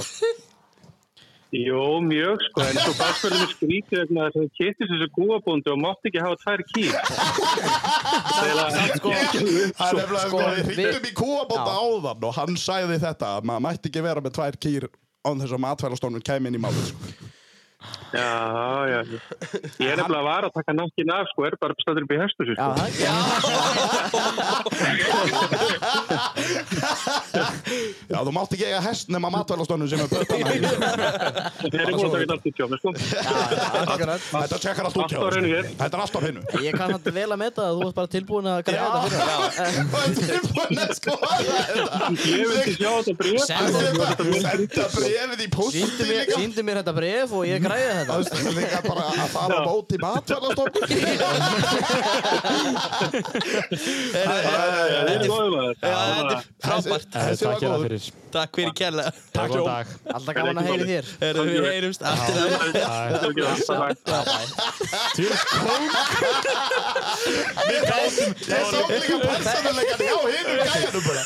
S5: Jó, mjög, sko, en svo bara fyrir mig skrítið vegna þess að það kýttis þessu kúabóndi og mátti ekki hafa tvær kýr.
S8: sko, Það er nefnilega, sko, við hringdum í
S5: Já.
S8: kúabónda áðan og hann sagði þetta að maður mætti ekki vera með tvær kýr án þess að matvælastofnun kæmi inn í málið sko.
S5: Já, já, já. Ég er nefnilega var að taka nakkin af, sko, er bara stöndur upp í hestu, sko. Já,
S8: Já, þú mátt ekki eiga hest nema matvælastofnun sem er bötana í
S5: Ég er búin að taka þetta allt út hjá mig, sko.
S8: Þetta þetta tekkar allt
S5: Allt
S8: út hjá
S5: á hreinu hér.
S8: Þetta er allt á hreinu
S3: Ég kann hann vel að meta það, þú ert bara tilbúin að græða þetta fyrir
S8: mig. Tilbúin að sko-
S5: Ég vildi sjá þetta bréf.
S8: Senda brefið í pósti
S3: Sýndu mér, sýndu mér þetta bref og ég græði þetta
S8: Það er líka bara að fara á bót í matvælastofnun
S5: Það er góðum að þetta. Já, þetta er
S2: frábært.
S1: Þessi var góð.
S2: Takk fyrir kjærlega
S1: Takk, Góðan Jón. dag.
S3: Alltaf gaman að heyri þér
S2: Heyrðu, Við heyrumst aftur
S8: Við gáðum Ég sá líka persónuleikan hjá hinum gæjanum bara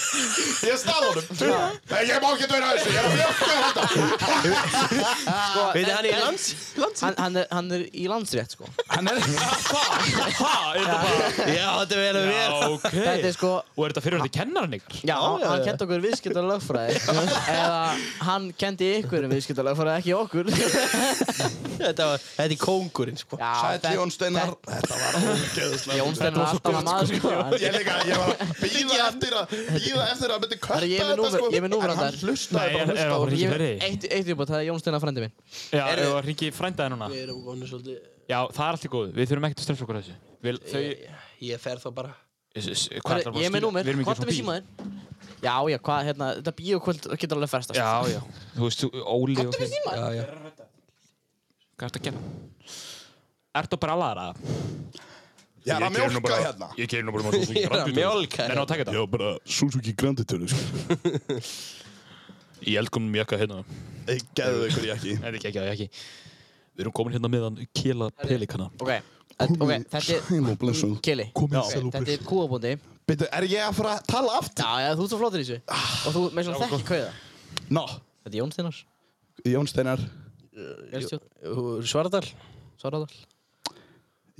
S8: Ég stað honum Nei, ég má ekki dæra þessu, ég er að mjölka þetta
S3: Sko,
S2: Veitir,
S3: en-
S2: hann er í
S3: en-
S2: lands-
S3: hann, hann, er, hann er í landsrétt sko
S1: Hann er
S2: Já, þetta er vel að vera
S1: Já, ok
S3: Þetta er sko
S1: Og er þetta fyrir þetta kennaran ykkar?
S3: Já, hann kendi okkur viðskiptar lögfræði Eða hann kendi ykkur um viðskiptar lögfræði, ekki okkur
S2: Þetta var, þetta er kóngurinn sko
S3: Sæll
S8: Jón Steinar Þetta var ógeðslega
S3: Jón Steinar er alltaf maður sko
S8: Ég líka, ég var að býða eftir að Býða eftir að myndi
S3: Herra,
S8: kötta
S3: Ég er með númer, ég er með númer
S8: En hann hlustaði bara hlustaði á
S3: Ég-
S1: fleiri?
S3: Eitt, eitt upp á það er Jón Steinar frændi minn
S1: Já, ef að ringi frændaði núna
S2: Við erum vonið svolítið
S1: Já, það er allt í góð, við þurfum ekkert að stressa okkur að þessu Vil, þau,
S2: Ég- Ég fer þá bara
S1: s- s- hvað
S3: Herra,
S1: ætlar
S3: Ég er með númer, hvort er við
S1: síma
S3: síma þinn? Já, já, hvað, hérna, þetta bíókvöld getur alveg sko. ferstast
S1: Já, já, þú veist, þú- Óli og
S3: Komdu við síma
S2: Já, já
S1: Hvað ertu að gera? Ertu bara að laðra?
S8: Ég er að mjölka hérna
S9: Ég keyri nú bara um með Suzuki
S1: Ég er að
S9: Grand Detour.
S1: mjólka
S9: Menn á að taka þetta?
S8: Ég var bara Suzuki Grand Tour sko.
S9: Í eldgumnum jakka hérna.
S8: Ég geðu ykkur jakki.
S9: Nei, ekki, ekki, ekki. Við erum komin hérna meðan kela pelikana.
S3: Ok, þetta- ok, þetta er
S8: Sæl og blessuð
S3: Kili,
S8: Komið
S3: ok,
S8: sæl og
S3: þetta er kúabóndi
S8: Beidu, er ég að fara að tala aftur?
S3: Já, já, þú ert svo flottur í þessu Og þú, með svona þekki kauða
S8: Ná,
S3: Þetta er Jón Steinar,
S8: Jón Steinar
S3: Elstjórn,
S2: Svaradal
S3: Svaradal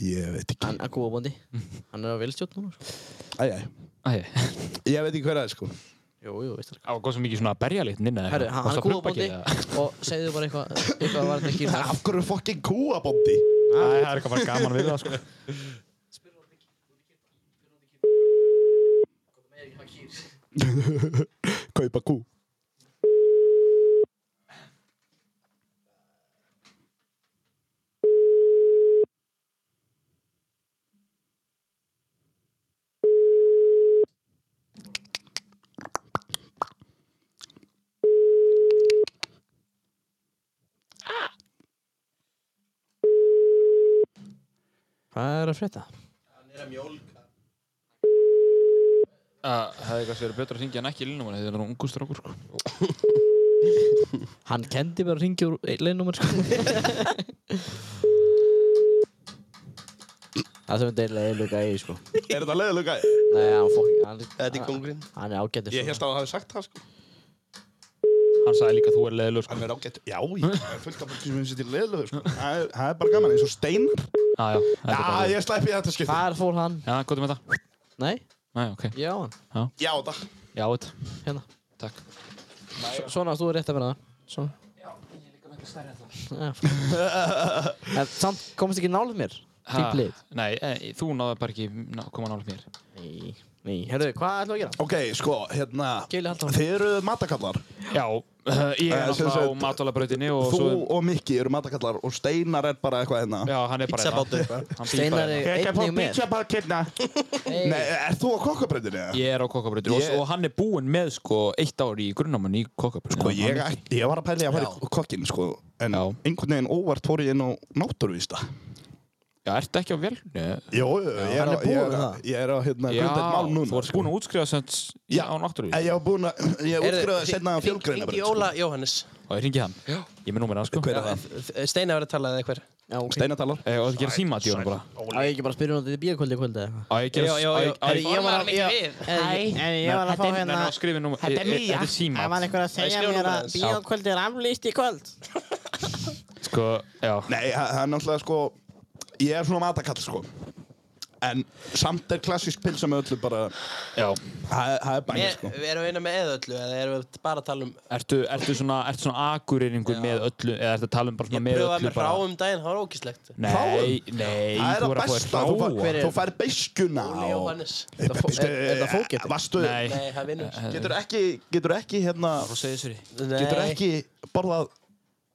S8: Ég veit ekki
S3: Hann er kúabóndi Hann er á velstjórn núna sko.
S8: Æj,
S1: Æ,
S8: æj Ég veit ekki hver það er sko
S3: Jú, jú, veist það
S1: á, hvað sem mikið svona berjalitin inn eða
S3: Herru, hann hann
S1: Varstu
S3: er
S1: að prumpa ekki
S3: kúabóndi
S1: eða?
S3: Og segðu bara eitthvað Eitthvað var þetta ekki
S8: Það er af hverju fokkin kúabóndi
S1: Æ, það er eitthvað bara gaman við það, sko
S8: Kaupa kú
S3: Hvað er að frétta?
S1: Það hefði kannski verið betra að ringja en ekki línum hann, þetta er ungu strákur sko.
S3: Hann kendi bara að ringja úr leinnúmer sko. Það sem er deilig leiðluga í sko
S8: Er þetta leiðileg gæði?
S3: Nei, hann fokk hann,
S2: Þetta er kóngurinn
S3: hann er ágættur
S8: Ég held að það hafi sagt það sko
S1: Hann sagði líka þú er leðilegur sko.
S8: Hann er ágætt Já, ég er fullt af fólki sem finnst þetta í leiðileg sko Það er- það er bara gaman eins og steinar
S1: Já, já, þetta er bara
S8: Já, ég slæpi þetta skipti
S3: Hvar fór hann?
S1: Já, gott um þetta
S3: Nei,
S1: Nei, ok,
S3: ég á hann
S8: Já, það
S1: já, þetta
S3: Hérna
S1: Takk
S3: S- Svona, þú er rétt að vera það. Svona. Já, En samt komist ekki nálið mér.
S1: Ha,
S3: Típlið.
S1: Nei, e, þú náðu bara ekki ná, koma nála mér
S3: Nei, nei, herruðu, hvað ætlum við að gera?
S8: Ok, sko, hérna
S3: Keili Haldór.
S8: Þið eru matakallar
S1: Já, ég
S8: Eh,
S1: er
S8: sem
S1: náttúrulega á
S8: sagt,
S1: matalabrautinni og
S8: Þú
S1: svo
S8: og Mikki eru matakallar og Steinar er bara eitthvað hérna
S1: Já, hann er bara hérna. Hann býr bara Steinar er hérna. einnig með.
S8: pizzabakk hérna Nei, er þú á kokkabröndinni?
S1: Ég er á kokkabrautinni
S8: Ég-
S1: og, og hann er búinn með sko eitt ár í grunnáman í kokkabrautinni
S8: Sko, ég, ætti- ég var að pæla í að fara í kokkin, sko En einhvern veginn óvart fór ég inn á náttúruvísta
S1: Já, ertu ekki á vélni?
S8: Jó, jú, ég er
S1: hann
S8: á,
S1: er búinn
S8: ég er,
S1: með
S8: á-
S1: það.
S8: ég er á hérna
S1: Já,
S8: grundveit mál núna
S1: þú varst búinn að útskrifa sem Já, á náttúruvísi
S8: Ég var búinn að, ég útskrifaði setna á sko. fjölgreina
S2: Ringi Óla Jóhannes
S1: Og ég ringi hann Ég með númerið hans sko
S2: Já, eh, Steinar verið að tala eða eitthvað
S3: ok.
S1: Steinar
S8: talar
S1: Og það gera síma til honum bara
S3: Á ég ekki bara að spyrja hún að þetta er bíakvöldi í kvöldi?
S1: Á ég gera
S3: Já, já, já.
S1: á ég- á
S3: Ég
S1: ég-
S3: var að- já.
S12: Hæ.
S3: En ég var að fá
S12: Þetta er-
S3: hérna...
S1: nei, nei, skrifið númer-
S3: Þetta er
S1: e- e-
S3: Mía.
S1: þetta er símat.
S3: Það var einhver að
S1: Nei,
S3: segja
S1: skrifaðu
S3: mér
S1: númerið
S3: að
S1: hans. Já.
S3: bíakvöldi er aflýst í kvöld.
S1: Sko, já
S8: Nei, það það er náttúrulega, sko Ég er svona matakall, sko En samt er klassísk pilsa með öllu bara
S1: Já
S8: Það það er bæn, sko
S2: Við erum eina með eða öllu eða erum við bara að tala um
S1: Ertu, ertu svona, ertu svona akureyringur með öllu eða ertu að tala um bara svona með öllu
S2: Pröfaði með
S1: bara-
S2: ráum daginn, það var ógíslegt
S1: Nei, nei,
S8: Það er
S1: þú er
S8: það
S1: að fá þér
S8: besta, þú fær-
S1: hráa.
S8: þú fær beiskuna
S2: Óli Jóhannes
S8: Er það fókett? Vastu
S1: Nei.
S2: Nei, það vinnur
S8: Getur ekki, getur ekki hérna Getur
S2: Nei.
S8: ekki borðað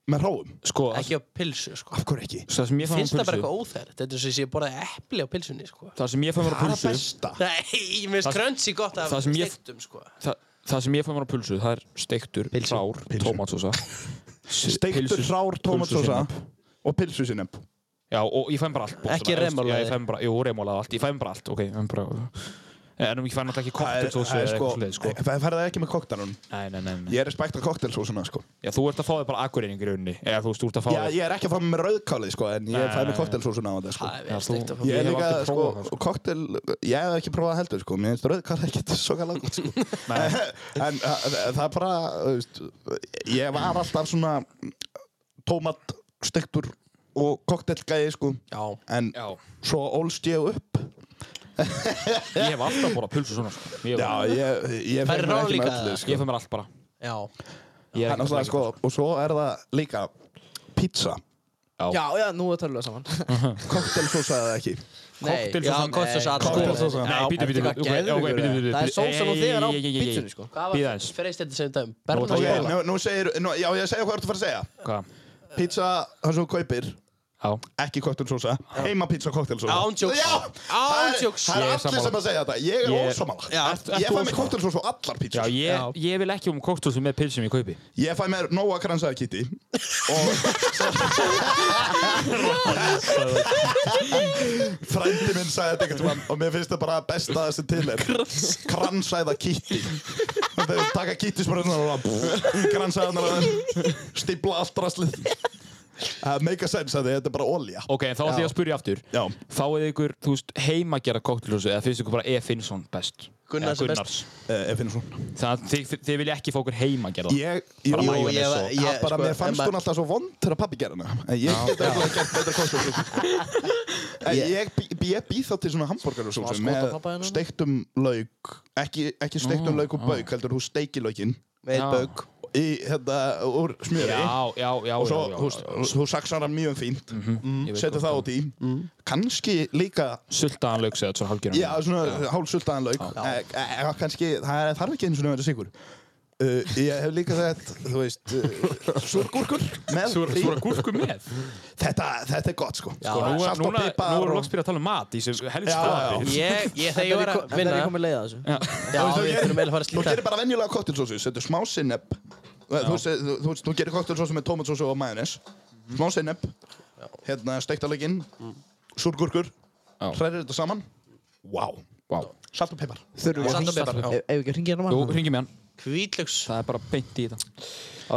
S8: með ráum
S1: Sko
S2: Ekki á pilsu, sko
S8: Af hverju ekki?
S1: Svo það sem ég fann
S2: Finnst
S1: á
S2: það bara
S1: pulsu-
S2: eitthvað óþært Þetta er svo sem ég borðaði epli á pilsunni, sko
S1: Það sem ég fæ mér á
S2: Það er
S1: pulsu
S2: það besta. Nei, mér finnst
S1: Það-
S2: crunchy gott af
S1: það sem ég-
S2: steiktum, sko
S1: það, það sem ég fæ mér á pulsu, það er steiktur, hrár, tómatsósa
S8: Steiktur hrár tómatsósa og pilsu sinni
S1: Já, og ég fæ mér bara allt bókstum,
S2: Ekki remólaði.
S1: Ég fæ mér bara, jú, remólaði allt, ég fæ mér bara allt, ok ég fæ mér bara, En ég fæ náttúrulega ekki kokteltósu
S8: það er
S1: eða
S8: sko-
S1: eitthvað sliði, sko
S8: Það fer það ekki með koktanum
S1: Nei, nei, nei, nei.
S8: Ég er respekt að koktelsósuna sko
S1: Já, þú ert að fá þig bara akureyringur í rauninni Eða þú veist, þú ert að fá
S8: Já, ég er ekki að fá mér rauðkálið sko En ég
S1: Nei.
S8: fæ mér koktelsósuna á þetta sko
S1: Já, þú- steikt að fá-
S8: Ég
S1: ég
S8: er
S1: hef
S8: líka
S1: aldrei prófað
S8: sko
S1: það,
S8: Koktel, ég hef ekki prófað heldur sko Mér finnst rauðkálið ekkert svo gala gott sko En það það er bara þú veist, Ég var alltaf svona Tómat, stektur Og koktelgæði sko
S2: Já.
S8: En svo ólst ég upp
S1: Ég hef alltaf borðað pulsu svona, sko Ég hef-
S8: Já, ég,
S1: Færðu
S8: ég fer mér
S1: rá
S8: ekki með
S1: líka,
S8: öllu
S1: eða?
S8: sko.
S1: Ég fæ mér allt bara
S2: Já
S1: Ég er
S8: Það er
S1: ekki
S8: náttúrulega sko, og svo er það líka pizza.
S3: Já, já, nú er tölvað saman.
S8: Koktelsósa eða ekki?
S3: Nei.
S8: Cocktailsósa-
S3: Já, koktelsósa, alls konar.
S8: Cocktailsósa.
S1: Nei,
S8: Já.
S1: bíddu, bíddu,
S8: Þetta er
S1: ok,
S8: geðveikur,
S1: ok, bíddu,
S8: eða?
S1: bíddu, bíddu.
S3: Það er sósan og þegar á
S1: Ey, ey, ey, ey.
S3: pítsunni, sko.
S1: Bíða
S2: Hvað var
S1: aðeins.
S2: freist þetta sem dagum?
S1: Nú
S2: Bernhard
S1: ætla
S8: Ok,
S1: ég
S8: nú, nú segir, nú, já ég segja hvað þú ert að fara að segja.
S1: Hvað?
S8: Pizza, það sem þú kaupir,
S1: Já.
S8: ekki koktelsósa, heima pizza koktelsósa.
S2: Ándjóks
S8: Já, það er-
S2: Ándjóks
S8: það er allir sem að segja þetta. Ég er ósamala. Ég fæ mér koktelsósa og allar
S1: Já,
S8: pizza.
S1: ég, ég vil ekki um koktelsósu með pilsum í kaupi
S8: Ég fæ mér nóa kransaði kitti og frændi minn sagði þetta einhvern tímann og mér finnst það bara besta þessi til er kransæða kitti þegar þú taka kitti smörðunar og kransæðanar og stifla allt rastlið það make a sense að þetta er bara olja
S1: Ok, en þá ætlum ég að spyrja aftur
S8: Já
S1: Fáið ykkur, þú veist, heimagerða koktelsósu eða finnst ykkur bara E. Finnsson best?
S2: Gunnars
S1: Eða
S2: er best.
S8: E. Finnsson
S1: Það, þið, þið, þið vilja ekki fá ykkur heimagerða
S8: Ég, jú,
S1: Bara
S8: ég,
S1: majónes og- sko,
S8: ég, bara, mér fannst hún alltaf svo vond þegar pappi gerði hana en ég get eitthvað gert betra kostið ég, ég, bý- ég býð þá til svona hambúrgar og
S2: Smá
S8: svona
S2: skot á pabba
S8: með
S2: hennar.
S8: steiktum lauk ekki, ekki steiktum
S1: Ó,
S8: lauk og
S1: ó.
S8: bauk heldur þú steikir laukin
S1: Með Já. bauk.
S8: í, hérna, úr smjöri
S1: Já, já, já,
S8: og svo
S1: já, já,
S8: þú veist, þú- þú saksar hann mjög fínt mm
S1: Ég veit
S8: setur
S1: hvað
S8: það út í
S1: um. Mm.
S8: kannski líka
S1: Sultaðan lauk segja þetta svo hálfgerðan
S8: Já, svona hálsultaðan lauk Eh, eh, kannski, það er- þarf ekki eins og nefnir sigur Uh, ég hef líka þetta, þú veist, uh, súrgúrkur með
S1: Súr-
S8: í-
S1: súrar gúrku með?
S8: Þetta, þetta er gott, sko.
S1: Sko, nú,
S8: Salt og
S1: núna, nú
S8: pipar
S1: erum við
S8: og-
S1: loks byrjað að tala um mat í þessu helstu
S8: Já, já.
S1: skapi.
S2: Ég, ég, þegar
S3: Þetta
S2: ég
S3: er
S2: var
S3: kom-
S2: að
S3: þetta er
S2: vinna
S3: komið leið að þessu.
S2: Já,
S8: Þú veist,
S2: við
S8: þú
S2: þurfum eiginlega að fara að
S8: Þú
S2: slíta
S8: gerir bara venjulega koktelsósu, setur smá sinneb Þú veist, þú, þú, veist, þú gerir koktelsósu með tómatsósu og majónes Smá sinneb Hérna steiktalegin Súrgúrkur Hrærir þetta saman Vá wow.
S1: wow.
S8: Salt og pipar
S3: Þurfum við að hringja hann á mann? Ef hérna við ekki hringja hann á mann?
S1: Jú, hringi með hann.
S2: Hvítlöks.
S1: Það er bara beint í þetta.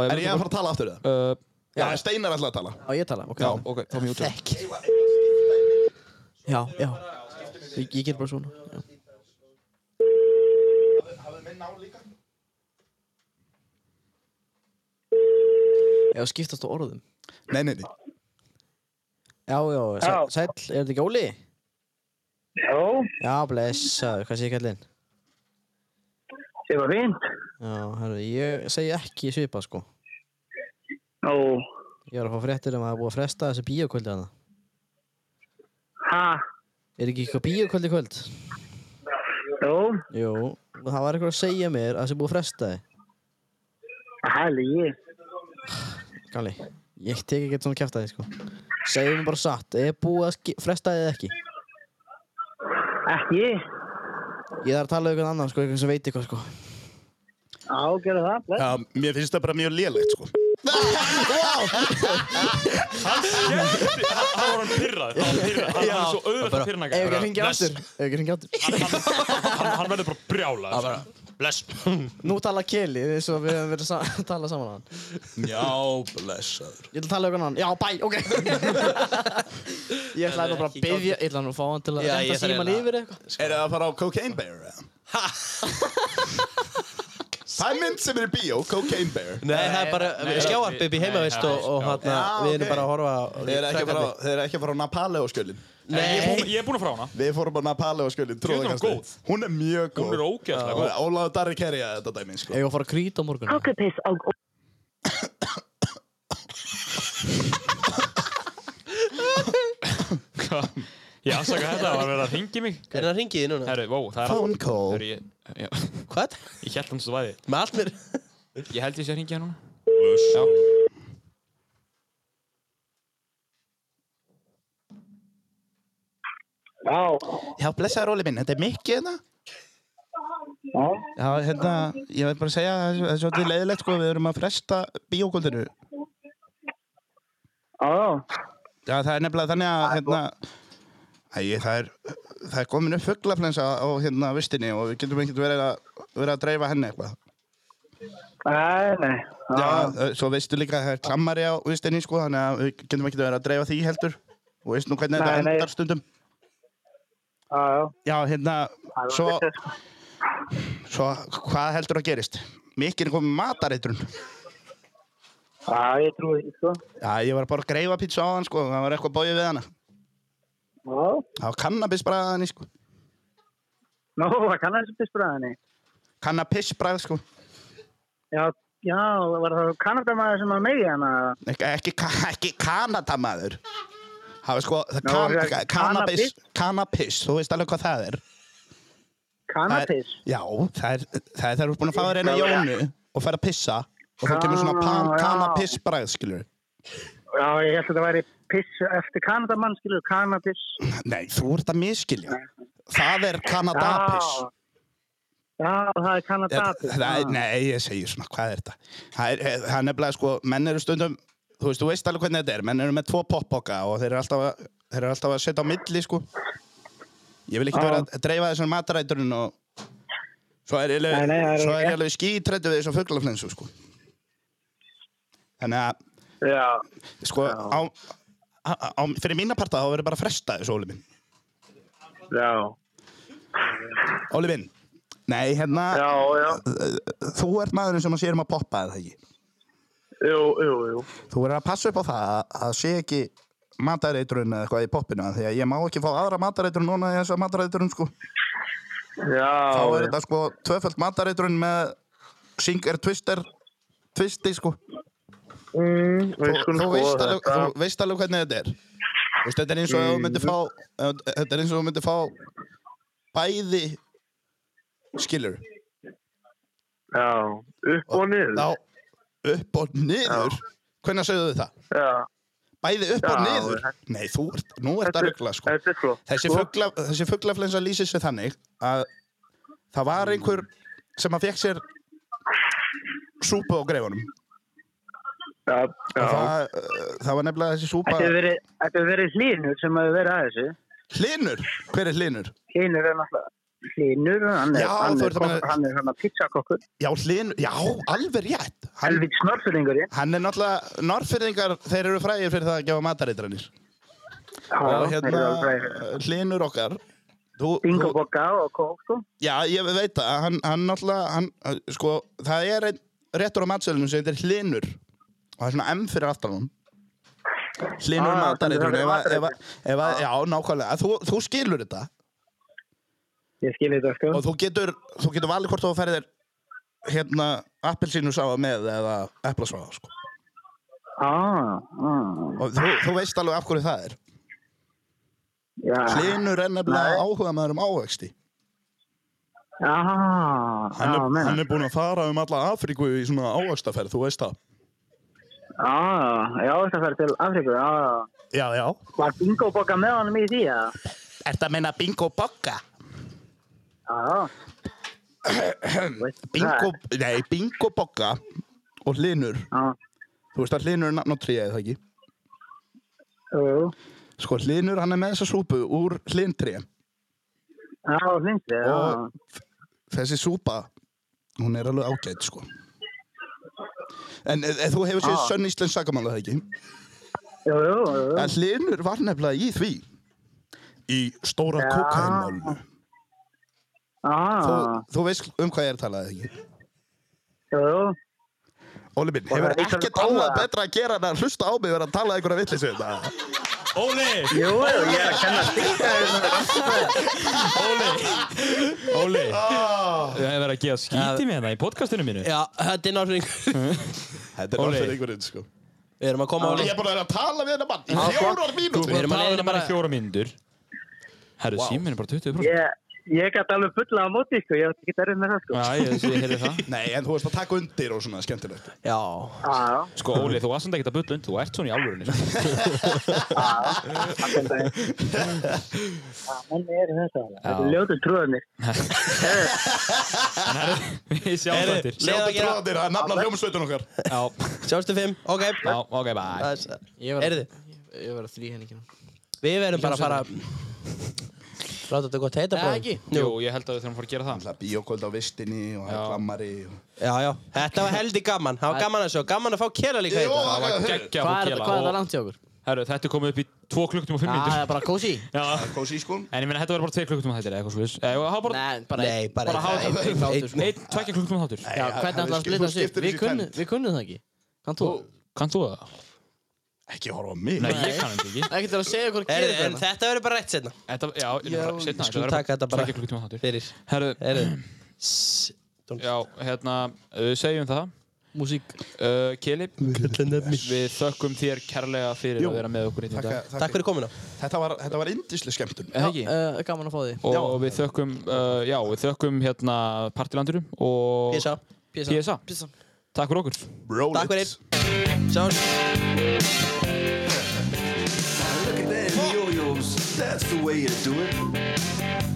S8: Er ég að fara að tala aftur það?
S1: Uh,
S8: Já, Steinar ætlaði að tala
S3: Já, ég tala, ok.
S8: Já,
S1: ok, þá mjög
S3: Þekk. Já, já. Ég, ég ger bara svona. Já. Já, skiptast á orðum.
S8: Nei, nei, nei.
S3: Já, já, sæl, sæl er þetta ekki Óli?
S13: Já.
S3: Já, blessaður, hvað sé ég kallinn?
S13: Sem var fínt.
S3: Já, herru, ég segi ekki svipa, sko.
S5: Ó,
S3: Ég er að fá fréttir um að það er búið að fresta þessi bíókvöldi hana.
S5: ha,
S3: Er ekki eitthvað bíókvöldi í kvöld?
S5: jó,
S3: Jú, og það var eitthvað að segja mér að það sé búið að fresta þið.
S5: hæli ég.
S3: Gali, ég tek ekki svona kæft að þið, sko. Segjum bara satt, er búið að ski- fresta þið eða ekki?
S5: Ekki?
S3: Ég þarf að tala um einhvern annan, sko, einhvern sem veit eitthvað, sko.
S5: Á, gera það, bless.
S8: Já, mér finnst það bara mjög lélegt, sko.
S1: Hann skemmti, hann hann var hann pyrrað, hann var pyrrað, hann var svo auðvitað að pyrra hann
S3: Ef ekki hringi aftur, ef ekki hringi aftur.
S1: Hann, hann verður bara brjálað. sko. Bless.
S3: Nú tala Keli, eins og við höfum verið sa að tala saman á hann.
S8: Já, blessaður.
S3: Ég ætla að tala um einhvern annan. Já, bæ, ok. ég ætla nú bara að byggja, ég ætla nú að fá hann til að renda síman yfir eitthvað.
S8: Er það að fara á Cocaine Bear eða? Það er mynd sem er í bíó, Cocaine Bear.
S2: Nei, það er bara skjáarp upp í heimavist og, og hérna, við erum bara að horfa á
S8: Þeir eru ekki að fara á- þeir eru ekki að fara á Napaleo skjölin.
S2: Nei. Ég er búinn-
S1: Ég er búinn að frá hana.
S8: Við fórum á Napaleo skjölin,
S1: Djöfull er hún
S8: tróðakastið. Hún er mjög góð.
S1: Hún er ógeðslega góð.
S8: Ólaður Darri Kerja þetta dæmi, sko.
S3: Ég var að fara að krýta á morgun.
S14: Kokkepiss og...
S1: Hvað? Ég afsaka þetta, var verið að hringi mig.
S2: Er það að hringi þig núna?
S1: Herru, vó, það er...
S8: Phone call.
S1: Herru, ég... já.
S2: Hvað?
S1: Ég held hans að væði.
S2: Með allt mér.
S1: Ég held ég sé að hringi hann núna.
S15: Já.
S8: Já. Já, blessaður Óli minn, þetta er Mikki hérna. Já. Já, hérna, ég veit bara að segja að það er svolítið leiðilegt, sko, við erum að fresta bíókvöldinu. Já. Já, það er nefnilega þannig að, hérna, Æ, það er, það er komin upp fugglaflensa á hérna vistinni og við getum ekkert verið að, verið að dreifa henni eitthvað.
S5: Nei, nei.
S8: Já, eh, svo veistu líka að það er klammari á vistinni, sko, þannig að við getum ekkert verið að dreifa því heldur. Og veist nú hvernig
S5: Nei,
S8: þetta
S5: nei.
S8: endar stundum.
S5: Já, já.
S8: Já, hérna, svo, svo hvað heldur að gerist? Mikið er komið matareitrun.
S5: Já, ég trúi því, sko.
S8: Já, ég var bara að greifa pizza á hann, sko, það var eitthvað bóið við hana.
S5: Já.
S8: Það var kannabis bræðið henni, sko.
S5: Nó, það kann þessu pissbræðinni.
S8: Kannabis bræðið, sko.
S5: Já, já, var það kannadamaður sem að megi hana?
S8: Ek, ekki, ka- ekki kanadamaður. Það var sko, það
S5: Nú,
S8: kan,
S5: ok,
S8: ka- kannabis,
S5: kannabis.
S8: kannabis, þú veist alveg hvað það er.
S5: Kannabis?
S8: Það er- Já, það er, það er þegar þú ert búin að fá þér eina jónu og fer að pissa og þá kemur svona pan,
S5: Ah, já.
S8: kannabis bræðið, skilur.
S5: Já, ég held að þetta væri piss eftir kannadamann, skilur, kannabis.
S8: Nei, þú ert að miskilja. Það er kannadapis.
S5: Já. Já, það er kannadapis.
S8: Það er, nei, ég segi svona, hvað er þetta? Það er, það er nefnilega, sko, menn eru stundum, þú veist, þú veist alveg hvernig þetta er, menn eru með tvo poppoka og þeir eru alltaf að, þeir eru alltaf að setja á milli, sko. Ég vil ekki
S5: Já.
S8: vera að dreifa þessum mataræturinn og svo er ég
S5: Nei, nei, það
S8: alveg,
S5: er
S8: svo er ég
S5: rétt.
S8: alveg skítrættu við þessum fugglaflensu, sko. Þannig að,
S5: Já.
S8: sko, á, á, á, fyrir mína parta þá verður bara að fresta þessu, Óli minn.
S5: Já.
S8: Óli minn, nei, hérna,
S5: Já, já.
S8: þú ert maðurinn sem að sérum að poppa, eða ekki?
S5: Jú, jú, jú.
S8: Þú verður að passa upp á það að það sé ekki matareitrun eða eitthvað í poppinu af því að ég má ekki fá aðra matareitrun núna í þessa matareitrun sko.
S5: Já.
S8: Þá er þetta sko tvöföld matareitrun með singer twister twisti sko.
S5: Mm,
S8: Þú,
S5: við skulum
S8: þú, veist
S5: skoða
S8: alveg,
S5: þetta.
S8: þú veist alveg hvernig þetta er. Þú Veist, þetta er eins og ef þú myndir fá ef- þetta er eins og þú myndir fá bæði skilur.
S5: Já, upp og niður.
S8: Já, upp og niður? Hvernig sögðu þið það?
S5: Já.
S8: Bæði upp og
S5: Já,
S8: niður? Nei, þú ert, nú ert að ruggla sko.
S5: Þetta er flott.
S8: Þessi,
S5: sko.
S8: fugla, þessi fuglaflensa lýsir sig þannig að það
S5: Mm.
S8: var einhver sem að fekk sér súpu á greifunum.
S5: Já,
S8: Og Það, uh, það var nefnilega þessi súpa...
S5: Þetta hefur verið, þetta hefur verið hlínur sem hefur verið að þessu.
S8: Hlinur? Hver er Hlinur?
S5: Hlínur er náttúrulega hlínur, hann er,
S8: Já,
S5: hann
S8: þú
S5: er,
S8: ert að
S5: kokk-
S8: meina-
S5: hann er svona pizzakokkur.
S8: Já, Hlinur, já, alveg rétt.
S5: Helvík snorfyrringurinn.
S8: Hann er náttúrulega... Norrfyrðingar, þeir eru fræðir fyrir það að gefa matareitrannir. Og hérna, Hlinur okkar... Þú,
S5: Bingo bokka og kók, sko.
S8: já, ég veit það. Hann, hann náttúrulega... Hann, uh, sko, það er einn réttur á matsölunum sem heitir Hlinur. Og það er svona M fyrir aftan hún. Hlinur
S5: Ah,
S8: matareitrun,
S5: þannig
S8: ef
S5: það
S8: að,
S5: er
S8: ef að, ef að, já, nákvæmlega, þú, þú skilur þetta
S5: Ég skil þetta, sko.
S8: og þú getur, þú getur valið hvort þú ferðir hérna appelsínu sáða með eða eplasáða sko.
S5: Ah, ah.
S8: og þú, þú veist alveg af hverju það er
S5: Já.
S8: Hlynur er nefnilega áhuga maður um ávexti
S5: Ah,
S8: hann
S5: já,
S8: er,
S5: meina.
S8: hann er búin að fara um alla Afríku í svona ávextaferð, þú veist það
S5: Ah, já, þetta fer til Afríku, já, já.
S8: já, já
S5: Var bingo bokka með honum í því, já?
S8: Ertu að meina bingo bokka?
S5: Já, já.
S8: bingo, nei, bingo bokka og hlinur þú veist að hlinur er nafn á tríu eða ekki
S5: Jú.
S8: sko hlinur hann er með þessa súpu úr hlintri
S5: Já, finnst þið, já.
S8: og þessi súpa hún er alveg ágætt sko en e, e, þú hefur séð
S5: Já.
S8: sönn íslensk sakamála það ekki
S5: Jú, jú, jú.
S8: en hlinur var nefnilega í því í stóra
S5: Já.
S8: kokainmálinu
S5: Ah,
S8: þú, þú veist um hvað ég er að tala það ekki
S5: jú,
S7: Então,
S5: jú.
S8: Óli minn,
S5: Og
S8: hefur
S5: það er
S8: ekkert
S5: eitthvað
S8: annað
S5: annað.
S8: betra að gera en að hlusta á mig vera að tala einhverja hérna? vitlis við þetta?
S1: Óli!
S5: Jú, jú, ég er að kenna
S1: Óli
S8: Ah.
S1: Það er verið að gefa skíti með það í podcastinu mínu
S2: Já, þetta er náttúrulega
S8: Þetta
S1: er
S2: Óli.
S1: náttúrulega
S8: einhverjum sko
S2: Við erum að koma
S8: Ég er búin að vera að tala við þetta mann í
S2: Já,
S8: fjórar
S2: flott.
S8: mínútur
S2: Við erum að leiðinni bara-
S1: Bara fjóra myndur Herru,
S5: Vá.
S1: síminn er bara 20%
S5: Ég, ég gæti alveg fulla á móti, sko, ég átti ekki derrið með það, sko.
S8: Nei, en þú veist að taka undir og svona skemmtilegt
S2: Já
S5: Já, já.
S1: Sko Óli, þú varst samt ekkert að bulla undir, þú ert svona í sko. álurinu
S5: Já, menni eru þetta. Þetta
S1: Já.
S5: er ljótu trúðanir.
S1: Við sjáum
S2: Heyrðu,
S1: þetta
S2: leiðum að gera-
S8: Þetta er að nafna hljómsveitun okkar
S1: Já,
S2: Sjástu fimm, ok
S1: já, ok, bye
S3: Ég verð-
S2: Heyrðu.
S3: Ég verð að þrý henni ekki
S2: Við verðum bara að fara Láta þetta gott heita
S3: Nei,
S2: bróðir.
S3: ekki.
S1: Jú, ég held að við þurfum að fara að gera það
S8: Bíókvöld á vistinni og það er klammari
S2: Já, já Þetta var heldig gaman Það var gaman að sjá Gaman að fá kjela líka hérna.
S8: Jú,
S2: heita
S8: það
S1: Það var geggja
S3: Hvað er- hvað er það langt hjá okkur?
S1: Herru, þetta er komið upp í 2 klukkutum og 5
S3: Já,
S1: minnum
S3: það er bara kósi
S1: Já,
S8: Kósi í skólum
S1: en ég meina þetta verður bara 2 klukkutum að þetta er eitthvað svolítið Eða hafa bara
S3: Nei, bara
S2: Nei, bara
S1: bara hafa
S3: einn- einn þáttur, sko.
S1: 1, 2 klukkutum að þáttur
S3: Já, hvernig ætlaði að splita
S8: þú
S3: þessu?
S8: skiptir
S3: Við
S8: þessu í
S3: kunnum-
S8: tvennt.
S3: Við kunnum það ekki Kann þú?
S1: Kannt þú það?
S8: Ekki horfa á mig
S1: Nei, ég kann þetta ekki
S3: Ekki til að hérna. segja hvort
S2: Heyrðu,
S3: gerir
S2: En
S3: þetta
S2: þetta verður bara rétt setna
S1: Þetta, já, ég
S8: Já,
S1: er bara setna
S2: Við skulum taka þetta bara
S1: 2 klukkutum að þáttur
S2: Fyrir
S1: Herru,
S2: Heyrðu
S1: já, hérna, uh, segjum það
S3: Músík
S1: uh, Kili, við þökkum þér kærlega fyrir
S8: Jú.
S1: að vera með okkur í þetta
S2: Takk fyrir komuna
S8: Þetta var, þetta var indisli skemmtun
S1: Eða ekki?
S3: Eh, Gaman að fá því
S1: og við þökkum uh, já, við þökkum hérna partilandurum og
S2: Písa
S1: PSA.
S3: Pisa
S1: takk fyrir okkur
S8: Roll
S2: Takk fyrir Sjáumst
S9: Look at that yo-yos, that's the way to do it.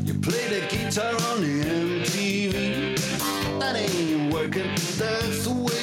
S9: You play the guitar on the MTV. That ain't working, that's the way.